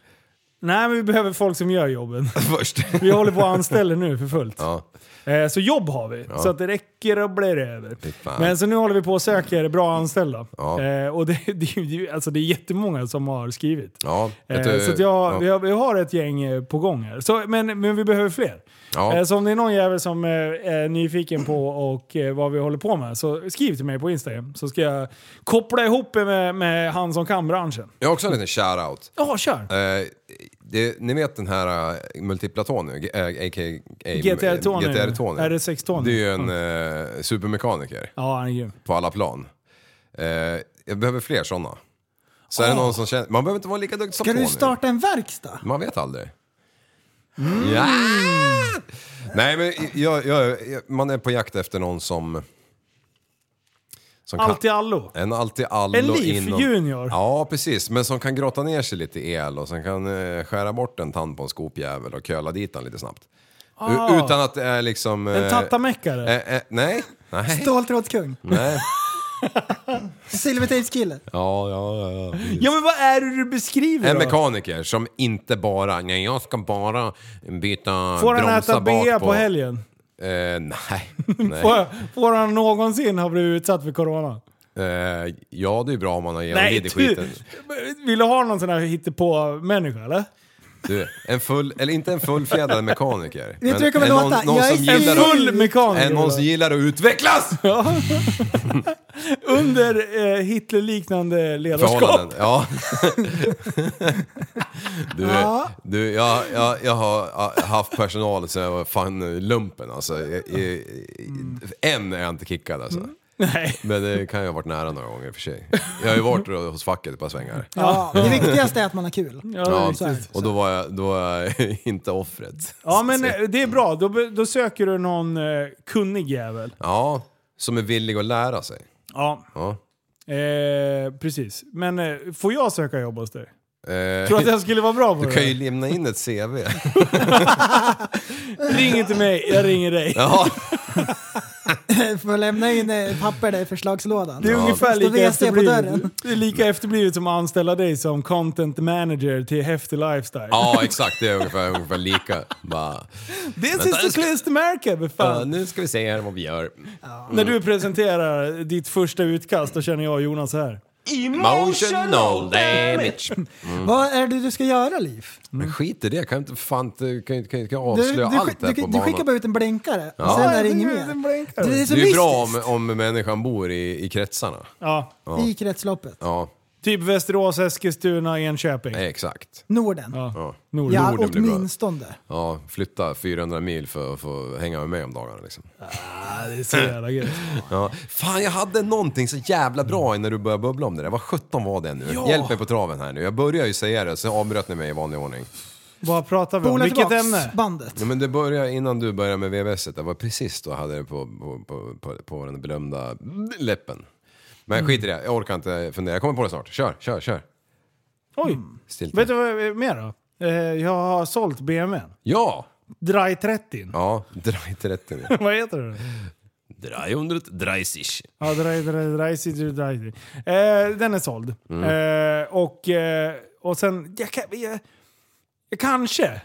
Speaker 1: Nej, men vi behöver folk som gör jobben.
Speaker 3: Först.
Speaker 1: Vi håller på att anställa nu för fullt.
Speaker 3: Ja.
Speaker 1: Eh, Så jobb har vi,
Speaker 3: Ja.
Speaker 1: så att det räcker och blir över.
Speaker 3: fan.
Speaker 1: Men så nu håller vi på och söker bra anställda.
Speaker 3: Ja.
Speaker 1: Eh, Och det, det, är ju- alltså det är jättemånga som har skrivit.
Speaker 3: Ja,
Speaker 1: Eh,
Speaker 3: vet du-
Speaker 1: Så att jag,
Speaker 3: ja.
Speaker 1: vi, har, vi har ett gäng eh, på gång här. Så, men, men vi behöver fler.
Speaker 3: Ja.
Speaker 1: Eh, Så om det är någon jävel som eh, är nyfiken på och eh, vad vi håller på med så skriv till mig på Instagram så ska jag koppla ihop er med, med han som kan branschen.
Speaker 3: Jag har också en liten shout-out.
Speaker 1: Ja, kör!
Speaker 3: Eh, det, ni vet den här uh, multipla Tony, eh, a.k.a.
Speaker 1: GTR Tony.
Speaker 3: GTR Tony.
Speaker 1: RS6 Tony.
Speaker 3: Det är ju en eh, supermekaniker
Speaker 1: Ja, han är grym.
Speaker 3: på alla plan. Eh, jag behöver fler sådana. Så
Speaker 1: Ah.
Speaker 3: är det någon som känner, man behöver inte vara lika duktig som
Speaker 2: Ska
Speaker 3: Tony.
Speaker 2: du starta en verkstad?
Speaker 3: Man vet aldrig.
Speaker 1: Mm.
Speaker 3: Ja! Nej men jag, jag, jag, man är på jakt efter någon som... som kan-
Speaker 1: Allt i allo.
Speaker 3: en alltid allo
Speaker 1: En Leaf
Speaker 3: inom-
Speaker 1: Junior.
Speaker 3: Ja, precis. Men som kan grotta ner sig lite i el och som kan eh, skära bort en tand på en skopjävel och köla dit den lite snabbt. U-
Speaker 1: Ah.
Speaker 3: Utan att det är liksom...
Speaker 1: En
Speaker 3: eh,
Speaker 1: tattameckare.
Speaker 3: eh, eh, nej. Nej.
Speaker 2: Ståltrådskung?
Speaker 3: nej.
Speaker 2: Silvertejpskille?
Speaker 3: Ja, ja, ja. precis.
Speaker 1: Ja men vad är det du beskriver
Speaker 3: En
Speaker 1: då?
Speaker 3: mekaniker som inte bara, nej jag ska bara byta
Speaker 1: Får han
Speaker 3: bromsar
Speaker 1: äta
Speaker 3: bak
Speaker 1: bea på helgen?
Speaker 3: Eh, nej. nej.
Speaker 1: Får, får han någonsin ha blivit utsatt för corona?
Speaker 3: Eh, ja, det är bra om man har genomlidit
Speaker 1: du-
Speaker 3: skiten.
Speaker 1: Vill du ha någon sån här hittepå-människa eller?
Speaker 3: Du, en full, eller inte en fullfjädrad mekaniker.
Speaker 1: du
Speaker 3: men
Speaker 1: hur jag kommer
Speaker 3: en någon,
Speaker 1: låta?
Speaker 3: Någon
Speaker 1: Jag
Speaker 3: som
Speaker 1: är en
Speaker 3: gillar
Speaker 1: full
Speaker 3: att,
Speaker 1: mekaniker,
Speaker 3: En någon som
Speaker 1: då.
Speaker 3: gillar att utvecklas!
Speaker 1: Ja. Under eh, Hitler-liknande ledarskap.
Speaker 3: Förhållanden, ja. Du,
Speaker 1: Ja.
Speaker 3: du jag, jag, jag har ah, haft personal sen jag var fan lumpen alltså. Jag, jag,
Speaker 2: Mm.
Speaker 3: En är jag inte kickad alltså.
Speaker 1: Nej.
Speaker 3: Men det kan ju ha varit nära några gånger i och för sig. Jag har ju varit då hos facket ett par svängar.
Speaker 2: Ja, det viktigaste är att man har kul.
Speaker 3: Ja,
Speaker 2: Så här.
Speaker 3: och då var jag, då var jag inte offret.
Speaker 1: Ja men eh, det är bra, då, be- då söker du någon eh, kunnig jävel.
Speaker 3: Ja, som är villig att lära sig.
Speaker 1: Ja,
Speaker 3: Ja.
Speaker 1: eh, precis. Men eh, får jag söka jobb hos dig?
Speaker 3: Eh,
Speaker 1: Tror du att jag skulle vara bra på
Speaker 3: Du
Speaker 1: det?
Speaker 3: kan ju lämna in ett CV.
Speaker 1: Ring inte mig, jag ringer dig.
Speaker 3: Ja.
Speaker 2: Får lämna in eh, papper där i förslagslådan.
Speaker 1: Det är ungefär
Speaker 2: Står
Speaker 1: lika
Speaker 2: WC på
Speaker 1: efterblivet.
Speaker 2: dörren.
Speaker 1: Det är lika efterblivet som att anställa dig som content manager till Häftig Lifestyle.
Speaker 3: ja, exakt. Det är ungefär, ungefär lika. Bara,
Speaker 1: This
Speaker 3: Vänta,
Speaker 1: is the
Speaker 3: jag ska-
Speaker 1: clues to America, för fan.
Speaker 3: ja, nu ska vi se här vad vi gör.
Speaker 1: När du presenterar ditt första utkast, då känner jag och Jonas så här.
Speaker 3: Emotional damage. Mm.
Speaker 2: Vad är det du ska göra Liv?
Speaker 3: Men skit i det. Kan inte fan inte, kan, inte- kan, inte- kan
Speaker 2: Du, du,
Speaker 3: avslöja
Speaker 2: skick-
Speaker 3: allt
Speaker 2: du,
Speaker 3: där
Speaker 2: du,
Speaker 3: på
Speaker 2: du skickar
Speaker 3: banan.
Speaker 2: bara ut en blänkare och
Speaker 3: Ja.
Speaker 2: sen är det
Speaker 1: Ja,
Speaker 2: inget
Speaker 1: det är en
Speaker 2: mer.
Speaker 1: blänkare.
Speaker 2: Det är så
Speaker 3: Det är ju
Speaker 2: mystiskt.
Speaker 3: bra om, om människan bor i, i kretsarna.
Speaker 1: Ja.
Speaker 3: Ja.
Speaker 2: I kretsloppet.
Speaker 3: Ja,
Speaker 1: Typ Västerås, Eskilstuna, Enköping.
Speaker 3: exakt.
Speaker 2: Norden.
Speaker 3: Ja.
Speaker 1: Norden.
Speaker 2: Ja,
Speaker 3: blir bra.
Speaker 2: åtminstone.
Speaker 3: Ja, flytta 400 mil för att få hänga med mig om dagarna liksom.
Speaker 1: Ja, det är så jävla gött.
Speaker 3: Ja. Fan, jag hade någonting så jävla
Speaker 2: Mm.
Speaker 3: bra när du började bubbla om det där. Vad sjutton var det nu?
Speaker 1: Ja.
Speaker 3: Hjälp mig på traven här nu. Jag började ju säga det, så avbröt ni mig i vanlig ordning.
Speaker 1: Vad pratar vi om?
Speaker 2: Spola
Speaker 1: Vilket
Speaker 2: tillbaks
Speaker 1: ämne?
Speaker 2: bandet.
Speaker 3: Ja, men det började innan du började med VVS. Det var precis då jag hade det på, på, på, på, på den berömda läppen.
Speaker 1: Mm.
Speaker 3: Men skit i det, jag orkar inte fundera. Jag kommer på det snart. Kör, kör, kör.
Speaker 1: Oj.
Speaker 3: Stilt.
Speaker 1: Vet du vad jag- mer då? Eh, Jag har sålt BMWn.
Speaker 3: Ja!
Speaker 1: Dry 30.
Speaker 3: Ja, dra inte rätt in det.
Speaker 1: vad heter den?
Speaker 12: Dra 100, dreisig.
Speaker 1: Ja, dry, dry, dry, city, dry, city. Eh, den är såld.
Speaker 3: Mm.
Speaker 1: Eh, och, eh, och sen, jag, kan- jag, jag kanske...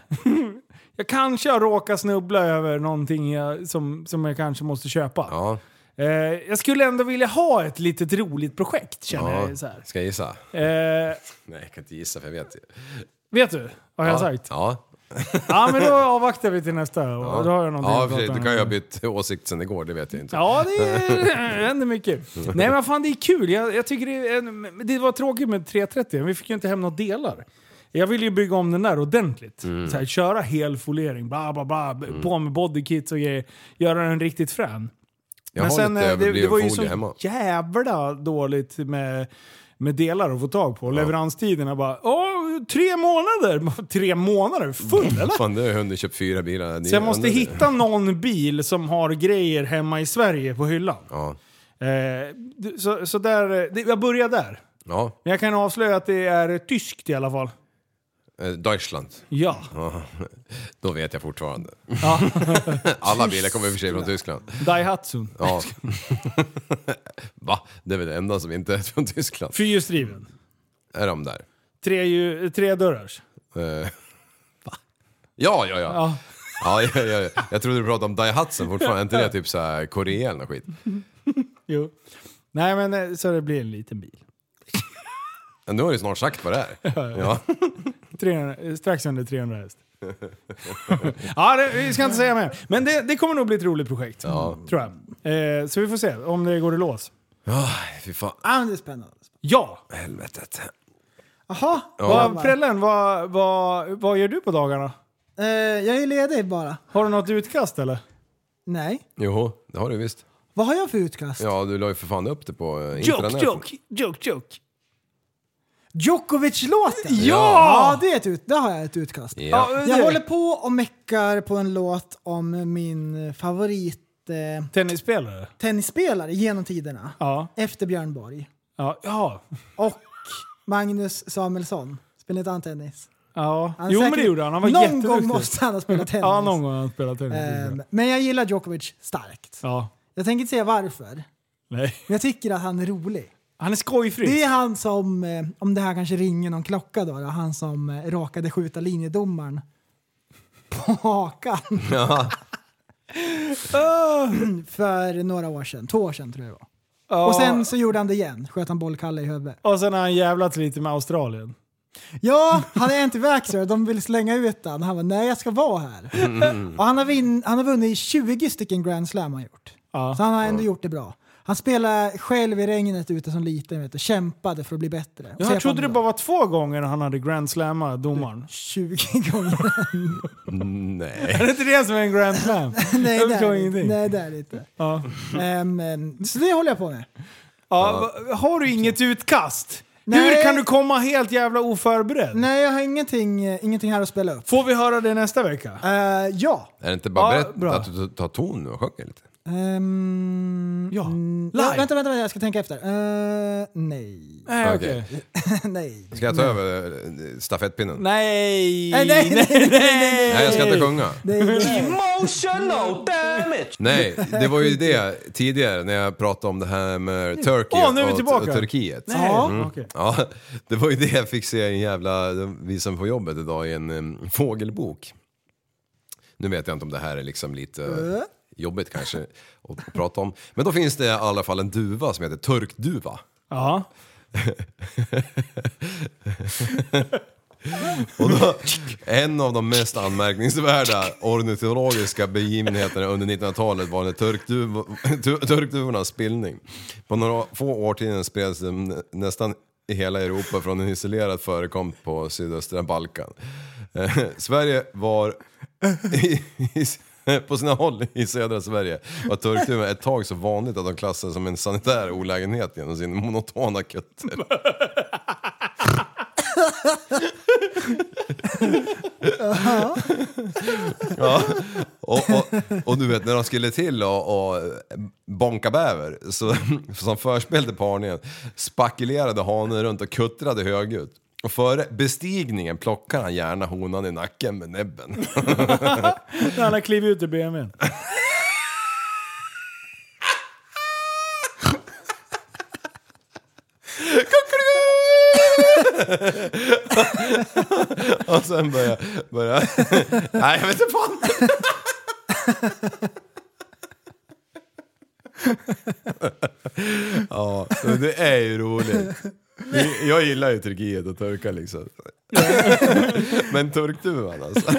Speaker 1: jag kanske har råkat snubbla över någonting jag, som, som jag kanske måste köpa.
Speaker 3: Ja,
Speaker 1: Eh, jag skulle ändå vilja ha ett litet roligt projekt känner
Speaker 3: ja.
Speaker 1: jag så här.
Speaker 3: Ska jag gissa?
Speaker 1: Eh,
Speaker 3: Nej, jag kan inte gissa för jag vet ju.
Speaker 1: vet du vad jag
Speaker 3: ja.
Speaker 1: har sagt?
Speaker 3: Ja.
Speaker 1: Ja, men då avvaktar vi till nästa. Och
Speaker 3: Ja,
Speaker 1: Då har jag någonting
Speaker 3: ja
Speaker 1: att
Speaker 3: för
Speaker 1: prata
Speaker 3: sig, du
Speaker 1: om.
Speaker 3: kan ju ha bytt åsikt sen igår, det vet jag inte.
Speaker 1: Ja, det är- händer mycket. Nej men fan det är kul. Jag, jag tycker det, är en, det var tråkigt med 330, vi fick ju inte hem några delar. Jag ville ju bygga om den där ordentligt.
Speaker 3: Mm.
Speaker 1: Så här, köra hel folering, bla bla bla, b- på med bodykits och grejer. Göra den riktigt frän.
Speaker 3: Jag har lite
Speaker 1: eh, det, det
Speaker 3: överbliven
Speaker 1: var ju
Speaker 3: folie hemma.
Speaker 1: så jävla dåligt med, med delar att få tag på. Leveranstiderna bara, åh, tre månader! Tre månader? Full eller?
Speaker 3: Mm. Fan, du har ju hunnit köpt fyra bilar. Det är
Speaker 1: Så jag
Speaker 3: ju
Speaker 1: måste
Speaker 3: ändå-
Speaker 1: hitta någon bil som har grejer hemma i Sverige på hyllan.
Speaker 3: Ja.
Speaker 1: Eh, d- så, så där, eh, det, jag börjar där.
Speaker 3: Ja,
Speaker 1: Men jag kan avslöja att det är tyskt i alla fall.
Speaker 3: eh, Deutschland.
Speaker 1: Ja.
Speaker 3: Ja. Då vet jag fortfarande.
Speaker 1: Ja.
Speaker 3: Alla bilar kommer i och för sig från Tyskland.
Speaker 1: Daihatsu.
Speaker 3: Ja. Va? Det är väl det enda som inte är från Tyskland?
Speaker 1: Fyrhjulsdriven.
Speaker 3: Är de där?
Speaker 1: Tre, ju- tre dörrars.
Speaker 3: Eh, va? Ja, ja, ja.
Speaker 1: Ja.
Speaker 3: Ja, ja, ja, ja. Jag trodde du pratade om Daihatsu fortfarande, är inte det typ så här Korea eller något skit?
Speaker 1: Jo. Nej men eh, så det blir en liten bil.
Speaker 3: Ja, nu har du ju snart sagt vad det är. Ja.
Speaker 1: 300, eh, strax under 300 häst. ja, det, vi ska inte säga mer. Men det, det kommer nog bli ett roligt projekt. Tror jag. Eh, så vi får se om det går i lås.
Speaker 3: Ja, fy fan.
Speaker 1: Ja, men det är spännande. Ja!
Speaker 3: Helvetet.
Speaker 2: Jaha,
Speaker 3: Ja.
Speaker 1: Vad, prällen, vad, vad, vad gör du på dagarna?
Speaker 2: Eh, jag är ledig bara.
Speaker 1: Har du något utkast eller?
Speaker 2: Nej.
Speaker 3: Jo, det har du visst.
Speaker 2: Vad har jag för utkast?
Speaker 3: Ja, du la ju för fan upp det på eh,
Speaker 2: Joke,
Speaker 3: internet.
Speaker 2: joke, joke, joke. Djokovic-låten?
Speaker 3: Ja!
Speaker 2: ja det, är ett ut, det har jag ett utkast.
Speaker 3: Ja.
Speaker 2: Jag
Speaker 1: det-
Speaker 2: håller på och meckar på en låt om min favorit eh,
Speaker 1: Tennisspelare?
Speaker 2: tennisspelare genom tiderna.
Speaker 1: Ja.
Speaker 2: Efter Björn Borg.
Speaker 1: Ja. ja.
Speaker 2: Och Magnus Samuelsson. Spelar inte han tennis?
Speaker 1: Ja,
Speaker 2: Han är
Speaker 1: jo men
Speaker 2: säkert-
Speaker 1: det gjorde han. Han var
Speaker 2: någon
Speaker 1: jätteduktig.
Speaker 2: gång måste han ha spelat tennis.
Speaker 1: Ja, någon gång har han spelat tennis.
Speaker 2: Ehm, men jag gillar Djokovic starkt.
Speaker 1: ja.
Speaker 2: Jag tänker inte säga varför, men
Speaker 1: Nej.
Speaker 2: jag tycker att han är rolig.
Speaker 1: Han är skojfri.
Speaker 2: Det är han som, eh, om det här kanske ringer någon klocka då, då han som eh, råkade skjuta linjedomaren på hakan
Speaker 3: Ja.
Speaker 2: för några år sedan. Två år sedan tror jag det var.
Speaker 1: Ja.
Speaker 2: Och sen så gjorde han det igen, sköt han bollkalle i huvudet.
Speaker 1: Och sen har han jävlats lite med Australien.
Speaker 2: Ja, han är anti-vaxxer de vill slänga ut han. Han var nej jag ska vara här. Och han har, vinn, han har vunnit 20 stycken Grand Slam har han gjort. Så han har ändå gjort det bra. Han spelade själv i regnet ute som liten vet du, kämpade för att bli bättre.
Speaker 1: Ja,
Speaker 2: Så
Speaker 1: jag trodde det
Speaker 2: fann
Speaker 1: bara var två gånger han hade grand slammat domaren.
Speaker 2: 20 gånger.
Speaker 3: Nej.
Speaker 1: Är det inte det som är en grand slam?
Speaker 2: nej,
Speaker 1: Jag
Speaker 2: det
Speaker 1: förstår
Speaker 2: är det inte.
Speaker 1: ingenting.
Speaker 2: nej, det är det inte.
Speaker 1: Ja.
Speaker 2: Ehm, ehm, så det håller jag på med.
Speaker 1: Ja, va- Har du inget utkast? Hur
Speaker 2: Nej.
Speaker 1: kan du komma helt jävla oförberedd?
Speaker 2: Nej, jag har ingenting, eh, ingenting här att spela upp.
Speaker 1: Får vi höra det nästa vecka?
Speaker 2: Eh, ja.
Speaker 3: Är det inte bara
Speaker 2: Ja,
Speaker 3: berätt
Speaker 2: bra.
Speaker 3: att du tar ton nu och sjunger lite?
Speaker 2: Ehm,
Speaker 1: ja.
Speaker 2: Vänta, vänta, vänta, jag ska tänka efter. Eh, nej.
Speaker 1: Nej,
Speaker 3: okej.
Speaker 2: nej.
Speaker 3: Ska jag ta över eh, stafettpinnen?
Speaker 1: Eh, Nej!
Speaker 2: Nej, nej, nej, nej, nej.
Speaker 3: Nej, jag ska inte sjunga.
Speaker 2: Nej, nej.
Speaker 8: Emotional damage!
Speaker 3: Nej, det var ju det tidigare när jag pratade om det här med Turkey
Speaker 8: Åh, nu är vi
Speaker 3: och,
Speaker 8: tillbaka.
Speaker 3: och Turkiet. Mm.
Speaker 8: Nej, okej.
Speaker 3: ja, det var ju det jag fick se i en jävla, vi som på jobbet idag, i en em, fågelbok. Nu vet jag inte om det här är liksom lite
Speaker 8: Äh?
Speaker 3: jobbigt kanske att, att prata om. Men då finns det i alla fall en duva som heter turkduva.
Speaker 1: Ja.
Speaker 3: Och då, en av de mest anmärkningsvärda ornitologiska begivenheterna under 1900-talet var när turkduv, tu- turkduvornas spillning. På några få årtionden spreds den nästan i hela Europa från en isolerad förekomst på sydöstra Balkan. Eh, Sverige var i, i, på sina håll i södra Sverige var turkduvan ett tag så vanligt att de klassades som en sanitär olägenhet genom sin monotona kutter.
Speaker 2: Ja.
Speaker 3: Ja. Och, och, och du vet när de skulle till och, och bonka bäver så, som förspel till parningen spackelerade hanen runt och kuttrade högljutt. Och före bestigningen plockar han gärna honan i nacken med näbben.
Speaker 1: När han har klivit ut ur BMWn.
Speaker 3: och sen börjar... börjar nej, jag vet inte fan. ja, men det är ju roligt. Det- Jag gillar ju Turkiet och turkar liksom. Men turkduvan alltså.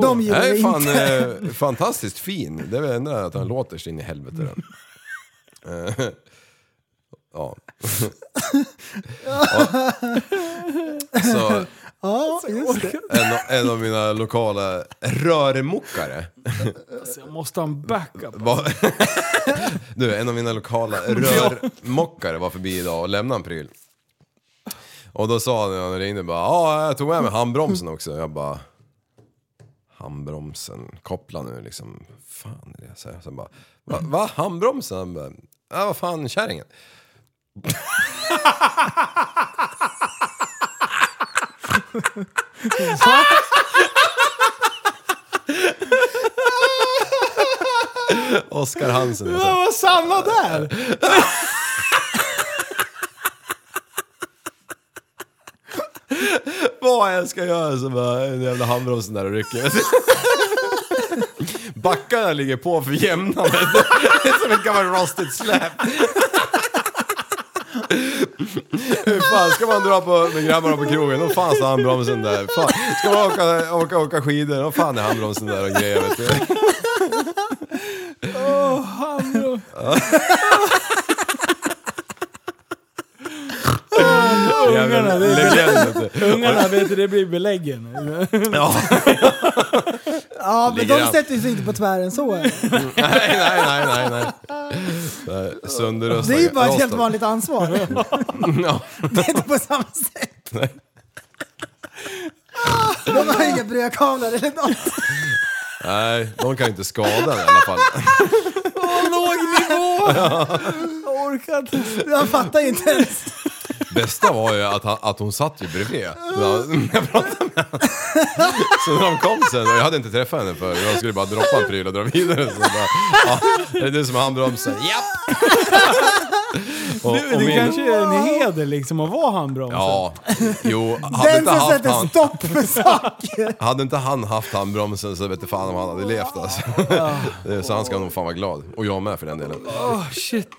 Speaker 2: De gillar
Speaker 3: Nej,
Speaker 2: det
Speaker 3: fan,
Speaker 2: inte.
Speaker 3: eh, fantastiskt fin. Det är väl det enda att han låter sin i helvete. Den. Eh, ja. ja. Så
Speaker 2: ja, just det.
Speaker 3: en, av- en av mina lokala rörmokare.
Speaker 1: Alltså, jag måste ha en backup.
Speaker 3: Var, du, en av mina lokala rörmokare var förbi idag och lämnade en pryl. Och då sa han när han ringde bara ja, jag tog med mig handbromsen också. Jag bara handbromsen, koppla nu liksom. Fan är det? Så jag sen bara va, va handbromsen? Han bara, ja vad fan kärringen. Oskar Hansen.
Speaker 1: Vad var samma där?
Speaker 3: Vad jag ska göra så bara en jävla handbromsen där och rycker. Backarna ligger på för jämnandet. Det är som en gammal rusted slab. Hur fan ska man dra på med grabbarna på krogen? Då fan så handbromsen där. Fan. Ska man åka, åka, åka skidor? Då fan är handbromsen där och grejer vet du.
Speaker 1: Åh, handbromsen. Ungarna, det
Speaker 3: Legend, vet
Speaker 1: är
Speaker 3: du.
Speaker 1: ungarna vet du, det blir beläggen.
Speaker 3: Ja.
Speaker 2: Ja, men
Speaker 3: Ligger
Speaker 2: de
Speaker 3: an.
Speaker 2: sätter sig inte på tvären så. är det.
Speaker 3: Nej, nej, nej, nej. nej. nej.
Speaker 2: Det är ju bara ett helt vanligt ansvar.
Speaker 3: Ja.
Speaker 2: Det är inte på samma sätt. Ah, De har inga brödkavlar eller något.
Speaker 3: Nej, de kan inte skada den i alla fall.
Speaker 2: Åh, låg nivå! Jag orkar inte. Jag fattar ju inte ens.
Speaker 3: Bästa var ju att, han, att hon satt ju bredvid när han- när jag pratade med henne. Så när de kom sen, och jag hade inte träffat henne förut, jag skulle bara droppa en pryl och dra vidare. Så bara, ja, är det du som har handbromsen? Japp! Och,
Speaker 1: Det, det kanske är en heder liksom att vara handbromsen.
Speaker 3: Ja, jo. Hade
Speaker 2: Den
Speaker 3: inte,
Speaker 2: som
Speaker 3: haft
Speaker 2: sätter
Speaker 3: han,
Speaker 2: stopp för saker.
Speaker 3: hade inte han haft handbromsen så vet du fan om han hade levt alltså. Så han ska nog fan vara glad. Och jag med för den delen.
Speaker 2: Åh oh, shit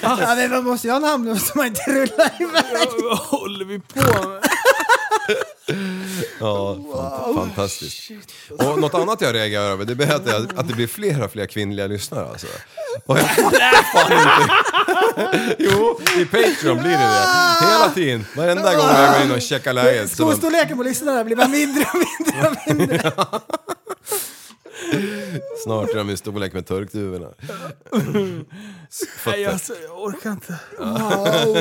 Speaker 2: ja, men man måste ju ha en handbroms som man inte rullar iväg.
Speaker 1: Vad håller vi på med?
Speaker 3: Ja, fant- fantastiskt.
Speaker 2: alltså.
Speaker 3: Och något annat jag reagerar över, det är att det, att det blir flera och fler kvinnliga lyssnare alltså. Och jag fattar fan inte. Jo, i Patreon blir det det. Hela tiden, varenda gång jag går in och checkar läget. så de-
Speaker 2: Skostorleken på lyssnarna blir bara mindre och mindre och mindre.
Speaker 3: Snart är de i storlek med turkduvorna. S-
Speaker 1: Nej,
Speaker 3: fötter.
Speaker 1: alltså, jag orkar inte.
Speaker 2: Wow,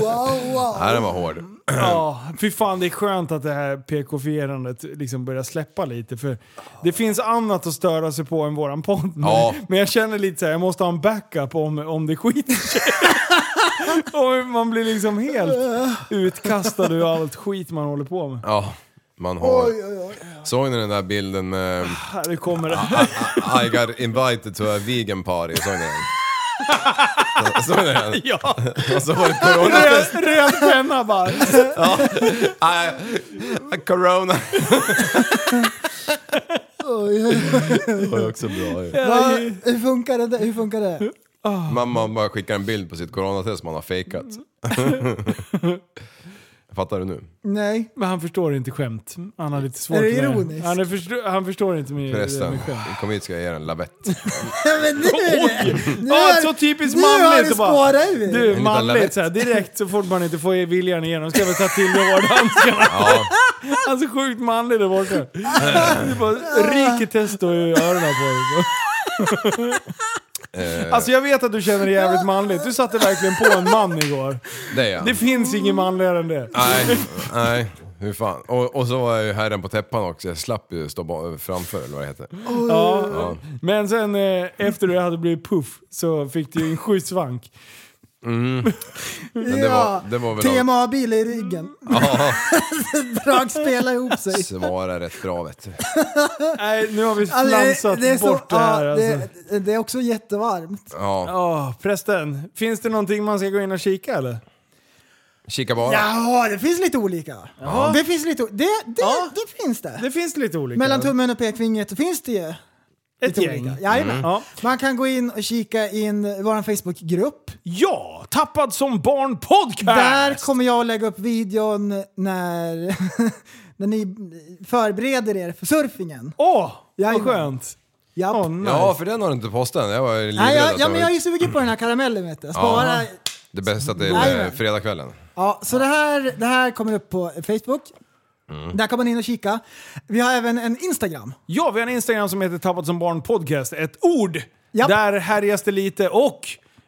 Speaker 2: wow, wow.
Speaker 3: Nej, den var hård.
Speaker 1: Ja, fy fan det är skönt att det här PK-fierandet liksom börjar släppa lite för det finns annat att störa sig på än våran podd. Men,
Speaker 3: Ja.
Speaker 1: men jag känner lite så här, jag måste ha en backup om, om det skiter sig. och man blir liksom helt utkastad ur allt skit man håller på med.
Speaker 3: Ja, man har... Såg ni den där bilden med... um,
Speaker 1: Här det kommer det.
Speaker 3: I got invited to a vegan party, såg ni den? Såg ni den?
Speaker 1: Ja.
Speaker 3: Och så var det coronatest.
Speaker 1: Röd, röd penna bara.
Speaker 3: Ja. I, corona.
Speaker 2: Oj, oj,
Speaker 3: Det var ju också bra ju.
Speaker 2: Va? Hur funkar det? där? Hur funkar det?
Speaker 3: Mamma bara skickar en bild på sitt coronatest man har fejkat. Fattar du nu?
Speaker 2: Nej.
Speaker 1: Men han förstår inte skämt. Han har lite svårt
Speaker 2: Är det
Speaker 1: med
Speaker 2: ironiskt?
Speaker 1: Han, är förstå, han förstår inte med, med
Speaker 3: Förresten,
Speaker 1: skämt.
Speaker 3: kom hit ska jag ge dig en lavett.
Speaker 2: Ja, men nu är det... Nu
Speaker 3: Ah,
Speaker 1: Ja,
Speaker 2: är-
Speaker 1: så typiskt
Speaker 2: nu har
Speaker 1: manligt!
Speaker 2: det
Speaker 1: att bara,
Speaker 2: spårat ur.
Speaker 3: En
Speaker 1: Du,
Speaker 3: liten
Speaker 1: manligt
Speaker 3: lavett.
Speaker 1: såhär, direkt så fort man inte får viljan igenom ska vi ta till med hårdhandskarna.
Speaker 3: Ja,
Speaker 1: Han är så sjukt manlig där borta. Det bara ryker testo i öronen på dig.
Speaker 3: eh,
Speaker 1: Alltså jag vet att du känner dig jävligt manligt. Du satte verkligen på en man igår.
Speaker 3: det är jag.
Speaker 1: Det finns ingen manligare än det.
Speaker 3: Nej, nej. Hur fan. Och, och så var jag ju herren på täppan också, jag slapp ju stå ba- framför eller vad det heter.
Speaker 1: Ja.
Speaker 3: Ja.
Speaker 1: Men sen eh, efter du hade blivit puff så fick du en skjutsvank.
Speaker 3: Mm. Men det
Speaker 2: Ja.
Speaker 3: var, det var väl av-
Speaker 2: TMA-bil i ryggen.
Speaker 3: Ja,
Speaker 2: Drag spelar ihop sig.
Speaker 3: svara rätt bra vet du.
Speaker 1: Nej, nu har vi
Speaker 2: Alltså,
Speaker 1: flamsat
Speaker 2: är så-
Speaker 1: bort det här
Speaker 2: ja,
Speaker 1: alltså.
Speaker 2: det, det är också jättevarmt.
Speaker 3: Ja,
Speaker 1: Ja, prästen. Finns det någonting man ska gå in och kika eller?
Speaker 3: kika bara.
Speaker 2: Jaha, det finns lite olika. Det finns lite o- det, det,
Speaker 1: Ja.
Speaker 2: det finns det.
Speaker 1: Det finns lite olika.
Speaker 2: Mellan tummen och pekfingret finns det ju
Speaker 1: Ett
Speaker 2: lite
Speaker 1: gäng. Mm.
Speaker 2: olika. Jajamän.
Speaker 1: Ja.
Speaker 2: Man kan gå in och kika in vår Facebookgrupp.
Speaker 1: Äh. ja, Tappad som barn podcast!
Speaker 2: Där kommer jag att lägga upp videon när, när ni förbereder er för surfingen.
Speaker 1: Åh, vad
Speaker 2: Jajamän.
Speaker 1: skönt!
Speaker 2: Japp.
Speaker 1: Åh, nice.
Speaker 3: Ja, för den har du inte postat än. Jag var ju
Speaker 2: Nej,
Speaker 3: livrädd
Speaker 2: jag,
Speaker 3: att
Speaker 2: ja,
Speaker 3: jag
Speaker 2: men jag är sugen på den här karamellen vet du. Jag Sparar,
Speaker 3: Det bästa att det är eh,
Speaker 2: Jajamän.
Speaker 3: fredagskvällen.
Speaker 2: Ja, så det här, det här kommer upp på Facebook.
Speaker 3: Mm.
Speaker 2: Där kan man in och kika. Vi har även en Instagram.
Speaker 1: Ja, vi har en Instagram som heter Tappat som barn podcast. Ett ord!
Speaker 2: Japp.
Speaker 1: Där härjas det lite och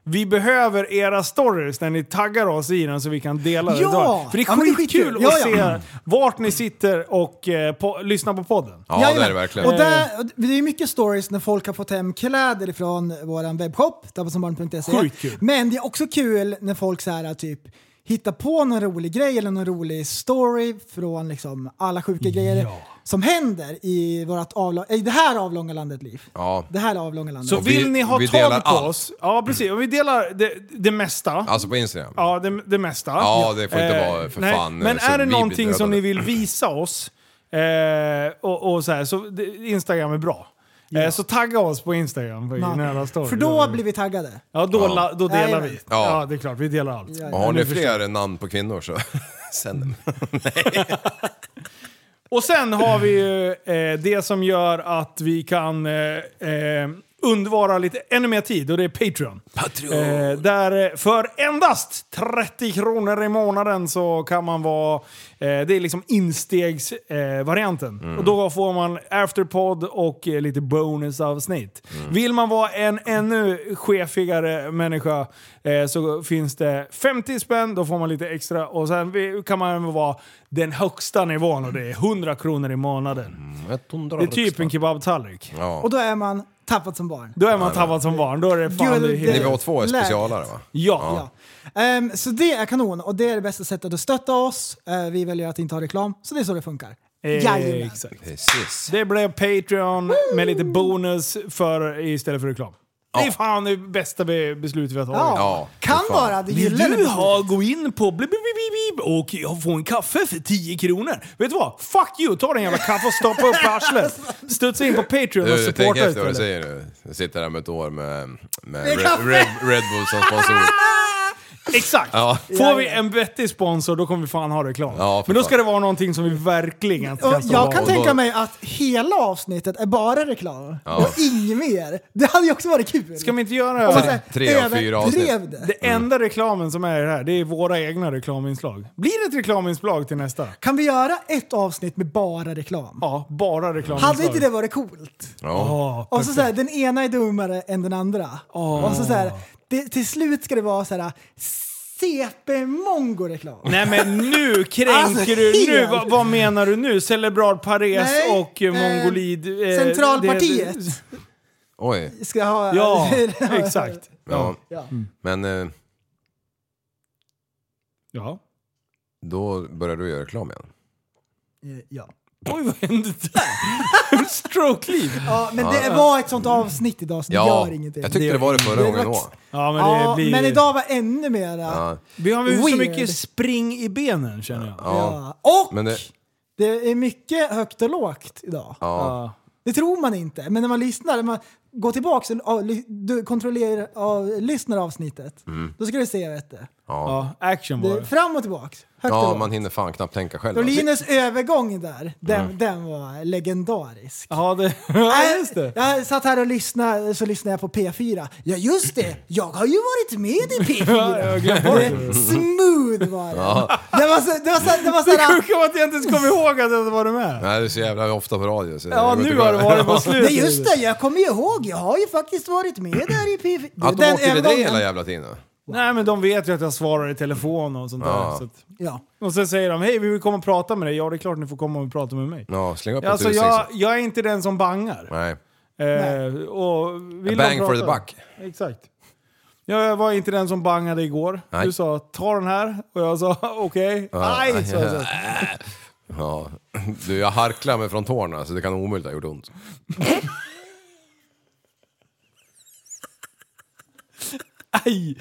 Speaker 1: vi behöver era stories när ni taggar oss i den så vi kan dela det.
Speaker 2: Ja!
Speaker 1: idag. För det är
Speaker 2: Ja, men det är
Speaker 1: skitkul
Speaker 2: skitkul.
Speaker 1: att
Speaker 2: Ja, ja.
Speaker 1: se vart ni sitter och eh, po- lyssna på podden.
Speaker 3: Ja, det är
Speaker 2: Jajamän.
Speaker 3: det verkligen.
Speaker 2: Och där, och det är mycket stories när folk har fått hem kläder från vår webbshop, tappasombarn.se.
Speaker 1: Sjukt kul.
Speaker 2: Men det är också kul när folk så här, typ hittar på någon rolig grej eller någon rolig story från liksom alla sjuka grejer. som händer i, vårat avlång, i det här avlånga landet, Liv.
Speaker 3: Ja.
Speaker 2: Det här avlånga landet.
Speaker 1: Så vill ni ha
Speaker 3: vi delar
Speaker 1: tag på
Speaker 3: allt.
Speaker 1: oss, ja precis, Och vi delar det, det mesta.
Speaker 3: Alltså på Instagram.
Speaker 1: Ja, det, det mesta.
Speaker 3: Ja, det får inte vara för
Speaker 1: nej.
Speaker 3: fan,
Speaker 1: Men
Speaker 3: eh, så
Speaker 1: är det
Speaker 3: vi
Speaker 1: någonting
Speaker 3: blir
Speaker 1: som ni
Speaker 3: dödade.
Speaker 1: vill visa oss, eh, och, och så här, så det, Instagram är bra. Eh, så tagga oss på Instagram. På
Speaker 2: Ja.
Speaker 1: nära story.
Speaker 2: För då blir vi taggade.
Speaker 1: Ja, då,
Speaker 3: Ja.
Speaker 1: La, då delar
Speaker 2: Jajamän.
Speaker 1: vi.
Speaker 3: Ja.
Speaker 1: Ja. det är klart. Vi delar allt.
Speaker 3: Och har ni
Speaker 1: Nu förstår jag.
Speaker 3: fler namn på kvinnor så sänd dem.
Speaker 1: Och sen har vi ju eh, det som gör att vi kan eh, eh, undvara lite, ännu mer tid och det är Patreon. Patreon. Eh, där eh, för endast 30 kronor i månaden så kan man vara, eh, det är liksom instegsvarianten. Eh, varianten.
Speaker 13: Mm.
Speaker 1: Och då får man afterpod och eh, lite bonusavsnitt. Vill man vara en ännu chefigare människa eh, så finns det 50 spänn, då får man lite extra. Och sen vi- kan man även vara den högsta nivån och det är 100 kronor i
Speaker 3: Mm.
Speaker 1: månaden. det är typ en kebabtallrik.
Speaker 2: Och då är man tappad som barn.
Speaker 1: Då är man tappad som barn. Då är det fan det är helt-
Speaker 3: Nivå två är specialare va?
Speaker 1: Ja.
Speaker 2: Ehm, så det är kanon och det är det bästa sättet att stötta oss. Eh, vi väljer att inte ha reklam, så det är så det funkar. Jajamän.
Speaker 1: Eh, Exakt.
Speaker 3: Precis.
Speaker 1: Det blev Patreon med lite bonus för, istället för reklam. Det är fan det bästa be- beslutet vi har tagit.
Speaker 2: Ja. Ja, Kan för fan. vara det
Speaker 1: Vill
Speaker 2: gyllene
Speaker 1: du
Speaker 2: beslutet.
Speaker 1: ha, gå in på blip, blip, blip, blip, och jag får en kaffe för 10 kronor. Vet du vad? Fuck you! Ta den jävla kaffe och stoppa upp arslet. Studsa in på Patreon och
Speaker 3: Du, tänk
Speaker 1: supporta
Speaker 3: efter vad du
Speaker 1: istället.
Speaker 3: säger nu. Jag sitter här med ett år med, med
Speaker 1: Det är
Speaker 3: Red,
Speaker 1: kaffe!
Speaker 3: Red, Red Bull som sponsor.
Speaker 1: Exakt!
Speaker 3: Ja.
Speaker 1: Får vi en vettig sponsor då kommer vi fan ha reklam.
Speaker 3: Ja, för
Speaker 1: Men då
Speaker 3: fan.
Speaker 1: ska det vara någonting som vi verkligen
Speaker 2: Och
Speaker 1: ska
Speaker 2: jag kan tänka mig att hela avsnittet är bara reklam
Speaker 1: Ja.
Speaker 2: och inget mer. Det hade ju också varit kul.
Speaker 1: Ska vi inte göra
Speaker 2: Om man så här
Speaker 3: tre av fyra avsnitt.
Speaker 2: överdrev det. Mm.
Speaker 1: Det enda reklamen som är i det här, det är våra egna reklaminslag. Blir det ett reklaminslag till nästa?
Speaker 2: Kan vi göra ett avsnitt med bara reklam?
Speaker 1: Ja, bara reklaminslag.
Speaker 2: Hade inte det varit coolt?
Speaker 1: Ja.
Speaker 2: Och så såhär, den ena är dummare än den andra. Och så såhär, det, till slut ska det vara såhär CP-mongo-reklam.
Speaker 1: Nej men nu kränker
Speaker 2: Alltså,
Speaker 1: du, nu,
Speaker 2: helt.
Speaker 1: vad, vad menar du nu? Celebrad Pares
Speaker 2: Nej,
Speaker 1: och eh,
Speaker 2: eh,
Speaker 1: Mongolid... eh,
Speaker 2: Centralpartiet.
Speaker 1: det-
Speaker 3: Oj.
Speaker 2: Ska ha...
Speaker 1: Ja, exakt. Mm.
Speaker 3: Ja.
Speaker 2: Ja.
Speaker 3: Men eh,
Speaker 1: Ja.
Speaker 3: då börjar du göra reklam igen.
Speaker 2: Eh, ja.
Speaker 1: Oj, vad hände där? Stroke-liv.
Speaker 2: Ja, men det
Speaker 1: Ja.
Speaker 2: var ett sånt avsnitt idag så det
Speaker 3: Ja,
Speaker 2: gör ingenting.
Speaker 3: jag tyckte det var det förra gången
Speaker 2: också.
Speaker 3: också.
Speaker 1: Ja, men,
Speaker 2: Ja,
Speaker 1: det blir...
Speaker 2: men idag var ännu mera...
Speaker 3: Ja.
Speaker 1: Vi har väl så
Speaker 2: Weird.
Speaker 1: mycket spring i benen känner jag.
Speaker 3: Ja.
Speaker 2: Och
Speaker 3: Men det,
Speaker 2: det är mycket högt och lågt idag.
Speaker 3: ja.
Speaker 2: Det tror man inte, men när man lyssnar, när man går tillbaka och ja, ly- du kontrollerar, ja, lyssnar avsnittet,
Speaker 3: Mm.
Speaker 2: då ska du se vet du.
Speaker 3: Ja.
Speaker 1: action
Speaker 2: Det är fram och tillbaka, högt och
Speaker 3: ja,
Speaker 2: lågt.
Speaker 3: man hinner fan knappt tänka själv.
Speaker 2: Och
Speaker 3: alltså.
Speaker 2: Linus övergång där, den,
Speaker 3: Mm.
Speaker 2: den var legendarisk.
Speaker 1: Ja, det... ja, just det.
Speaker 2: Jag satt här och lyssnade, så lyssnade jag på P4. Ja just det, jag har ju varit med i
Speaker 1: Ja, jag har
Speaker 2: P4.
Speaker 1: glömt bort det.
Speaker 2: Det- Smooth var det.
Speaker 3: Ja.
Speaker 2: Det var så, det var så, det var så
Speaker 1: Det sjuka var att jag inte ens kom ihåg att jag var med.
Speaker 3: Nej, det är så jävla ofta på radio. Så
Speaker 1: Ja,
Speaker 3: det går
Speaker 1: nu
Speaker 3: inte
Speaker 1: har
Speaker 3: bra.
Speaker 1: det varit på slut.
Speaker 2: Nej just det, jag kommer ju ihåg. Jag har ju faktiskt varit med där i P4.
Speaker 3: Att de
Speaker 2: Den
Speaker 3: åker till dig
Speaker 2: övergången-
Speaker 3: hela jävla tiden.
Speaker 1: Nej men de vet ju att jag svarar i telefon och sånt
Speaker 3: Ja.
Speaker 1: där. Så att,
Speaker 2: ja.
Speaker 1: Och sen säger de hej vi vill komma och prata med dig. Ja det är klart ni får komma och prata med mig.
Speaker 3: Ja, släng upp en
Speaker 1: Alltså
Speaker 3: tusing.
Speaker 1: jag,
Speaker 3: så-
Speaker 1: jag är inte den som bangar.
Speaker 3: Nej.
Speaker 1: Eh, och vill
Speaker 3: A bang
Speaker 1: de prata-
Speaker 3: for the buck.
Speaker 1: Exakt. Jag var inte den som bangade igår.
Speaker 3: Nej.
Speaker 1: Du sa ta den här och jag sa okej.
Speaker 3: Ja,
Speaker 1: Nej, sa jag så.
Speaker 3: Ja. Du, jag harklar mig från tårna så det kan omöjligt ha gjort ont.
Speaker 1: Aj!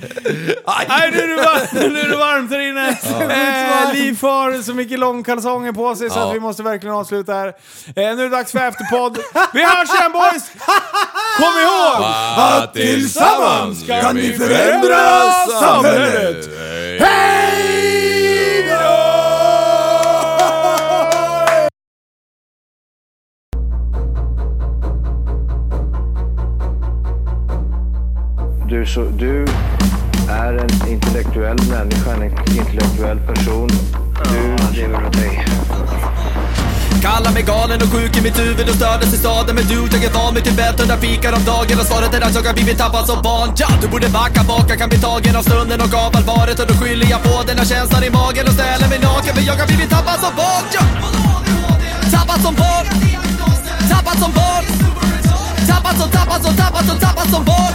Speaker 1: Nej, nu är det varmt, nu är det varmt här inne. Eh, Liv har så mycket långkalsonger på sig så
Speaker 3: Ja.
Speaker 1: att vi måste verkligen avsluta här. Eh, nu är det dags för afterpodd. Vi hörs igen boys! Kom ihåg!
Speaker 3: Att tillsammans kan vi förändra samhället! Hej
Speaker 14: Du, så, du är en intellektuell människa, en intellektuell person. Du lever av dig.
Speaker 15: Kallar mig galen och sjuk i mitt huvud och stördes i staden Men du, jag är van vid Tibet och där fikar om dagen Och svaret är att jag har blivit tappad som barn ja, Du borde backa bak, jag kan bli tagen av stunden och av allvaret Och då skyller jag på den här känslan i magen och ställer mig naken För jag har blivit tappad som barn ja. Tappad som barn Tappad som barn Tappad som, tappad som, tappad som, tappad som barn